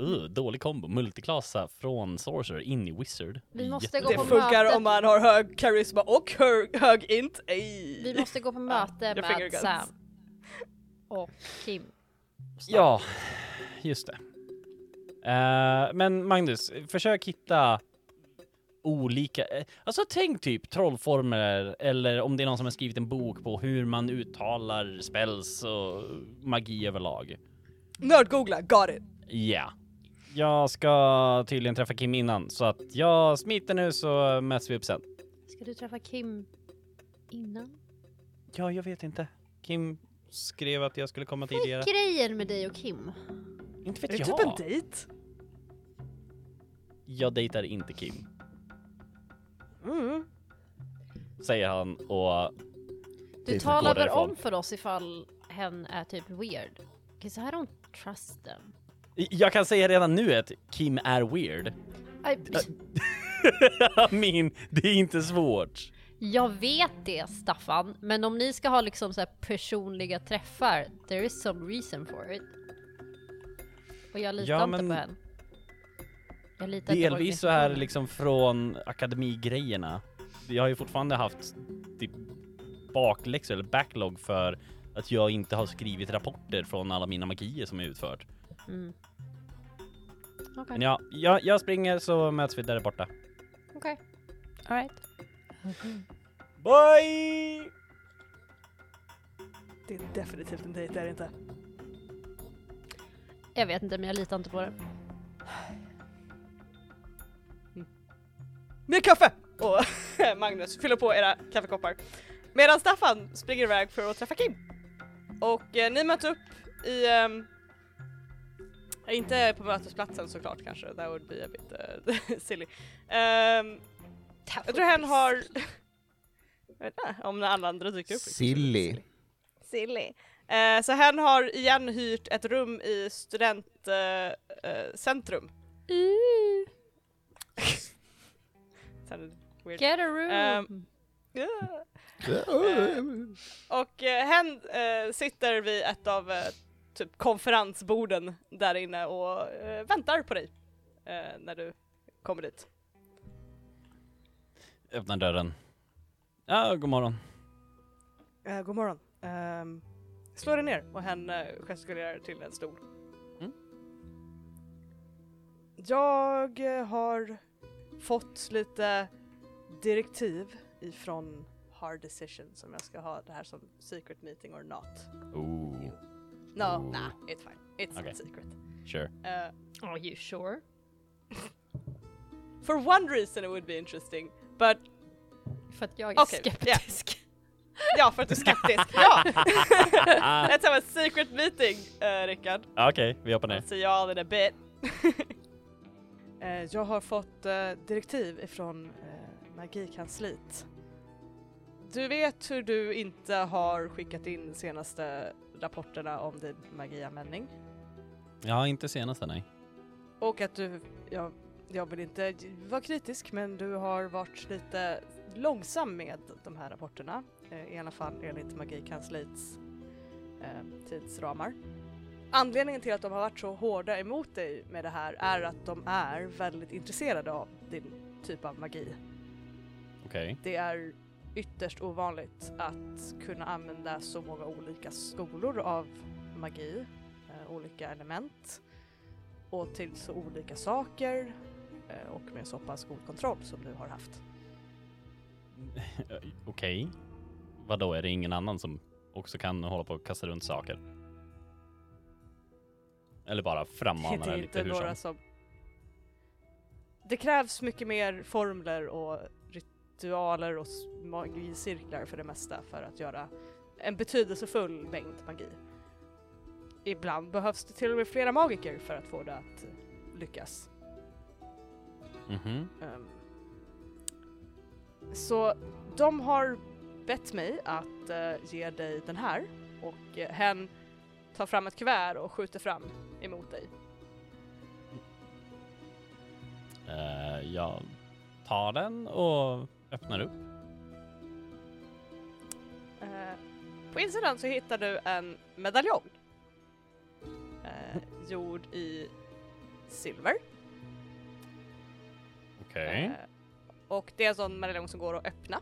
[SPEAKER 3] Uh, dålig kombo. Multiklassa från Sorcerer in i Wizard.
[SPEAKER 4] Vi måste gå
[SPEAKER 5] Det
[SPEAKER 4] på
[SPEAKER 3] Jättedålig.
[SPEAKER 5] funkar
[SPEAKER 4] mötet.
[SPEAKER 5] om man har hög karisma och hög, hög int. Ej.
[SPEAKER 4] Vi måste gå på möte
[SPEAKER 5] jag finger
[SPEAKER 4] med
[SPEAKER 5] guns.
[SPEAKER 4] Sam. Och Kim.
[SPEAKER 3] Ja, just det. Eh, men Magnus, försök hitta olika, eh, alltså tänk typ trollformler eller om det är någon som har skrivit en bok på hur man uttalar spells och magi överlag.
[SPEAKER 5] Nördgoogla, got it.
[SPEAKER 3] Ja. Jag ska tydligen träffa Kim innan, så att jag smiter nu så möts vi upp sen.
[SPEAKER 4] Ska du träffa Kim innan?
[SPEAKER 3] Ja, jag vet inte. Kim skrev att jag skulle komma tidigare.
[SPEAKER 4] Grejen med dig och Kim.
[SPEAKER 3] Inte
[SPEAKER 6] Är det
[SPEAKER 3] vet
[SPEAKER 6] typ en
[SPEAKER 3] jag.
[SPEAKER 6] dejt?
[SPEAKER 3] Jag dejtar inte Kim,
[SPEAKER 6] Mm.
[SPEAKER 3] säger han och
[SPEAKER 4] Du
[SPEAKER 1] Precis,
[SPEAKER 4] talar
[SPEAKER 3] gå
[SPEAKER 4] väl
[SPEAKER 3] därifrån.
[SPEAKER 4] om för oss ifall hen är typ weird? Cause I don't trust them.
[SPEAKER 3] jag kan säga redan nu att Kim är weird.
[SPEAKER 4] I,
[SPEAKER 3] Min, det är inte svårt.
[SPEAKER 4] jag vet det Staffan, men om ni ska ha liksom så här personliga träffar, there is some reason for it. Och jag litar
[SPEAKER 3] Ja,
[SPEAKER 4] inte
[SPEAKER 3] men-
[SPEAKER 4] på henne. Jag litar inte på
[SPEAKER 3] Delvis så här
[SPEAKER 4] organisationen.
[SPEAKER 3] liksom från akademigrejerna. Jag har ju fortfarande haft typ bakläxor eller backlog för att jag inte har skrivit rapporter från alla mina magier som är utfört.
[SPEAKER 4] Mm. Okej,
[SPEAKER 3] Men ja, jag, jag springer så möts vi där borta.
[SPEAKER 4] okej. Alright.
[SPEAKER 3] Bye!
[SPEAKER 6] Det är definitivt en dejt, det är det inte.
[SPEAKER 4] Jag vet inte, men jag litar inte på det.
[SPEAKER 5] Mer kaffe! Och Magnus fyller på era kaffekoppar. Medan Staffan springer iväg för att träffa Kim. Och eh, ni möts upp i... ehm, inte på mötesplatsen såklart kanske, that would be a bit eh, silly. Ehm, jag tror hen har... jag vet inte, om när alla andra dyker upp. liksom.
[SPEAKER 1] Silly.
[SPEAKER 5] Silly. Eh, så hen har igen hyrt ett rum i eh, studentcentrum.
[SPEAKER 4] Get a room!
[SPEAKER 5] Ehm, Eh, Och eh, hen eh, sitter vid ett av eh, typ konferensborden där inne och eh, väntar på dig eh, när du kommer dit.
[SPEAKER 3] Öppnar dörren. Ja, god morgon.
[SPEAKER 6] Uh, god morgon. Ehm,
[SPEAKER 5] Um, slå dig ner och hen eh, gestikulerar till en stol.
[SPEAKER 3] Mm.
[SPEAKER 6] Jag eh, har fått lite direktiv ifrån Hard Decision som jag ska ha det här som secret meeting or not.
[SPEAKER 3] Ooh,
[SPEAKER 5] No,
[SPEAKER 3] Ooh.
[SPEAKER 5] nah, it's fine. It's
[SPEAKER 3] Okay.
[SPEAKER 5] not secret.
[SPEAKER 3] sure.
[SPEAKER 5] Eh,
[SPEAKER 4] Are you sure?
[SPEAKER 5] for one reason it would be interesting, but
[SPEAKER 4] För att jag är
[SPEAKER 5] Okej, ja.
[SPEAKER 4] skeptisk.
[SPEAKER 5] ja, för att du är skeptisk. ja! Let's have a secret meeting, eh, Rickard.
[SPEAKER 3] Okej, vi hoppar ner.
[SPEAKER 5] I'll see you all in a bit.
[SPEAKER 6] Eh, jag har fått eh, direktiv ifrån eh, magikansliet.
[SPEAKER 5] Du vet hur du inte har skickat in senaste rapporterna om din magianvändning?
[SPEAKER 3] Ja, inte senast nej.
[SPEAKER 6] Och att du, jag, jag vill inte vara kritisk men du har varit lite långsam med de här rapporterna. Eh, I alla fall enligt Magikansliets eh, tidsramar. Anledningen till att de har varit så hårda emot dig med det här är att de är väldigt intresserade av din typ av magi.
[SPEAKER 3] Okej.
[SPEAKER 6] Det är ytterst ovanligt att kunna använda så många olika skolor av magi, eh, olika element och till så olika saker eh, och med så pass god kontroll som du har haft.
[SPEAKER 3] Okej. Vadå, är det ingen annan som också kan hålla på och kasta runt saker? Eller bara frammana
[SPEAKER 6] det
[SPEAKER 3] det
[SPEAKER 6] är
[SPEAKER 3] lite
[SPEAKER 6] inte
[SPEAKER 3] hur
[SPEAKER 6] några
[SPEAKER 3] som.
[SPEAKER 6] som... Det krävs mycket mer formler och ritualer och s- magicirklar för det mesta för att göra en betydelsefull mängd magi. Ibland behövs det till och med flera magiker för att få det att lyckas.
[SPEAKER 3] Mhm.
[SPEAKER 6] Ehm, Så de har bett mig att eh, ge dig den här och eh, hen tar fram ett kuvert och skjuter fram emot dig.
[SPEAKER 3] Eh, jag tar den och öppnar upp.
[SPEAKER 5] Eh, På insidan så hittar du en medaljong. Eh, gjord i silver.
[SPEAKER 3] Okej.
[SPEAKER 5] Eh, och det är en sån medaljong som går att öppna.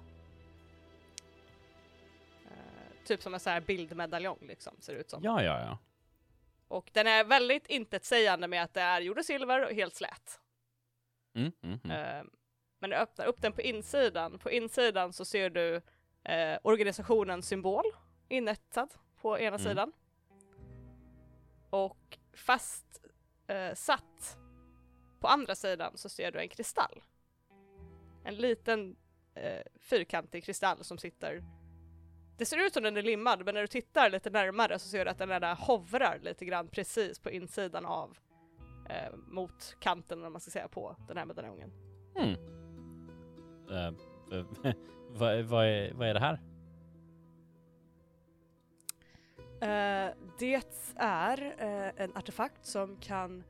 [SPEAKER 5] Eh, typ som en sån här bildmedaljong liksom, ser det ut som.
[SPEAKER 3] Ja, ja, ja.
[SPEAKER 5] Och den är väldigt intetsägande med att det är gjord i silver och helt slät.
[SPEAKER 3] Mm, mm, mm.
[SPEAKER 5] Eh, men du öppnar upp den på insidan. På insidan så ser du eh, organisationens symbol inetsad på ena
[SPEAKER 3] Mm.
[SPEAKER 5] sidan. Och fast eh, satt
[SPEAKER 8] På andra sidan så ser du en kristall. En liten eh, fyrkantig kristall som sitter det ser ut som den är limmad men när du tittar lite närmare så ser du att den där hovrar lite grann precis på insidan av eh, mot kanten eller vad man ska säga på den här medaljongen.
[SPEAKER 3] Hmm. Eh, eh, vad, är- vad, är, vad är det här?
[SPEAKER 5] Eh, det är eh, en artefakt som kan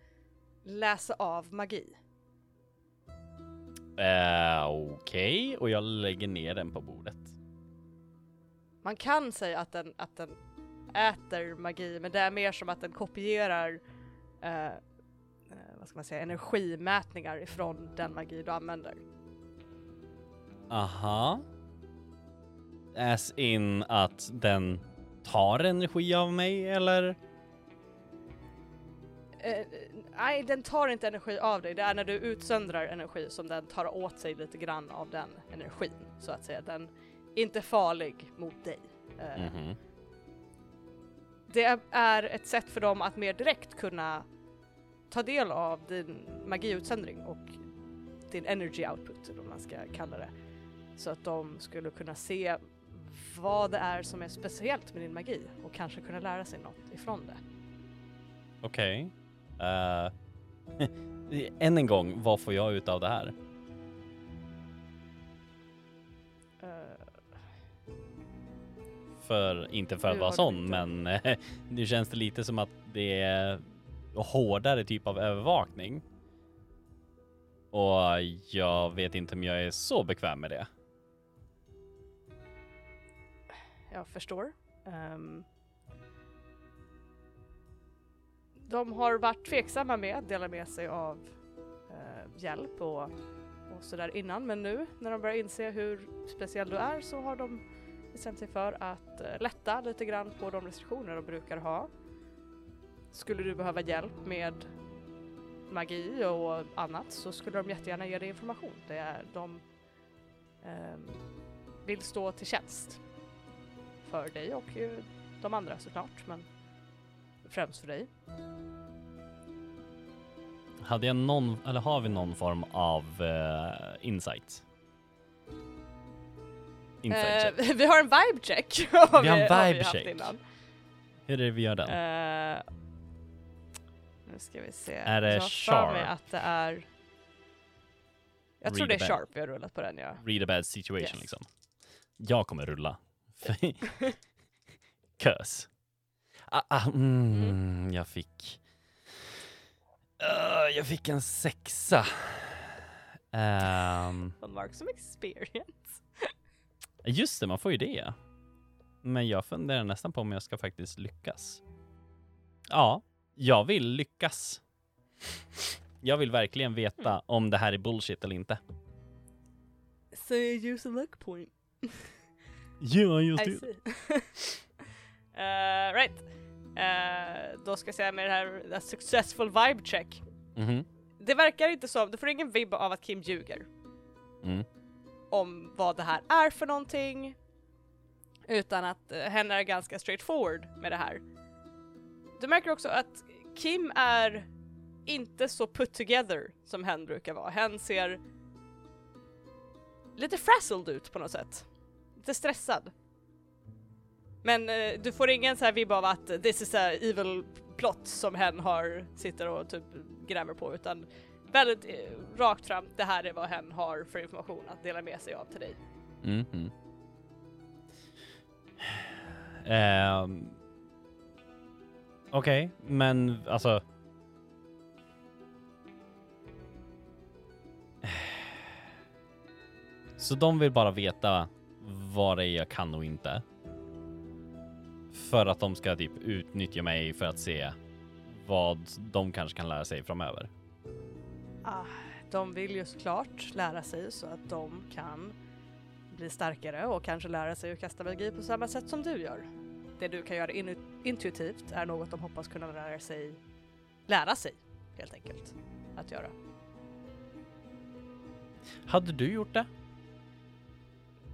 [SPEAKER 5] läsa av magi.
[SPEAKER 3] Eh, Okej, och jag lägger ner den på bordet.
[SPEAKER 5] Man kan säga att den, att den äter magi, men det är mer som att den kopierar eh, eh, vad ska man säga, energimätningar ifrån den magi du använder.
[SPEAKER 3] Aha. As in att den tar energi av mig eller?
[SPEAKER 5] Eh, nej, den tar inte energi av dig. Det är när du utsöndrar energi som den tar åt sig lite grann av den energin, så att säga. Den är inte farlig mot dig. Eh,
[SPEAKER 3] Mhm.
[SPEAKER 5] Det är ett sätt för dem att mer direkt kunna ta del av din magiutsändning och din energy output, eller vad man ska kalla det. Så att de skulle kunna se vad det är som är speciellt med din magi och kanske kunna lära sig något ifrån det.
[SPEAKER 3] Okej. Eh, än en gång, vad får jag ut av det här?
[SPEAKER 5] Eh,
[SPEAKER 3] För, inte för att
[SPEAKER 5] Nu
[SPEAKER 3] vara
[SPEAKER 5] har du
[SPEAKER 3] sån,
[SPEAKER 5] inte-
[SPEAKER 3] men eh, nu känns det lite som att det är hårdare typ av övervakning. Och jag vet inte om jag är så bekväm med det.
[SPEAKER 5] jag förstår. Ehm, de har varit tveksamma med att dela med sig av eh, hjälp och, och sådär innan men nu när de börjar inse hur speciell du är så har de bestämt sig för att eh, lätta lite grann på de restriktioner de brukar ha. Skulle du behöva hjälp med magi och annat så skulle de jättegärna ge dig information. Det är, de ehm, vill stå till tjänst för dig och eh, de andra såklart, men främst för dig.
[SPEAKER 3] Hade jag någon, eller har vi någon form av eh, insight? Insight check.
[SPEAKER 5] Eh, vi har en vibe check.
[SPEAKER 3] Vi har en vibe
[SPEAKER 5] haft
[SPEAKER 3] check.
[SPEAKER 5] innan.
[SPEAKER 3] Hur är det vi gör den?
[SPEAKER 5] Eh, nu ska vi se.
[SPEAKER 3] Är det
[SPEAKER 5] jag har för mig
[SPEAKER 3] sharp?
[SPEAKER 5] att det är... Jag tror det
[SPEAKER 3] Read
[SPEAKER 5] är
[SPEAKER 3] about.
[SPEAKER 5] sharp vi har rullat på den ja.
[SPEAKER 3] Read a bad situation
[SPEAKER 5] Yes.
[SPEAKER 3] liksom. Jag kommer rulla. Kös. Ah, ah, mm, Jag fick... Ah, jag fick en sexa. Ehm,
[SPEAKER 8] Vad Mark som experience.
[SPEAKER 3] just det, man får ju det. ja. Men jag funderar nästan på om jag ska faktiskt lyckas. Ja, jag vill lyckas. Jag vill verkligen veta om det här är bullshit eller inte.
[SPEAKER 5] So you use a luck point.
[SPEAKER 3] Ja, just
[SPEAKER 5] I see.
[SPEAKER 8] Eh, right. Eh, då ska jag säga med det här the successful vibe check.
[SPEAKER 3] Mhm.
[SPEAKER 8] Det verkar inte som, du får ingen vibb av att Kim ljuger.
[SPEAKER 3] Mm.
[SPEAKER 8] om vad det här är för någonting. Utan att eh, henne är ganska straightforward med det här. Du märker också att Kim är inte så put together som hen brukar vara. Hen ser lite frazzled ut på något sätt. Lite stressad. Men eh, du får ingen så här vibb av att eh, this is a evil plot som hen har, sitter och typ gräver på utan väldigt eh, rakt fram, det här är vad hen har för information att dela med sig av till dig.
[SPEAKER 3] Mhm. Ehm. Okej, men alltså... Så de vill bara veta vad det är jag kan och inte. För att de ska typ utnyttja mig för att se vad de kanske kan lära sig framöver.
[SPEAKER 5] Ah, de vill ju såklart lära sig så att de kan bli starkare och kanske lära sig att kasta magi på samma sätt som du gör. Det du kan göra inu- intuitivt är något de hoppas kunna lära sig, lära sig helt enkelt att göra.
[SPEAKER 3] Hade du gjort det?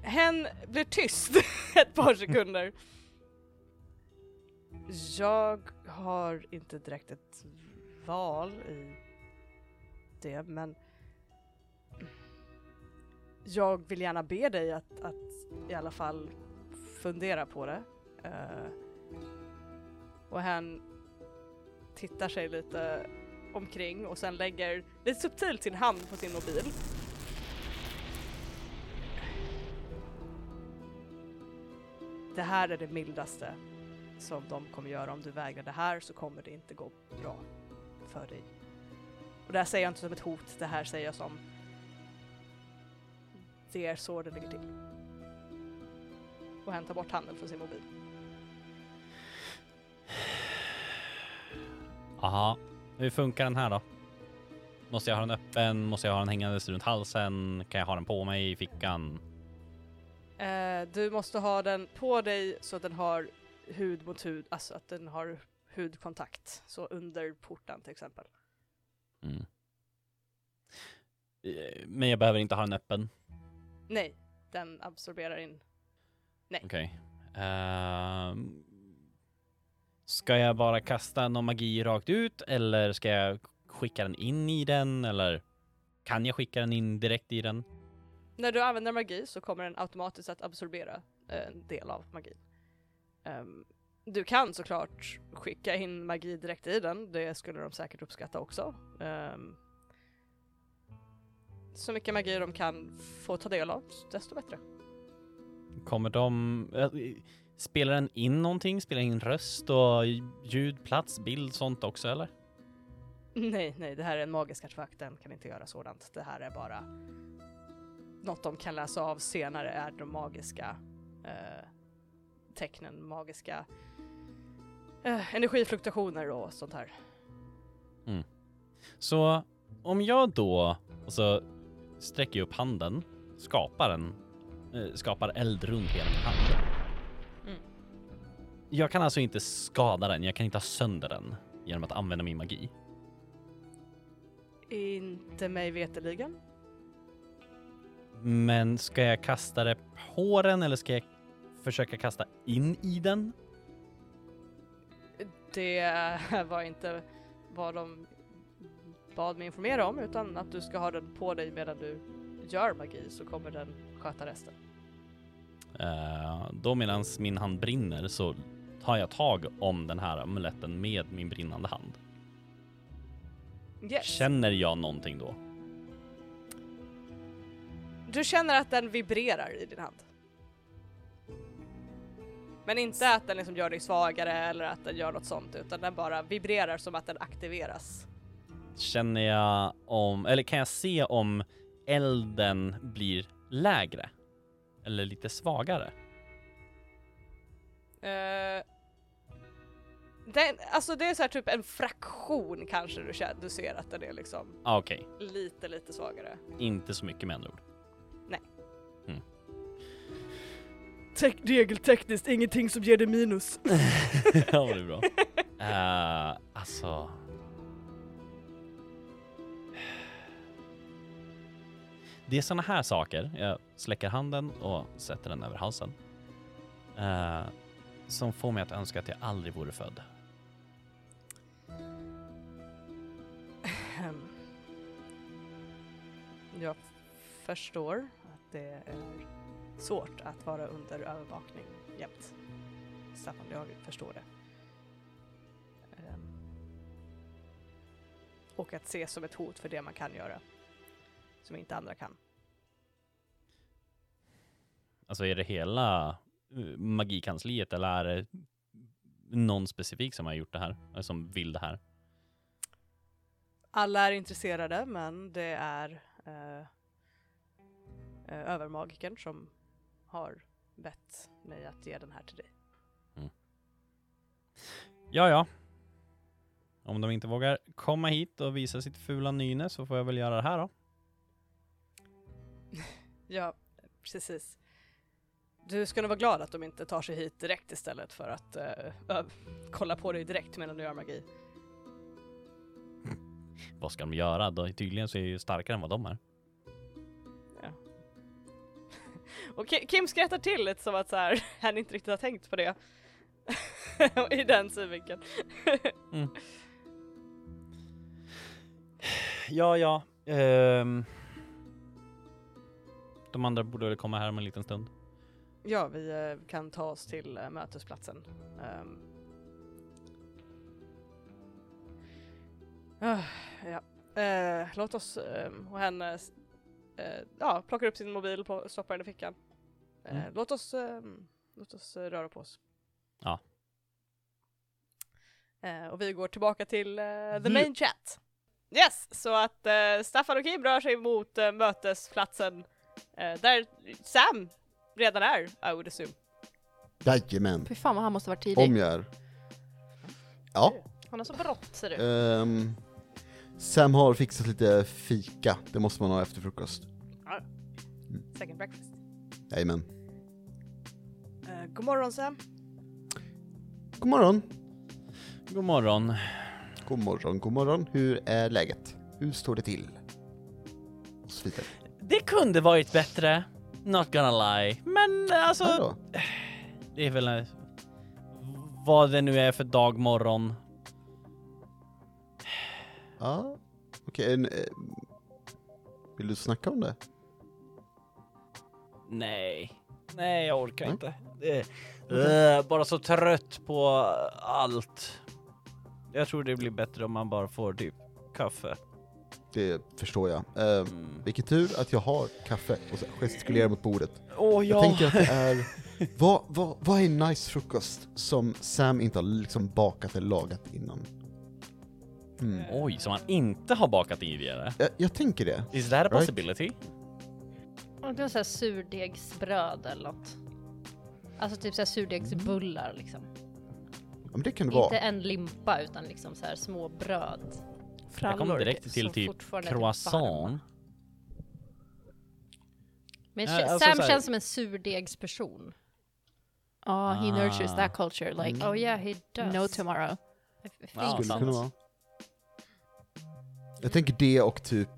[SPEAKER 8] Hen blir tyst ett par sekunder.
[SPEAKER 5] Jag har inte direkt ett val i det, men jag vill gärna be dig att, att i alla fall fundera på det. Eh, och han tittar sig lite omkring och sen lägger lite subtilt sin hand på sin mobil. Det här är det mildaste som de kommer göra. Om du vägrar det här så kommer det inte gå bra för dig. Och det här säger jag inte som ett hot, det här säger jag som det är så det ligger till. Och han tar bort handen från sin mobil.
[SPEAKER 3] Aha. Hur funkar den här då? Måste jag ha den öppen? Måste jag ha den hängandes runt halsen? Kan jag ha den på mig i fickan?
[SPEAKER 5] Eh, du måste ha den på dig så att den har hud mot hud, alltså att den har hudkontakt. Så under porten till exempel.
[SPEAKER 3] Mm. Eh, Men jag behöver inte ha den öppen.
[SPEAKER 5] Nej, den absorberar in.
[SPEAKER 3] Okej. Ehm, ska jag bara kasta någon magi rakt ut eller ska jag skicka den in i den eller kan jag skicka den in direkt i den?
[SPEAKER 5] När du använder magi så kommer den automatiskt att absorbera eh, en del av magin. Ehm, du kan såklart skicka in magi direkt i den, det skulle de säkert uppskatta också. Ehm, så mycket magi de kan få ta del av, desto bättre.
[SPEAKER 3] Kommer de... eh, Spelar den in någonting? Spelar den in röst och ljud, plats, bild, sånt också eller?
[SPEAKER 5] Nej, nej, det här är en magisk artefakt, den kan inte göra sådant. Det här är bara något de kan läsa av senare är de magiska eh, tecknen, magiska eh, energifluktuationer och sånt här.
[SPEAKER 3] Så om jag då alltså, sträcker jag upp handen, skapar en, eh, skapar eld runt hela min hand.
[SPEAKER 5] Mm.
[SPEAKER 3] Jag kan alltså inte skada den, jag kan inte ha sönder den genom att använda min magi.
[SPEAKER 5] Inte mig veteligen.
[SPEAKER 3] Men ska jag kasta det på den eller ska jag försöka kasta in i den?
[SPEAKER 5] Det var inte vad de bad mig informera om utan att du ska ha den på dig medan du gör magi så kommer den sköta resten.
[SPEAKER 3] Eh, då medan min hand brinner så tar jag tag om den här amuletten med min brinnande hand.
[SPEAKER 5] Yes.
[SPEAKER 3] Känner jag någonting då?
[SPEAKER 5] Du känner att den vibrerar i din hand. Men inte att den liksom gör dig svagare eller att den gör något sånt utan den bara vibrerar som att den aktiveras.
[SPEAKER 3] Känner jag om, eller kan jag se om elden blir lägre? Eller lite svagare?
[SPEAKER 5] Eh, den, alltså det är så här typ en fraktion kanske du, känner, du ser att den är liksom
[SPEAKER 3] Ah, Okej,
[SPEAKER 5] lite lite svagare.
[SPEAKER 3] inte så mycket med andra ord.
[SPEAKER 5] Te- regeltekniskt ingenting som ger dig minus.
[SPEAKER 3] ja, det är bra. Uh, alltså... Det är såna här saker, jag släcker handen och sätter den över halsen, eh, som får mig att önska att jag aldrig vore född.
[SPEAKER 5] Ehm. Jag förstår att det är svårt att vara under övervakning jämt. Staffan, jag förstår det. Ehm. Och att ses som ett hot för det man kan göra. Som inte andra kan.
[SPEAKER 3] Alltså är det hela eh, magikansliet eller är det någon specifik som har gjort det här? Eller som vill det här?
[SPEAKER 5] Alla är intresserade men det är eh, eh, övermagikern som har bett mig att ge den här till dig.
[SPEAKER 3] Ja, ja. Om de inte vågar komma hit och visa sitt fula nyne så får jag väl göra det här då.
[SPEAKER 5] Ja, precis. Du ska nog vara glad att de inte tar sig hit direkt istället för att eh, ö- kolla på dig direkt medan du gör magi.
[SPEAKER 3] Vad ska de göra? Då, tydligen så är jag ju starkare än vad de är.
[SPEAKER 5] Och Ki- Kim skrattar till lite som att så här, han inte riktigt har tänkt på det. I den synvinkeln.
[SPEAKER 3] Ja, ja. Ehm, de andra borde väl komma här om en liten stund.
[SPEAKER 6] Ja, vi eh, kan ta oss till eh, mötesplatsen. Ehm. Ah, ja. Eh, låt oss ehm, och han eh, s- eh, ja, plockar upp sin mobil och pl- stoppar den i fickan. Eh,
[SPEAKER 3] Mm.
[SPEAKER 6] Låt oss, ehm, låt oss eh, röra på oss.
[SPEAKER 3] Ja.
[SPEAKER 6] Eh, och vi går tillbaka till eh, the
[SPEAKER 3] Ja.
[SPEAKER 6] main chat.
[SPEAKER 5] Yes, så att eh, Staffan och Kim rör sig mot eh, mötesplatsen eh, där Sam redan är, I would assume.
[SPEAKER 1] Jajamän,
[SPEAKER 2] Fy fan vad han måste ha varit tidig.
[SPEAKER 1] om jag är. Ja.
[SPEAKER 5] Han har så brått ser du.
[SPEAKER 1] ehm, Sam har fixat lite fika, det måste man ha efter frukost.
[SPEAKER 5] Second breakfast.
[SPEAKER 1] Jajamän.
[SPEAKER 6] Eh, god morgon Sam.
[SPEAKER 1] God morgon.
[SPEAKER 3] God morgon.
[SPEAKER 1] God morgon, god morgon. Hur är läget? Hur står det till? Och så vidare.
[SPEAKER 3] Det kunde varit bättre. Not gonna lie. Men alltså,
[SPEAKER 1] Ja då.
[SPEAKER 3] det är väl eh, vad det nu är för dag, morgon.
[SPEAKER 1] Ja. Okej, en, eh, vill du snacka om det?
[SPEAKER 3] Nej. Nej, jag orkar
[SPEAKER 1] Nej.
[SPEAKER 3] inte. Det är, Ugh, bara så trött på allt. Jag tror det blir bättre om man bara får typ kaffe.
[SPEAKER 1] Det förstår jag. Eh,
[SPEAKER 3] Mm.
[SPEAKER 1] vilken tur att jag har kaffe och så gestikulerar mot bordet.
[SPEAKER 3] Åh,
[SPEAKER 1] Jag
[SPEAKER 3] ja.
[SPEAKER 1] tänker att det är... Vad, vad, vad är en nice frukost som Sam inte har liksom bakat eller lagat innan? Mm.
[SPEAKER 4] Eh.
[SPEAKER 3] Oj, som han inte har bakat tidigare.
[SPEAKER 1] Jag, jag tänker det.
[SPEAKER 3] Is that a
[SPEAKER 1] Right.
[SPEAKER 3] possibility?
[SPEAKER 4] Om det var såhär surdegsbröd eller något. Alltså typ såhär surdegsbullar liksom.
[SPEAKER 1] Ja, men det kan det
[SPEAKER 4] Inte
[SPEAKER 1] vara.
[SPEAKER 4] en limpa utan liksom såhär små bröd.
[SPEAKER 3] Jag kom
[SPEAKER 4] Frallor
[SPEAKER 3] direkt till
[SPEAKER 4] som
[SPEAKER 3] typ
[SPEAKER 4] fortfarande är varma.
[SPEAKER 3] croissant.
[SPEAKER 4] Men
[SPEAKER 3] Ja,
[SPEAKER 4] kä-
[SPEAKER 3] alltså
[SPEAKER 4] Sam
[SPEAKER 3] såhär-
[SPEAKER 4] känns som en surdegsperson.
[SPEAKER 2] Ah, he nurtures
[SPEAKER 3] Ah.
[SPEAKER 2] that culture like
[SPEAKER 1] Mm.
[SPEAKER 4] Oh yeah, he does.
[SPEAKER 2] no tomorrow.
[SPEAKER 4] I think
[SPEAKER 3] Ja,
[SPEAKER 1] Skulle
[SPEAKER 4] so.
[SPEAKER 3] sant.
[SPEAKER 1] kunna vara. Jag tänker det och typ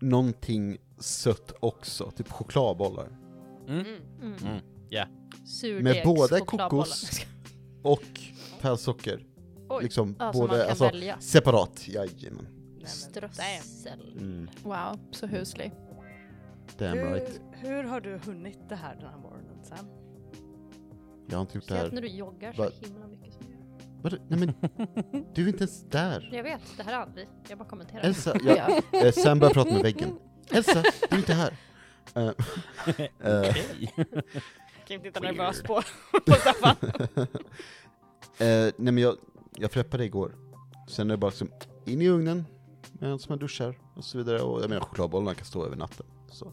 [SPEAKER 1] någonting sött också, typ chokladbollar.
[SPEAKER 4] Mm.
[SPEAKER 3] Mm. Yeah.
[SPEAKER 4] Surdegs,
[SPEAKER 1] Med både
[SPEAKER 4] chokladbollar.
[SPEAKER 1] kokos- Och pärlsocker.
[SPEAKER 4] Oj.
[SPEAKER 1] Liksom
[SPEAKER 4] Ja, som man
[SPEAKER 1] både,
[SPEAKER 4] kan
[SPEAKER 1] alltså
[SPEAKER 4] välja.
[SPEAKER 1] separat. Jajamän.
[SPEAKER 4] Strössel.
[SPEAKER 1] Mm.
[SPEAKER 2] Wow, så huslig.
[SPEAKER 1] Damn right.
[SPEAKER 6] Hur, hur har du hunnit det här den här morgonen Sam?
[SPEAKER 1] Jag har inte gjort det
[SPEAKER 4] Speciellt när
[SPEAKER 1] här.
[SPEAKER 4] du joggar så
[SPEAKER 1] Va-
[SPEAKER 4] himla mycket som jag gör.
[SPEAKER 1] Vadå? Nej men, du är inte ens där.
[SPEAKER 4] Jag vet, det här är aldrig. Jag bara kommenterar.
[SPEAKER 1] Elsa, jag,
[SPEAKER 2] Ja.
[SPEAKER 1] Eh, Sam börjar prata med väggen. Elsa, du är inte här. Eh, eh,
[SPEAKER 3] Okej.
[SPEAKER 5] Kim tittar
[SPEAKER 3] Weird.
[SPEAKER 5] nervös på, på Staffan.
[SPEAKER 1] eh, nej men jag, jag preppade igår. Sen är det bara liksom in i ugnen, medan man duschar och så vidare. Och jag menar chokladbollarna kan stå över natten. Så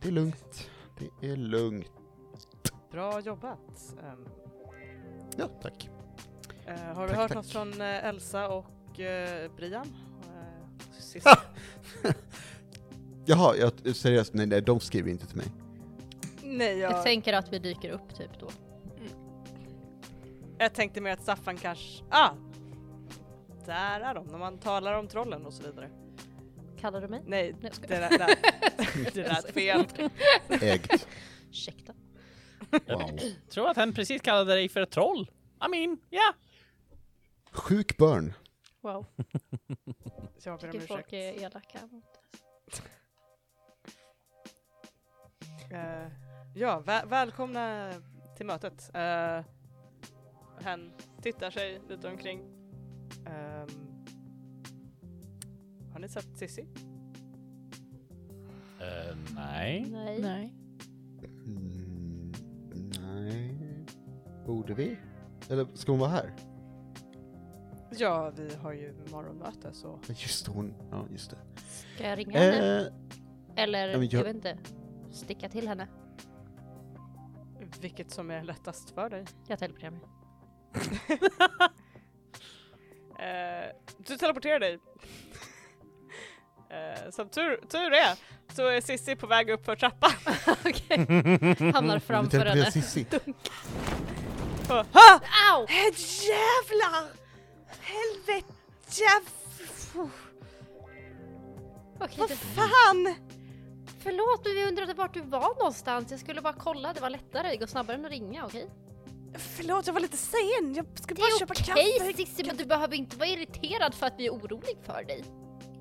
[SPEAKER 1] det är lugnt. Det är lugnt.
[SPEAKER 6] Bra jobbat. Ehm,
[SPEAKER 1] Ja, tack.
[SPEAKER 6] eh, har du
[SPEAKER 1] Tack,
[SPEAKER 6] hört
[SPEAKER 1] tack.
[SPEAKER 6] något från eh, Elsa och eh, Brian? Eh, sist-
[SPEAKER 1] Ah! Jaha, jag, seriöst, nej, nej de skriver inte till mig.
[SPEAKER 6] Nej, jag,
[SPEAKER 4] Jag tänker att vi dyker upp typ då.
[SPEAKER 6] jag tänkte mer att Staffan kanske... Ah! Där är de, när man talar om trollen och så vidare.
[SPEAKER 4] Kallar du mig?
[SPEAKER 6] Nej,
[SPEAKER 4] Nej, jag skojar.
[SPEAKER 6] det där, där. det där är fel.
[SPEAKER 1] Ägt.
[SPEAKER 4] Ursäkta.
[SPEAKER 1] Wow.
[SPEAKER 3] Tror att han precis kallade dig för ett troll. I mean, yeah.
[SPEAKER 1] Sjuk burn.
[SPEAKER 4] Wow.
[SPEAKER 6] Jag ber om
[SPEAKER 4] Tycker folk är
[SPEAKER 6] ursäkt.
[SPEAKER 4] elaka mot oss.
[SPEAKER 6] Eh, ja, vä- välkomna till mötet. Eh,
[SPEAKER 5] Han tittar sig lite omkring.
[SPEAKER 6] ehm, har ni sett Cissi?
[SPEAKER 5] Ehm,
[SPEAKER 3] nej.
[SPEAKER 4] Nej.
[SPEAKER 2] Nej.
[SPEAKER 1] Mm, nej. Borde vi? Eller ska hon vara här?
[SPEAKER 6] Ja, vi har ju morgonmöte så
[SPEAKER 1] Just det, hon. Ja, just det.
[SPEAKER 4] Ska jag ringa henne?
[SPEAKER 1] Eh,
[SPEAKER 4] Eller
[SPEAKER 1] ja, men
[SPEAKER 4] jag
[SPEAKER 1] jag-
[SPEAKER 4] vet inte. Sticka till henne.
[SPEAKER 6] vilket som är lättast för dig.
[SPEAKER 4] Jag teleporterar mig.
[SPEAKER 5] Eh, du teleporterar dig. Eh, som tur, tur är så är Sissi på väg upp för trappan.
[SPEAKER 4] Okej. Hamnar
[SPEAKER 1] vi
[SPEAKER 4] framför
[SPEAKER 1] tänkte på
[SPEAKER 4] henne.
[SPEAKER 1] Cissi.
[SPEAKER 4] Au!
[SPEAKER 5] Jävlar! Helvete!
[SPEAKER 4] Okej, du,
[SPEAKER 5] Fan!
[SPEAKER 4] förlåt men vi undrade vart du var någonstans. Jag skulle bara kolla, det var lättare. Det går snabbare än att ringa, okej?
[SPEAKER 5] Förlåt, jag var lite sen. Jag ska
[SPEAKER 4] Det är okej Cissi men du behöver inte vara irriterad för att vi är orolig för dig.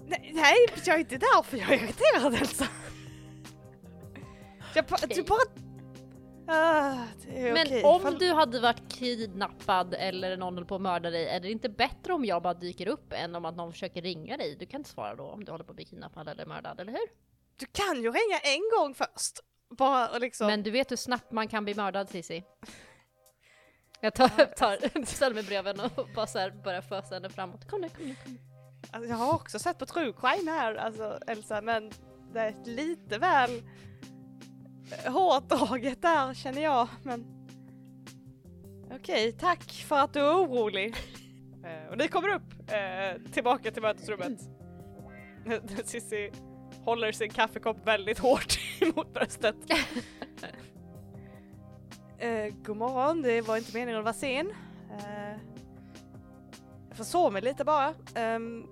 [SPEAKER 5] Nej, nej, jag är inte därför jag är irriterad Elsa. Jag ba,
[SPEAKER 4] Okej.
[SPEAKER 5] du bara... Ah, det är
[SPEAKER 4] Men
[SPEAKER 5] okej.
[SPEAKER 4] om
[SPEAKER 5] Fall-
[SPEAKER 4] du hade varit kidnappad eller någon höll på att mörda dig, är det inte bättre om jag bara dyker upp än om att någon försöker ringa dig? Du kan inte svara då om du håller på att bli kidnappad eller mördad, eller hur?
[SPEAKER 5] Du kan ju ringa en gång först. Bara och liksom...
[SPEAKER 4] Men du vet hur snabbt man kan bli mördad, Cissi. Jag tar, tar, ställer mig bredvid henne och bara så här börjar fösa henne framåt. Kom nu, kom nu, kom nu.
[SPEAKER 5] Alltså, jag har också sett på true crime här, alltså Elsa, men det är ett lite väl hårt draget där känner jag, men okej, tack för att du är orolig. Eh, och ni kommer upp eh, tillbaka till mötesrummet. Cissi håller sin kaffekopp väldigt hårt mot bröstet. eh, god morgon, det var inte meningen att vara sen. Eh, jag försov mig lite bara. Ehm,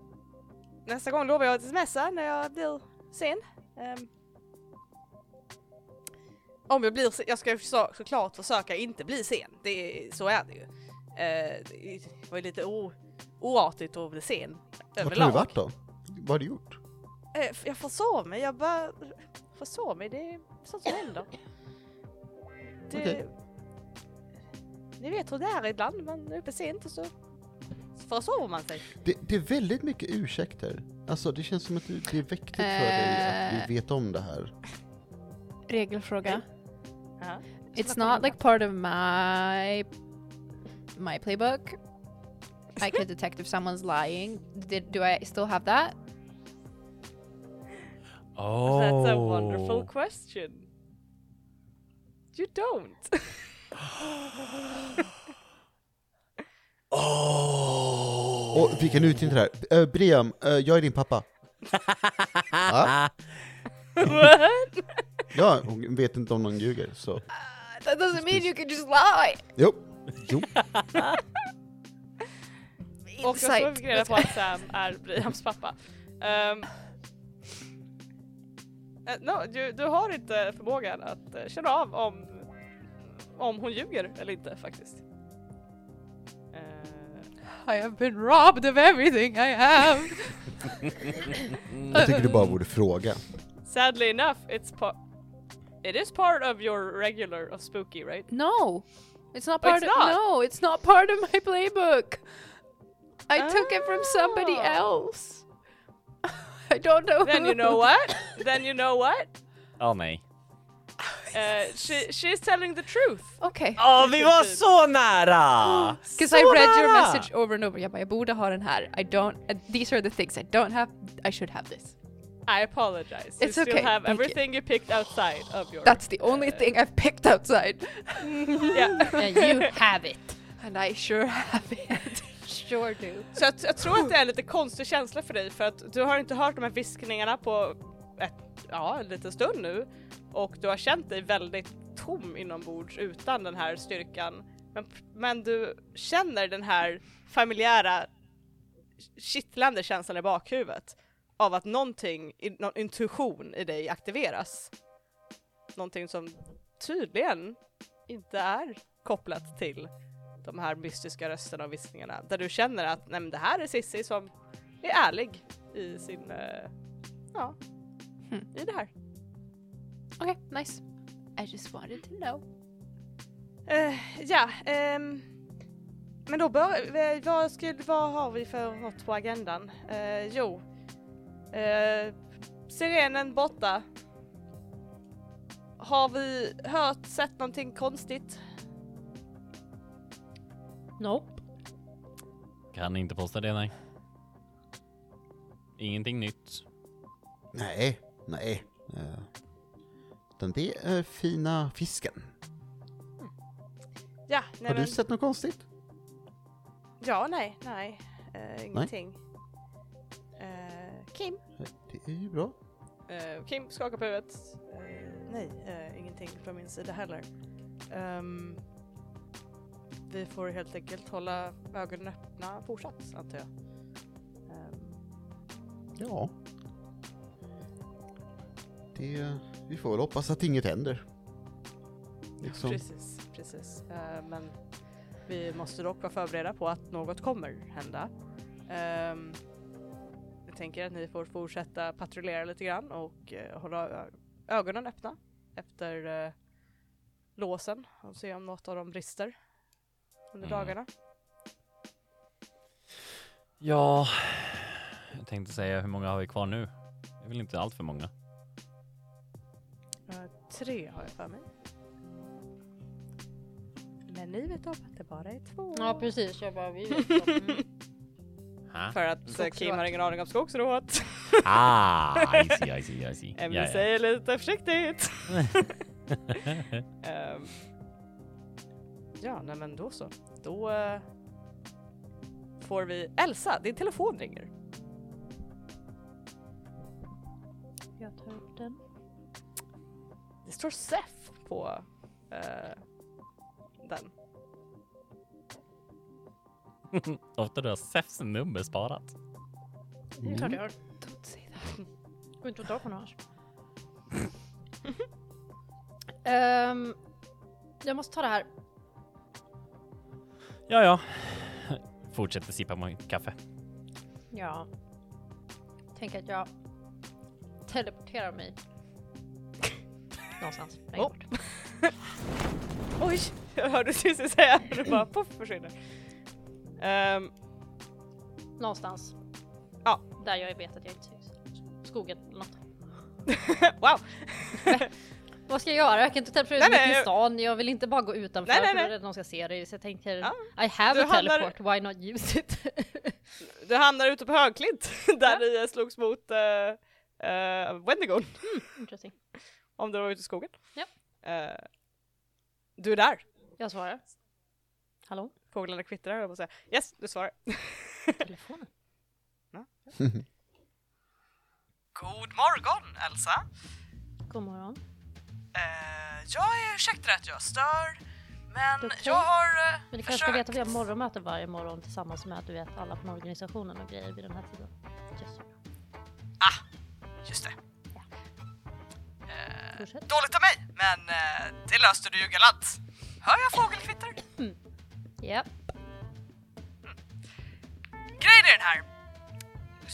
[SPEAKER 5] nästa gång lovar jag att smsa när jag blir sen. Ehm. om jag blir sen, jag ska ju så, såklart försöka inte bli sen, det, så är det ju. Eh, det var ju lite o, oartigt att bli sen
[SPEAKER 1] Vart har
[SPEAKER 5] överlag.
[SPEAKER 1] du varit då? Vad har du gjort?
[SPEAKER 5] Eh, Jag försov mig, jag bara försov mig, det är sånt som händer. Det...
[SPEAKER 1] Okej.
[SPEAKER 5] Ni vet hur det är ibland, man är uppe sent och så försover man sig.
[SPEAKER 1] Det, det är väldigt mycket ursäkter. Alltså det känns som att du, det är viktigt för dig
[SPEAKER 2] Eh.
[SPEAKER 1] att du vet om det här.
[SPEAKER 2] Regelfråga.
[SPEAKER 5] Ja.
[SPEAKER 2] It's not like part of my my playbook. I could detect if someone's lying. Did, do I still have that?
[SPEAKER 3] Oh.
[SPEAKER 5] That's a wonderful question. You don't.
[SPEAKER 1] Och vi kan utnyttja det här. Uh, Briam, eh, jag är din pappa. Ja. Ja, hon vet inte om någon ljuger så.
[SPEAKER 2] That doesn't mean you can just lie.
[SPEAKER 1] Jo. Jo.
[SPEAKER 5] Och jag
[SPEAKER 2] Insight.
[SPEAKER 5] tog reda på att Sam är Briams pappa. Ehm. Eh, no, du, du har inte förmågan att eh, känna av om, om hon ljuger eller inte faktiskt. Eh,
[SPEAKER 9] I have been robbed of everything I have.
[SPEAKER 1] Jag tycker du bara borde fråga.
[SPEAKER 5] Sadly enough, it's part. It is part of your regular of spooky, right?
[SPEAKER 2] No, it's not
[SPEAKER 5] Oh,
[SPEAKER 2] part
[SPEAKER 5] it's
[SPEAKER 2] of.
[SPEAKER 5] not?
[SPEAKER 2] No, it's not part of my playbook. I took it from somebody
[SPEAKER 5] Oh.
[SPEAKER 2] else. I don't know.
[SPEAKER 5] Then you
[SPEAKER 2] who.
[SPEAKER 5] know what? then you know what?
[SPEAKER 3] Åh nej.
[SPEAKER 5] Uh, she she's telling the truth.
[SPEAKER 2] Okay.
[SPEAKER 3] Åh, vi var så nära!
[SPEAKER 2] Because
[SPEAKER 3] Så
[SPEAKER 2] I read your
[SPEAKER 3] nära!
[SPEAKER 2] message over and over. Yeah, but I borde ha den här. I don't. Uh, these are the things I don't have. I should have this.
[SPEAKER 5] I apologize.
[SPEAKER 2] It's okay,
[SPEAKER 5] you still have
[SPEAKER 2] thank you.
[SPEAKER 5] everything you. picked outside of your.
[SPEAKER 2] That's the only thing I've picked outside,
[SPEAKER 5] yeah.
[SPEAKER 4] And you have it!
[SPEAKER 2] and I sure have it.
[SPEAKER 4] Sure do.
[SPEAKER 5] Så jag, jag tror att det är en lite konstig känsla för dig för att du har inte hört de här viskningarna på ett, ja, en liten stund nu och du har känt dig väldigt tom inombords utan den här styrkan. Men, men du känner den här familjära kittlande känslan i bakhuvudet av att någonting, i- någon intuition i dig aktiveras. Någonting som tydligen inte är kopplat till de här mystiska rösterna och viskningarna där du känner att nej men det här är Sissi som är ärlig i sin, eh, ja,
[SPEAKER 2] Hmm.
[SPEAKER 5] i det här.
[SPEAKER 2] Okay, nice. I just wanted to know.
[SPEAKER 5] Eh, ja, ehm, men då bör, eh, vad, skulle, vad har vi för något på agendan? Eh, jo, eh, sirenen borta. Har vi hört, sett någonting konstigt?
[SPEAKER 4] Nope.
[SPEAKER 3] Kan inte posta det, nej. Ingenting nytt.
[SPEAKER 1] Nej, nej. Eh, Utan det är fina fisken.
[SPEAKER 5] Ja, nej,
[SPEAKER 1] Har du
[SPEAKER 5] men,
[SPEAKER 1] sett något konstigt?
[SPEAKER 5] ja, nej, nej, eh, ingenting. Eh, Kim?
[SPEAKER 1] Det är ju bra.
[SPEAKER 5] Eh, Kim skakar på huvudet. Eh,
[SPEAKER 6] Nej, eh, ingenting från min sida heller. Ehm, vi får helt enkelt hålla ögonen öppna fortsatt antar jag. Ehm,
[SPEAKER 1] Ja. Det, vi får väl hoppas att inget händer. Liksom.
[SPEAKER 6] Precis, precis. Eh, men vi måste dock vara förberedda på att något kommer hända. Ehm,
[SPEAKER 5] tänker att ni får fortsätta patrullera lite grann och eh, hålla ö- ögonen öppna efter eh, låsen och se om något av dem brister under
[SPEAKER 3] Mm.
[SPEAKER 5] dagarna.
[SPEAKER 3] Ja, jag tänkte säga hur många har vi kvar nu? Det är väl inte allt för många.
[SPEAKER 5] Eh, tre har jag för mig. Men ni vet om att det bara är två.
[SPEAKER 4] Ja precis, jag bara vi vet. Mm.
[SPEAKER 3] Ha?
[SPEAKER 5] För att eh, Kim har ingen aning om skogsrået.
[SPEAKER 3] Ah, I see, I see, I see.
[SPEAKER 5] Emily
[SPEAKER 3] Ja, ja.
[SPEAKER 5] säger lite försiktigt. Ehm, ja, nej men då så. Då eh, får vi... Elsa, din telefon ringer.
[SPEAKER 4] Jag tar upp den.
[SPEAKER 5] Det står SEF på eh, den.
[SPEAKER 3] Ofta du har Sefs nummer sparat.
[SPEAKER 4] Det är klart jag har.
[SPEAKER 2] Tottsida.
[SPEAKER 4] Går inte att ta på någon annars.
[SPEAKER 2] Ehm,
[SPEAKER 4] Jag måste ta det här.
[SPEAKER 3] Ja, ja. Fortsätter sippa mitt kaffe.
[SPEAKER 4] Ja. Tänk att jag teleporterar mig. Oh. Någonstans. längre bort.
[SPEAKER 5] Oj, jag hörde Cissi säga och det bara poff försvinner. Ehm,
[SPEAKER 4] Någonstans.
[SPEAKER 5] Ja.
[SPEAKER 4] Där jag vet att jag inte syns. Skogen eller något.
[SPEAKER 5] wow!
[SPEAKER 4] Vad ska jag göra? Jag kan inte teleportera
[SPEAKER 5] Nej,
[SPEAKER 4] mig
[SPEAKER 5] nej,
[SPEAKER 4] till
[SPEAKER 5] jag-
[SPEAKER 4] stan. Jag vill inte bara gå utanför
[SPEAKER 5] Nej, nej,
[SPEAKER 4] för då är
[SPEAKER 5] nej.
[SPEAKER 4] det någon som ser det. Så jag tänker,
[SPEAKER 5] Ja.
[SPEAKER 4] I have
[SPEAKER 5] Du
[SPEAKER 4] a
[SPEAKER 5] hamnar-
[SPEAKER 4] teleport, why not use it?
[SPEAKER 5] Du hamnar ute på Högklint där ni eh, slogs mot eh, eh, Wendigon
[SPEAKER 4] Interesting.
[SPEAKER 5] om du var ute i skogen.
[SPEAKER 4] Ja.
[SPEAKER 5] Eh, du är där.
[SPEAKER 4] Jag svarar. Hallå?
[SPEAKER 5] Fåglarna kvittrar höll jag på att säga. Yes, du svarar.
[SPEAKER 4] Telefonen?
[SPEAKER 5] God morgon Elsa!
[SPEAKER 4] God morgon.
[SPEAKER 5] Eh, jag ursäktar att jag stör, men
[SPEAKER 4] Det är okej.
[SPEAKER 5] jag har eh,
[SPEAKER 4] Men du kanske ska veta
[SPEAKER 5] försökt.
[SPEAKER 4] att vi har morgonmöte varje morgon tillsammans med att du vet alla från organisationen och grejer vid den här tiden. Yes.
[SPEAKER 5] Just det. Eh,
[SPEAKER 4] Fortsätt.
[SPEAKER 5] dåligt av mig, men eh, det löste du ju galant. Hör jag fågelkvitter?
[SPEAKER 4] Japp.
[SPEAKER 5] Grejen är den här.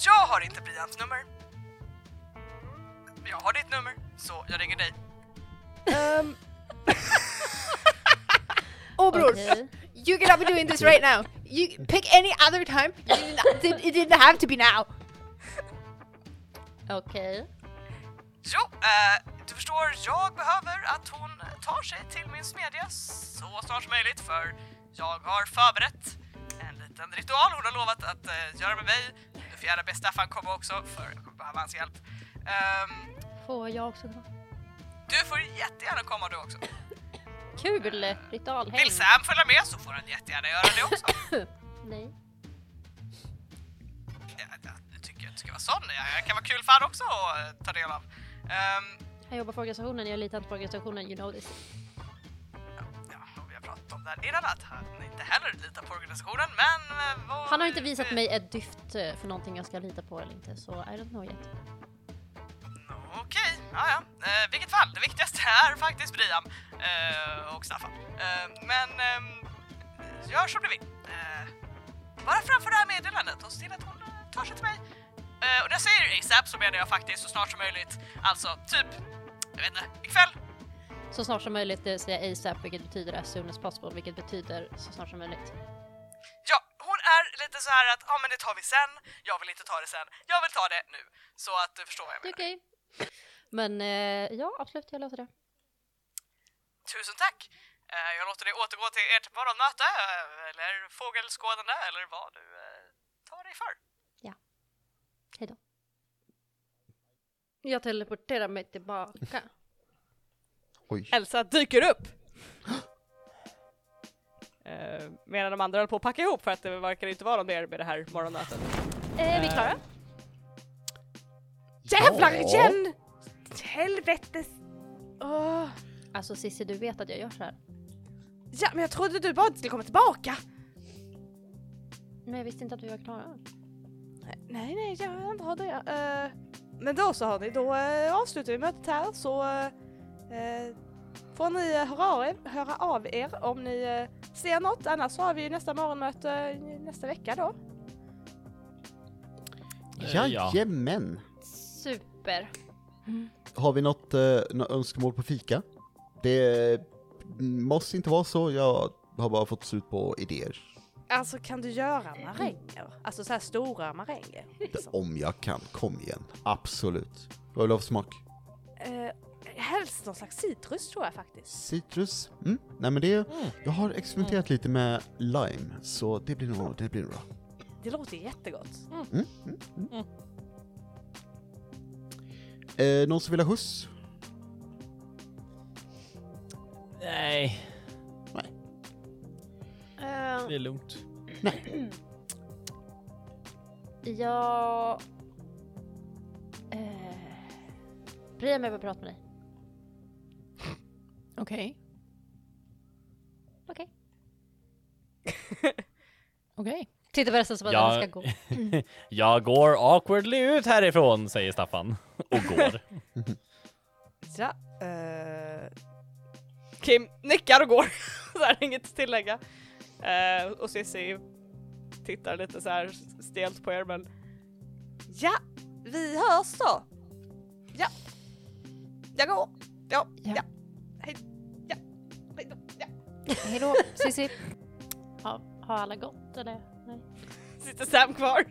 [SPEAKER 5] Jag har inte Brians nummer. Jag har ditt nummer, så jag ringer dig.
[SPEAKER 2] Åh bror,
[SPEAKER 4] Okej.
[SPEAKER 2] Oh, you cannot be doing this right now. You pick any other time. You did not- It didn't have to be now.
[SPEAKER 4] Okej.
[SPEAKER 5] Jo, eh, du förstår, jag behöver att hon tar sig till min smedja så snart som möjligt för jag har förberett en liten ritual hon har lovat att eh, göra med mig. Du får gärna be Staffan komma också för jag kommer behöva hans hjälp. Ehm,
[SPEAKER 4] Får jag också komma?
[SPEAKER 5] du får jättegärna komma du också.
[SPEAKER 4] Kul! Ritualhäng.
[SPEAKER 5] Vill Sam följa med så får han jättegärna göra det också.
[SPEAKER 4] Nej.
[SPEAKER 5] jag, jag, jag tycker jag inte ska vara sån, jag, jag kan vara kul för han också att eh, ta del av. Ehm,
[SPEAKER 4] Jag jobbar för organisationen, jag litar inte på organisationen, you know this.
[SPEAKER 5] ja, och vi har pratat om det här innan att han inte heller litar på organisationen men... eh, vad-
[SPEAKER 4] Han har inte visat mig ett dyft eh, för någonting jag ska lita på eller inte, så I don't know yet.
[SPEAKER 5] Okej, ja ja. Eh, vilket fall, det viktigaste är faktiskt Brian eh, och Staffan. Eh, men ehm, gör som du vill. Eh, bara framför det här meddelandet och se till att hon eh, tar sig till mig. Eh, och när jag säger ASAP så menar jag faktiskt så snart som möjligt. Alltså typ, jag vet inte, ikväll.
[SPEAKER 4] Så snart som möjligt, det vill säga ASAP, vilket betyder as soon as possible, vilket betyder så snart som möjligt.
[SPEAKER 5] Ja, hon är lite så här att ja men det tar vi sen. Jag vill inte ta det sen. Jag vill ta det nu. Så att du förstår vad jag
[SPEAKER 4] Det är
[SPEAKER 5] menar.
[SPEAKER 4] okej. Men eh, ja, absolut, jag löser det.
[SPEAKER 5] Tusen tack! Eh, Jag låter dig återgå till ert morgonmöte eh, eller fågelskådande eller vad du eh, tar dig för.
[SPEAKER 4] Jag teleporterar mig tillbaka.
[SPEAKER 10] Oj.
[SPEAKER 5] Elsa dyker upp! Eh, medan de andra höll på att packa ihop för att det verkar inte vara någon mer med det här morgonmötet.
[SPEAKER 4] Eh, Är vi klara?
[SPEAKER 1] Jävlar
[SPEAKER 10] Ja.
[SPEAKER 1] igen! Helvetes! Åh.
[SPEAKER 4] Alltså Cissi, du vet att jag gör så här.
[SPEAKER 1] Ja, men jag trodde du bara inte skulle komma tillbaka!
[SPEAKER 4] Men jag visste inte att vi var klara.
[SPEAKER 5] Nej, nej, jag vill inte ha det. Eh, men då så har ni, då eh, avslutar vi mötet här så eh, eh, får ni eh, höra av, er, höra av er om ni eh, ser något. Annars så har vi ju nästa morgonmöte eh, nästa vecka då.
[SPEAKER 3] Eh, ja.
[SPEAKER 1] Jajamän!
[SPEAKER 4] Super.
[SPEAKER 1] Har vi något, eh, något önskemål på fika? Det måste inte vara så, jag har bara fått slut på idéer.
[SPEAKER 6] Alltså kan du göra
[SPEAKER 5] Mm.
[SPEAKER 6] maränger? Alltså så här stora maränger? Liksom.
[SPEAKER 1] Om jag kan, kom igen. Absolut. Vad vill du ha för smak?
[SPEAKER 6] Eh, helst någon slags citrus tror jag faktiskt.
[SPEAKER 1] Citrus? Mm. Nej men det, jag har experimenterat lite med lime, så det blir nog, det blir nog bra.
[SPEAKER 6] Det låter jättegott.
[SPEAKER 1] Mm, mm, mm. Eh, någon som vill ha skjuts?
[SPEAKER 3] Nej,
[SPEAKER 4] Eh,
[SPEAKER 3] det är lugnt.
[SPEAKER 4] jag... Uh, bryr mig om att prata med dig.
[SPEAKER 2] Okej.
[SPEAKER 4] Okej.
[SPEAKER 2] Okej.
[SPEAKER 4] Titta på resten som att
[SPEAKER 3] Ja.
[SPEAKER 4] den ska gå.
[SPEAKER 3] Jag går awkwardly ut härifrån, säger Staffan. Och går.
[SPEAKER 6] Ja, eh,
[SPEAKER 5] Kim nickar och går. så här, inget att tillägga. Eh, och Cissi tittar lite så här stelt på er men
[SPEAKER 6] ja, vi hörs då. Ja, jag går. Ja,
[SPEAKER 2] Ja.
[SPEAKER 6] ja. Hej, ja, hej då, ja.
[SPEAKER 2] Hejdå, Cissi.
[SPEAKER 4] Har, har alla gått eller? Nej.
[SPEAKER 5] sitter Sam kvar.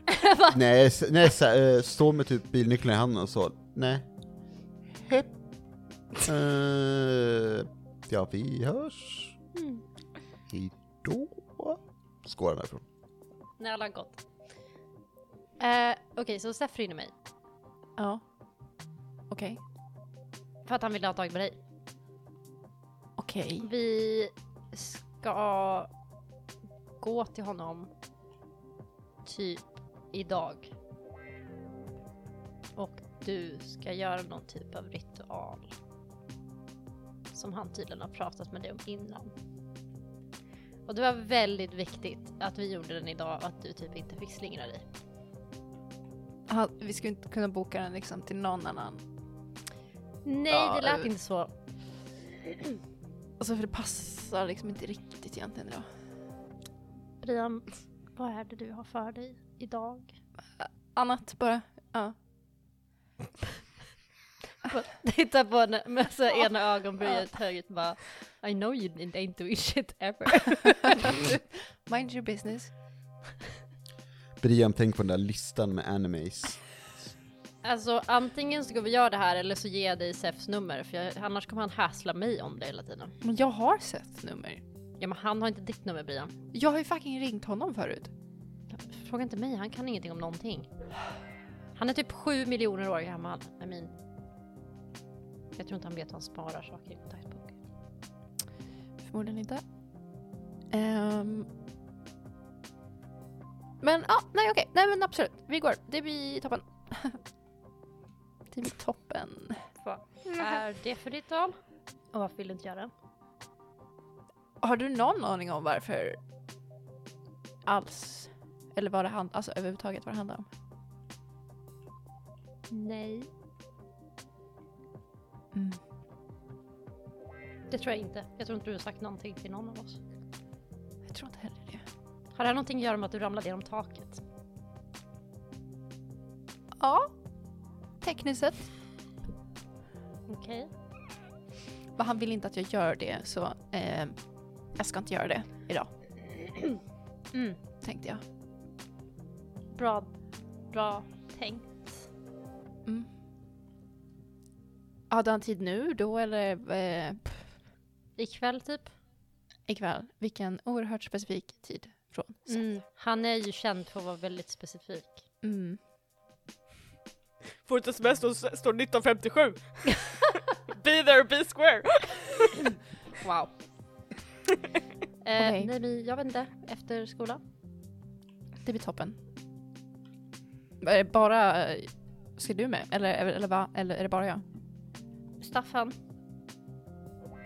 [SPEAKER 1] Nej, s- nej så, eh, står med typ bilnyckeln i handen och så, nej. Hepp. Eh, ja, vi hörs. Hejdå. Skålar därifrån.
[SPEAKER 4] Nej, alla har gått. Eh, Okej, så Seth rinner mig.
[SPEAKER 2] Ja. Okej.
[SPEAKER 4] För att han ville ha tag på dig.
[SPEAKER 2] Okej.
[SPEAKER 4] Vi ska gå till honom typ idag. Och du ska göra någon typ av ritual. Som han tydligen har pratat med dig om innan. Och det var väldigt viktigt att vi gjorde den idag och att du typ inte fick slingra dig.
[SPEAKER 2] Ja, Vi skulle inte kunna boka den liksom till någon annan.
[SPEAKER 4] Nej,
[SPEAKER 2] Ja,
[SPEAKER 4] det lät
[SPEAKER 2] eh.
[SPEAKER 4] inte så.
[SPEAKER 2] Alltså för det passar liksom inte riktigt egentligen idag.
[SPEAKER 4] Brian, vad är det du har för dig idag?
[SPEAKER 2] Annat bara.
[SPEAKER 4] Titta på henne med så här ena ögonbrynet högt bara I know you didn't ain't doing shit ever.
[SPEAKER 2] Mind your business.
[SPEAKER 1] Brian, tänk på den där listan med animes.
[SPEAKER 4] Alltså antingen så går vi göra det här eller så ger jag dig Sefs nummer för jag, annars kommer han hassla mig om det hela tiden.
[SPEAKER 2] Men jag har sett nummer.
[SPEAKER 4] Ja men han har inte ditt nummer Brian.
[SPEAKER 2] Jag har ju fucking ringt honom förut.
[SPEAKER 4] Fråga inte mig, han kan ingenting om någonting. Han är typ sju miljoner år gammal. I mean. Jag tror inte han vet att han sparar saker i kontaktboken.
[SPEAKER 2] Förmodligen inte. Ehm. Men ja, nej okej. Nej men absolut. Vi går. Det blir toppen. det blir toppen.
[SPEAKER 4] Är det för ditt tal? Mm. Och varför vill du inte göra det?
[SPEAKER 2] Har du någon aning om varför alls? Eller vad det handlar alltså överhuvudtaget vad det handlar om?
[SPEAKER 4] Nej.
[SPEAKER 2] Mm,
[SPEAKER 4] Det tror jag inte. Jag tror inte du har sagt någonting till någon av oss.
[SPEAKER 2] Jag tror inte heller det.
[SPEAKER 4] Har det här någonting att göra med att du ramlade genom taket?
[SPEAKER 2] Ja, tekniskt sett.
[SPEAKER 4] Okej.
[SPEAKER 2] Men han vill inte att jag gör det så eh, jag ska inte göra det idag
[SPEAKER 4] Mm.
[SPEAKER 2] tänkte jag.
[SPEAKER 4] Bra, bra tänkt.
[SPEAKER 2] Mm. Hade han tid nu då eller eh, pff,
[SPEAKER 4] Ikväll typ.
[SPEAKER 2] ikväll? Vilken oerhört specifik tid från Seth.
[SPEAKER 4] Mm. Han är ju känd för att vara väldigt specifik.
[SPEAKER 2] Mm.
[SPEAKER 5] Får ett sms och s- står 1957. be there, be square.
[SPEAKER 4] Wow. eh,
[SPEAKER 2] Okej.
[SPEAKER 4] Nej men jag vet inte. Efter skolan?
[SPEAKER 2] Det blir toppen. Är det bara... eh, Ska du med? Eller, eller, eller, va? eller är det bara jag?
[SPEAKER 4] Staffan?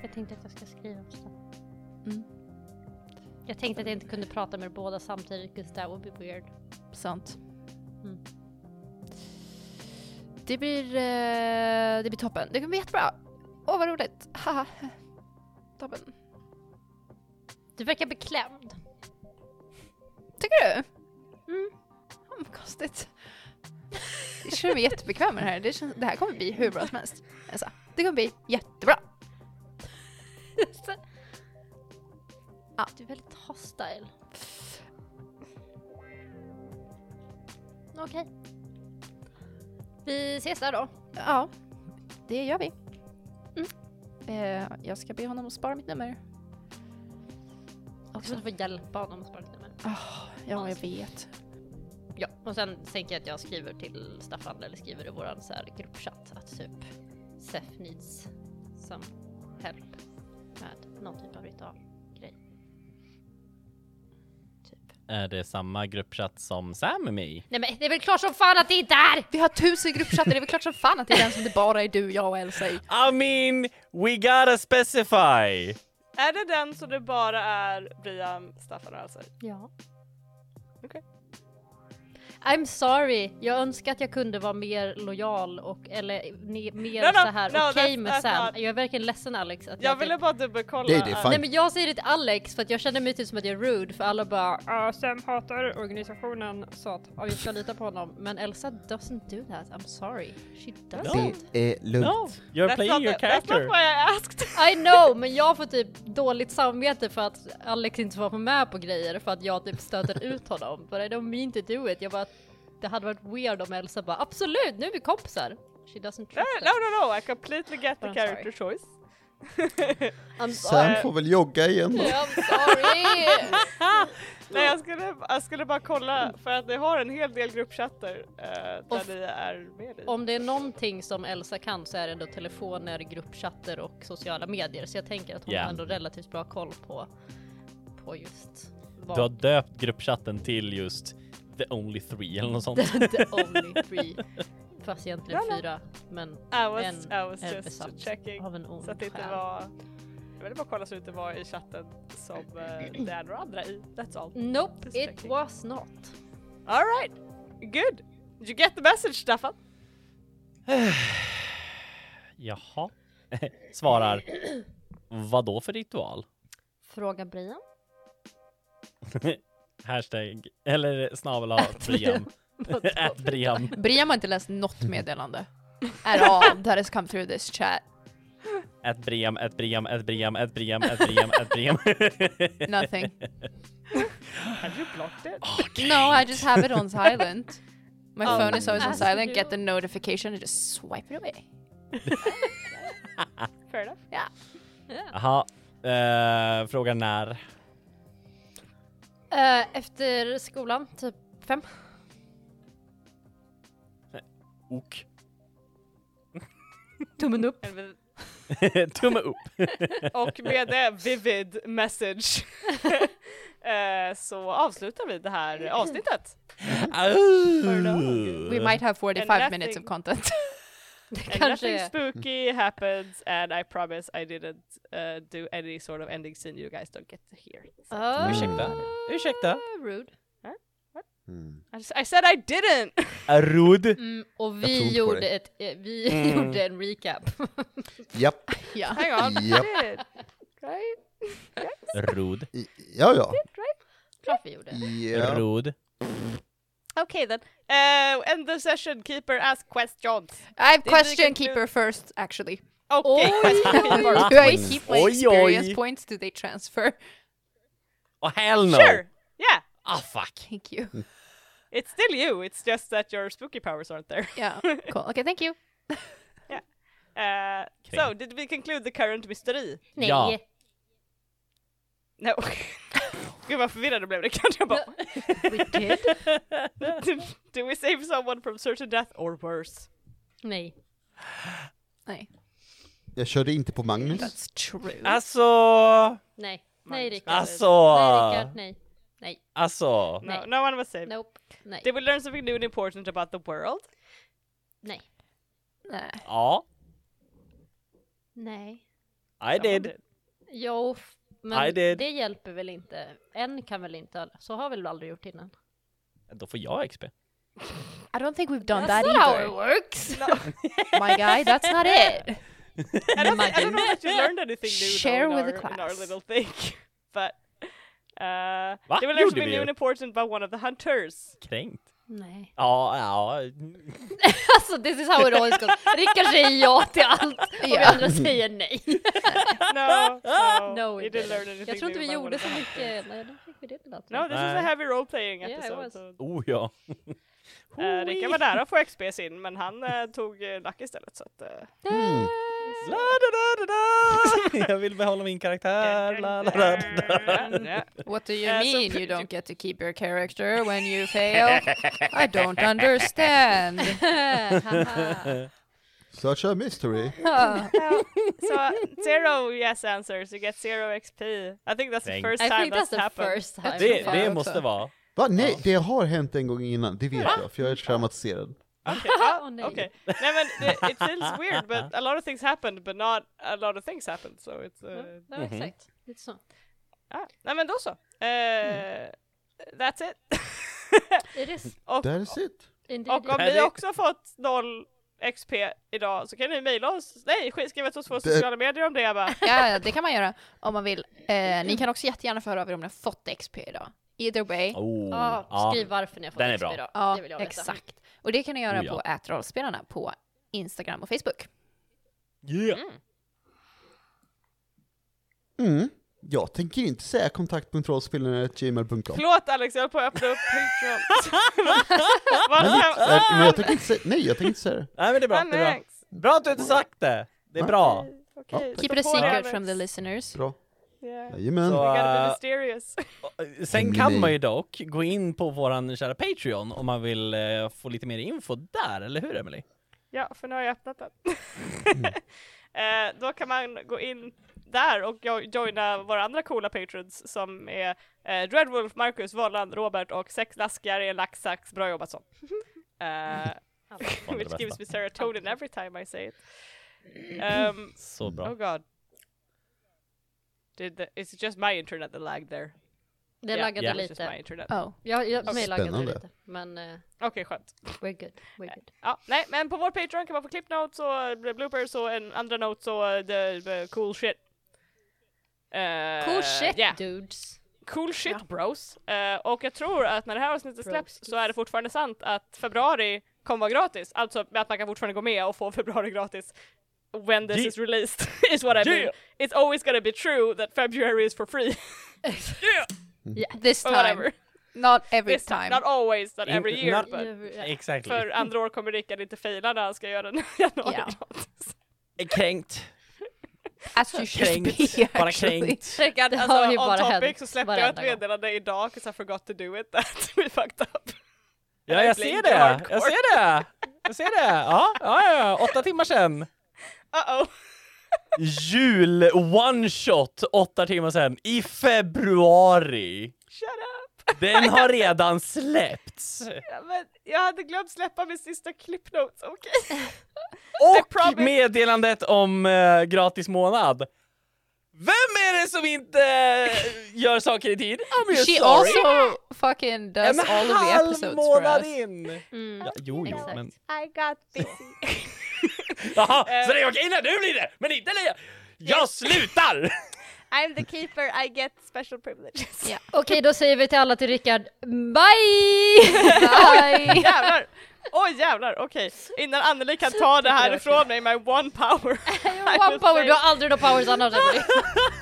[SPEAKER 4] Jag tänkte att jag ska skriva om Staffan.
[SPEAKER 2] Mm.
[SPEAKER 4] Jag tänkte att jag inte kunde prata med er båda samtidigt 'cause that would be weird.
[SPEAKER 2] Sant.
[SPEAKER 4] Mm.
[SPEAKER 2] Det blir, eh, det blir toppen. Det kommer bli jättebra. Åh vad roligt. Haha. toppen.
[SPEAKER 4] Du verkar beklämd.
[SPEAKER 2] Tycker du?
[SPEAKER 4] Mm.
[SPEAKER 2] Mm, konstigt. känner mig jättebekväm med det här. Det, känns, det här kommer bli hur bra som helst. Jag sa, det kommer bli jättebra.
[SPEAKER 4] Du är väldigt hostile. Okej. Vi ses där då.
[SPEAKER 2] Ja, Mm. det gör vi. Eh, jag ska be honom att spara mitt nummer.
[SPEAKER 4] Och så får du få hjälpa honom att spara ett nummer.
[SPEAKER 2] Ja, jag vet.
[SPEAKER 4] Ja, och sen tänker jag att jag skriver till Staffan eller skriver i våran så här gruppchatt att typ Sef needs some help med någon typ av ritual grej. Typ.
[SPEAKER 3] Är det samma gruppchatt som Sam är med i?
[SPEAKER 4] Nej men det är väl klart som fan att det inte är!
[SPEAKER 2] Vi har tusen gruppchatter, det är väl klart som fan att det är den som det bara är du, jag och Elsa i.
[SPEAKER 3] I mean, we gotta specify!
[SPEAKER 5] Är det den som det bara är Brian, Staffan och Elsa i?
[SPEAKER 4] Ja.
[SPEAKER 5] Okej.
[SPEAKER 4] I'm sorry, jag önskar att jag kunde vara mer lojal och eller ne- mer
[SPEAKER 5] No, no,
[SPEAKER 4] så här
[SPEAKER 5] no,
[SPEAKER 4] okej
[SPEAKER 5] that's-
[SPEAKER 4] med
[SPEAKER 5] that's
[SPEAKER 4] Sam.
[SPEAKER 5] not-
[SPEAKER 4] Jag är verkligen ledsen Alex. Att
[SPEAKER 5] Jag
[SPEAKER 4] typ-
[SPEAKER 5] ville bara dubbelkolla.
[SPEAKER 1] Det är det,
[SPEAKER 5] att-
[SPEAKER 1] fan.
[SPEAKER 4] Nej men jag säger det till Alex för att jag känner mig typ som att jag är rude för alla bara
[SPEAKER 5] Ja, Sam hatar
[SPEAKER 4] organisationen sa att ja, vi ska lita på honom men Elsa doesn't do that, I'm sorry. She doesn't.
[SPEAKER 3] No.
[SPEAKER 1] Det är lugnt.
[SPEAKER 3] No, you're playing your
[SPEAKER 5] That's
[SPEAKER 3] character!
[SPEAKER 5] not why I asked.
[SPEAKER 4] I know men jag får typ dåligt samvete för att Alex inte får vara med på grejer för att jag typ stöter ut honom. But I don't mean to do it. Jag bara, det hade varit weird om Elsa bara absolut nu är vi kompisar. She doesn't trust us.
[SPEAKER 5] Eh, No, no, no, I completely get the
[SPEAKER 4] I'm
[SPEAKER 5] character choice.
[SPEAKER 4] I'm
[SPEAKER 1] Sam får väl jogga igen då.
[SPEAKER 4] I'm sorry!
[SPEAKER 5] Nej, jag skulle, jag skulle bara kolla för att ni har en hel del gruppchatter eh,
[SPEAKER 4] Och f-
[SPEAKER 5] där ni är med i.
[SPEAKER 4] Om det är någonting som Elsa kan så är det ändå telefoner, gruppchatter och sociala medier. Så jag tänker att hon
[SPEAKER 3] Ja.
[SPEAKER 4] har ändå relativt bra koll på, på just
[SPEAKER 3] Du har
[SPEAKER 4] vad
[SPEAKER 3] döpt gruppchatten till just the only three eller något sånt.
[SPEAKER 4] the only three, fast egentligen fyra, men
[SPEAKER 5] I was,
[SPEAKER 4] en
[SPEAKER 5] I was
[SPEAKER 4] är
[SPEAKER 5] just
[SPEAKER 4] besatt
[SPEAKER 5] checking.
[SPEAKER 4] av en ond
[SPEAKER 5] Så att det inte
[SPEAKER 4] själ.
[SPEAKER 5] var... Jag ville bara kolla så att det inte var i chatten som eh, det är några andra i. That's all.
[SPEAKER 4] Nope,
[SPEAKER 5] Just
[SPEAKER 4] it
[SPEAKER 5] checking.
[SPEAKER 4] was not.
[SPEAKER 5] Alright, good! You get the message Staffan!
[SPEAKER 3] Jaha. Svarar. Vad då för ritual?
[SPEAKER 4] Fråga Brian.
[SPEAKER 3] Hashtag, eller snabel av Briam. At Briam.
[SPEAKER 2] Brian har inte läst något meddelande. At all that has come through this chat.
[SPEAKER 3] At Briam, at Briam, at Briam, at Briam, at Briam, at Briam.
[SPEAKER 2] Nothing.
[SPEAKER 5] Have you blocked it?
[SPEAKER 2] No, I just have it on silent. My
[SPEAKER 5] Oh,
[SPEAKER 2] phone is always on
[SPEAKER 4] as
[SPEAKER 2] silent,
[SPEAKER 4] you
[SPEAKER 2] get
[SPEAKER 4] do.
[SPEAKER 2] the notification and just swipe it away.
[SPEAKER 5] Fair enough.
[SPEAKER 3] Jaha. Eh, frågar när.
[SPEAKER 4] Eh, efter skolan, typ fem.
[SPEAKER 3] Ok.
[SPEAKER 4] Tummen upp.
[SPEAKER 5] And with-
[SPEAKER 3] Tumme upp.
[SPEAKER 5] Och med det vivid message eh, så avslutar vi det här avsnittet.
[SPEAKER 2] We might have 45 minutes of
[SPEAKER 5] nothing.
[SPEAKER 2] content.
[SPEAKER 5] And
[SPEAKER 4] Kanske
[SPEAKER 5] nothing
[SPEAKER 4] är.
[SPEAKER 5] spooky happens and I promise I didn't uh, do any sort of ending scene you guys don't get to hear.
[SPEAKER 4] Ah,
[SPEAKER 3] Ursäkta. Ursäkta.
[SPEAKER 2] Ah,
[SPEAKER 4] Rude.
[SPEAKER 1] Mm.
[SPEAKER 5] I, just, I said I didn't!
[SPEAKER 3] Rude.
[SPEAKER 4] Mm, och
[SPEAKER 1] tror
[SPEAKER 4] vi
[SPEAKER 1] inte på
[SPEAKER 4] gjorde, ett, eh, vi
[SPEAKER 3] Mm.
[SPEAKER 4] gjorde en recap.
[SPEAKER 1] Japp,
[SPEAKER 2] ja.
[SPEAKER 5] Hang on.
[SPEAKER 1] japp,
[SPEAKER 5] Did. Right?
[SPEAKER 3] Rude.
[SPEAKER 1] I- ja ja.
[SPEAKER 4] Klart vi gjorde.
[SPEAKER 1] ja.
[SPEAKER 3] Rude.
[SPEAKER 5] Okay then. Uh, end the session, keeper ask questions.
[SPEAKER 2] I have
[SPEAKER 5] Did we
[SPEAKER 2] question
[SPEAKER 5] conclude-
[SPEAKER 2] keeper first actually.
[SPEAKER 5] Okay, question keeper.
[SPEAKER 2] Do I
[SPEAKER 1] Twins.
[SPEAKER 2] keep my
[SPEAKER 3] Oj, oj.
[SPEAKER 2] experience points? Do they transfer?
[SPEAKER 3] Oh hell no.
[SPEAKER 5] Sure! Yeah,
[SPEAKER 3] Ah fuck.
[SPEAKER 2] Thank you.
[SPEAKER 5] it's still you, it's just that your spooky powers aren't there.
[SPEAKER 2] Yeah. Cool. Okay, thank you.
[SPEAKER 5] Uh, so, did we conclude the current mystery?
[SPEAKER 4] Nej.
[SPEAKER 3] Ja.
[SPEAKER 5] No. Gud vad förvirrad jag blev, det kan jag bara...
[SPEAKER 4] We did?
[SPEAKER 5] Do we save someone from certain death or worse?
[SPEAKER 4] Nej.
[SPEAKER 2] Nej.
[SPEAKER 1] Jag körde inte på Magnus.
[SPEAKER 2] That's true.
[SPEAKER 3] Mm. Alltså.
[SPEAKER 4] Nej. Nej Rickard.
[SPEAKER 3] Alltså.
[SPEAKER 4] Nej Rickard, nej. Nej.
[SPEAKER 3] Alltså.
[SPEAKER 5] No,
[SPEAKER 4] Nej.
[SPEAKER 5] no one was saved.
[SPEAKER 4] Nope. Nej.
[SPEAKER 5] Did we learn something new and important about the world?
[SPEAKER 4] Nej.
[SPEAKER 2] Nej.
[SPEAKER 3] Ja.
[SPEAKER 4] Nej.
[SPEAKER 3] I
[SPEAKER 5] Someone
[SPEAKER 3] did.
[SPEAKER 4] Jo, f- men
[SPEAKER 3] I did.
[SPEAKER 4] det hjälper väl inte. En kan väl inte, så har väl du aldrig gjort innan.
[SPEAKER 3] Då får jag XP.
[SPEAKER 2] I don't think we've done
[SPEAKER 4] That's
[SPEAKER 2] that
[SPEAKER 4] not how it
[SPEAKER 2] either.
[SPEAKER 4] works!
[SPEAKER 2] My guy, that's not it.
[SPEAKER 5] I don't, think, I don't know that you learned anything new though
[SPEAKER 2] Share
[SPEAKER 5] in,
[SPEAKER 2] with
[SPEAKER 5] our,
[SPEAKER 2] the
[SPEAKER 5] in our
[SPEAKER 2] class.
[SPEAKER 5] little thing. But uh,
[SPEAKER 3] Va?
[SPEAKER 5] they will
[SPEAKER 3] Gjorde
[SPEAKER 5] learn something
[SPEAKER 3] vi
[SPEAKER 5] new
[SPEAKER 3] ju.
[SPEAKER 5] and important by one of the hunters.
[SPEAKER 3] Kränkt.
[SPEAKER 4] Nej.
[SPEAKER 3] Ja, ja.
[SPEAKER 4] Alltså this is how it always goes. Rickard säger ja till allt och vi
[SPEAKER 2] Ja.
[SPEAKER 4] andra säger nej.
[SPEAKER 5] No, no.
[SPEAKER 4] No, we
[SPEAKER 5] you didn't
[SPEAKER 4] didn't.
[SPEAKER 5] learn anything
[SPEAKER 4] Jag tror inte
[SPEAKER 5] new
[SPEAKER 4] vi
[SPEAKER 5] about
[SPEAKER 4] gjorde
[SPEAKER 5] what
[SPEAKER 4] så
[SPEAKER 5] happened.
[SPEAKER 4] mycket, nej då fick vi det till allt.
[SPEAKER 5] No, this is a
[SPEAKER 3] Nej.
[SPEAKER 5] heavy role playing
[SPEAKER 4] Yeah, it
[SPEAKER 5] episode.
[SPEAKER 4] was.
[SPEAKER 5] so-
[SPEAKER 3] Oh ja.
[SPEAKER 5] Eh, Rickard var nära att få XP sin, men han eh, tog eh, lack istället så att... eh,
[SPEAKER 3] Mm. La, da, da, da, da. Jag vill behålla min karaktär. La, la, la, da, da.
[SPEAKER 5] Ja.
[SPEAKER 2] What do you
[SPEAKER 5] Eh, så
[SPEAKER 2] mean
[SPEAKER 5] pr-
[SPEAKER 2] you don't get to keep your character when you fail? I don't understand.
[SPEAKER 1] Such a mystery.
[SPEAKER 5] Yeah. so zero yes answers, you get zero XP. I think that's
[SPEAKER 3] Thank-
[SPEAKER 5] the first
[SPEAKER 4] I
[SPEAKER 5] time
[SPEAKER 4] think that's
[SPEAKER 5] that's,
[SPEAKER 4] the
[SPEAKER 5] happened.
[SPEAKER 4] first time.
[SPEAKER 3] Det,
[SPEAKER 2] fan
[SPEAKER 3] det
[SPEAKER 2] också.
[SPEAKER 3] måste vara.
[SPEAKER 1] Va? Nej, det har hänt en gång innan, det vet jag, för jag är traumatiserad.
[SPEAKER 5] Okay. ah,
[SPEAKER 4] Åh, nej.
[SPEAKER 5] okay. Nej men det, it feels weird but a lot of things happened but not a lot of things happened so it's...
[SPEAKER 3] Mm.
[SPEAKER 5] Uh,
[SPEAKER 4] Ja,
[SPEAKER 3] Mm-hmm.
[SPEAKER 4] exakt. Lite så.
[SPEAKER 5] ah. Nej men då så. Eh, That's it.
[SPEAKER 4] It is
[SPEAKER 5] och,
[SPEAKER 1] That's it.
[SPEAKER 4] indeed.
[SPEAKER 5] och om
[SPEAKER 3] Nej,
[SPEAKER 5] ni
[SPEAKER 3] det-
[SPEAKER 5] också har fått noll XP idag så kan ni mejla oss, nej sk- skriv till oss på våra
[SPEAKER 1] Det-
[SPEAKER 5] sociala medier om det Ebba.
[SPEAKER 2] ja, det kan man göra om man vill. Eh, ni kan också jättegärna få höra av er om ni har fått XP idag. Either way.
[SPEAKER 3] Oh,
[SPEAKER 4] Ja,
[SPEAKER 3] ja.
[SPEAKER 4] skriv varför ni har fått
[SPEAKER 3] Den är
[SPEAKER 4] XP
[SPEAKER 3] bra.
[SPEAKER 4] idag.
[SPEAKER 2] Ja,
[SPEAKER 4] det vill jag veta.
[SPEAKER 2] exakt. Och det kan ni göra
[SPEAKER 3] Oh, ja.
[SPEAKER 2] på ätrollspelarna på Instagram och Facebook.
[SPEAKER 3] Yeah.
[SPEAKER 1] Mm. Jag tänker inte säga kontakt.rollspelarna.gmail.com.
[SPEAKER 5] Förlåt Alex, jag höll på att öppna upp Patreon. Vad
[SPEAKER 1] Äh, men
[SPEAKER 5] fan?
[SPEAKER 1] jag tänker inte säga, nej jag tänker inte säga det.
[SPEAKER 3] Nej men det är bra, det är bra.
[SPEAKER 5] Alex.
[SPEAKER 3] Bra att du inte sagt det! Det är bra.
[SPEAKER 5] Okej,
[SPEAKER 2] Keep it
[SPEAKER 5] så
[SPEAKER 2] a
[SPEAKER 5] får det
[SPEAKER 2] secret
[SPEAKER 5] Alex.
[SPEAKER 2] from the listeners.
[SPEAKER 1] Bra.
[SPEAKER 5] Yeah.
[SPEAKER 1] Jajamän.
[SPEAKER 3] Så-
[SPEAKER 5] We gotta
[SPEAKER 3] Uh,
[SPEAKER 5] be mysterious.
[SPEAKER 3] Sen
[SPEAKER 1] Nej.
[SPEAKER 3] kan man ju dock gå in på våran kära Patreon om man vill eh, få lite mer info där, eller hur Emily?
[SPEAKER 5] Ja, för nu har jag öppnat den. eh, då kan man gå in där och jo- joina våra andra coola patrons som är eh, Dreadwolf, Marcus, Volland, Robert och sex laskar i en laxax. Bra jobbat så. Eh,
[SPEAKER 3] det
[SPEAKER 5] which
[SPEAKER 3] bästa.
[SPEAKER 5] gives me serotonin every time I say it.
[SPEAKER 2] Mm.
[SPEAKER 5] Um,
[SPEAKER 3] Så bra.
[SPEAKER 5] oh god. Did the, is it just my internet that lagged there?
[SPEAKER 4] Det
[SPEAKER 5] Yeah,
[SPEAKER 4] laggade
[SPEAKER 5] yeah. It's just my
[SPEAKER 4] lite.
[SPEAKER 5] internet.
[SPEAKER 2] Oh.
[SPEAKER 4] Jag, jag, mig laggade
[SPEAKER 1] Spännande.
[SPEAKER 4] lite. Men eh,
[SPEAKER 5] Okej, skönt.
[SPEAKER 4] we're good.
[SPEAKER 5] Eh,
[SPEAKER 4] We're good.
[SPEAKER 5] Ja, nej, men på vår Patreon kan man få clip notes och eh, bloopers och en andra notes och eh, the, the cool shit. Eh,
[SPEAKER 4] Cool shit
[SPEAKER 5] yeah.
[SPEAKER 4] dudes.
[SPEAKER 5] Cool shit bros. Eh, och jag tror att när det här avsnittet släpps så är det fortfarande sant att februari kommer vara gratis. Alltså att man kan fortfarande gå med och få februari gratis. When this
[SPEAKER 3] Ye-
[SPEAKER 5] is released is what I mean.
[SPEAKER 3] Yeah.
[SPEAKER 5] It's always gonna be true that February is for free.
[SPEAKER 2] This
[SPEAKER 5] Or
[SPEAKER 2] time.
[SPEAKER 5] whatever.
[SPEAKER 2] Not every
[SPEAKER 5] This time.
[SPEAKER 2] time.
[SPEAKER 5] Not always, not
[SPEAKER 3] In-
[SPEAKER 5] every year.
[SPEAKER 3] not-
[SPEAKER 5] but
[SPEAKER 3] Exactly.
[SPEAKER 5] för andra år kommer Rickard inte fejla när han ska göra den januari
[SPEAKER 2] Ja.
[SPEAKER 5] gratis.
[SPEAKER 3] Eh, Kränkt.
[SPEAKER 2] As you should
[SPEAKER 3] Kränkt.
[SPEAKER 2] be
[SPEAKER 3] Bara
[SPEAKER 2] actually.
[SPEAKER 3] kränkt.
[SPEAKER 5] Rickard,
[SPEAKER 4] Det
[SPEAKER 5] alltså
[SPEAKER 4] har ju
[SPEAKER 5] on
[SPEAKER 4] bara
[SPEAKER 5] topic
[SPEAKER 4] hänt
[SPEAKER 5] så släppte jag ett
[SPEAKER 4] varenda gång.
[SPEAKER 5] meddelande idag, 'cause I forgot to do it, that we fucked up.
[SPEAKER 3] Ja, jag ser det! Jag ser det! Jag ser det! Ja, ja, ja. Åtta timmar sedan.
[SPEAKER 5] Uh-oh!
[SPEAKER 3] Jul one shot åtta timmar sedan i februari.
[SPEAKER 5] Shut up!
[SPEAKER 3] Den har redan släppts.
[SPEAKER 5] Ja, men jag hade glömt släppa min sista clipnotes, okej?
[SPEAKER 3] Och
[SPEAKER 5] promise.
[SPEAKER 3] meddelandet om eh, gratis månad. Vem är det som inte eh, gör saker i tid? I'm just
[SPEAKER 2] She
[SPEAKER 3] sorry.
[SPEAKER 2] also fucking does
[SPEAKER 3] en
[SPEAKER 2] all of the
[SPEAKER 3] halv
[SPEAKER 2] episodes for
[SPEAKER 3] månad
[SPEAKER 2] us.
[SPEAKER 3] in!
[SPEAKER 4] Mm.
[SPEAKER 3] Ja, jo, jo,
[SPEAKER 4] Exakt.
[SPEAKER 3] men...
[SPEAKER 5] I got busy.
[SPEAKER 3] Jaha, så det är okej när du blir det, men inte när jag... Jag slutar!
[SPEAKER 5] I'm the keeper, I get special privileges.
[SPEAKER 2] Ja.
[SPEAKER 4] Okej, då säger vi till alla till Rickard, bye!
[SPEAKER 2] Bye!
[SPEAKER 5] jävlar! Oj jävlar, okej. Innan Anneli kan ta det här ifrån mig, my one power. I
[SPEAKER 4] One
[SPEAKER 5] will
[SPEAKER 4] power,
[SPEAKER 5] say-
[SPEAKER 4] du har aldrig någon powers annars Emily.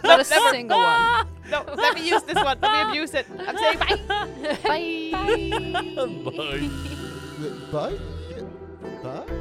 [SPEAKER 2] Not a single one.
[SPEAKER 5] No, let me use this one, let me abuse it. I'm saying bye!
[SPEAKER 2] Bye!
[SPEAKER 1] Bye. Bye.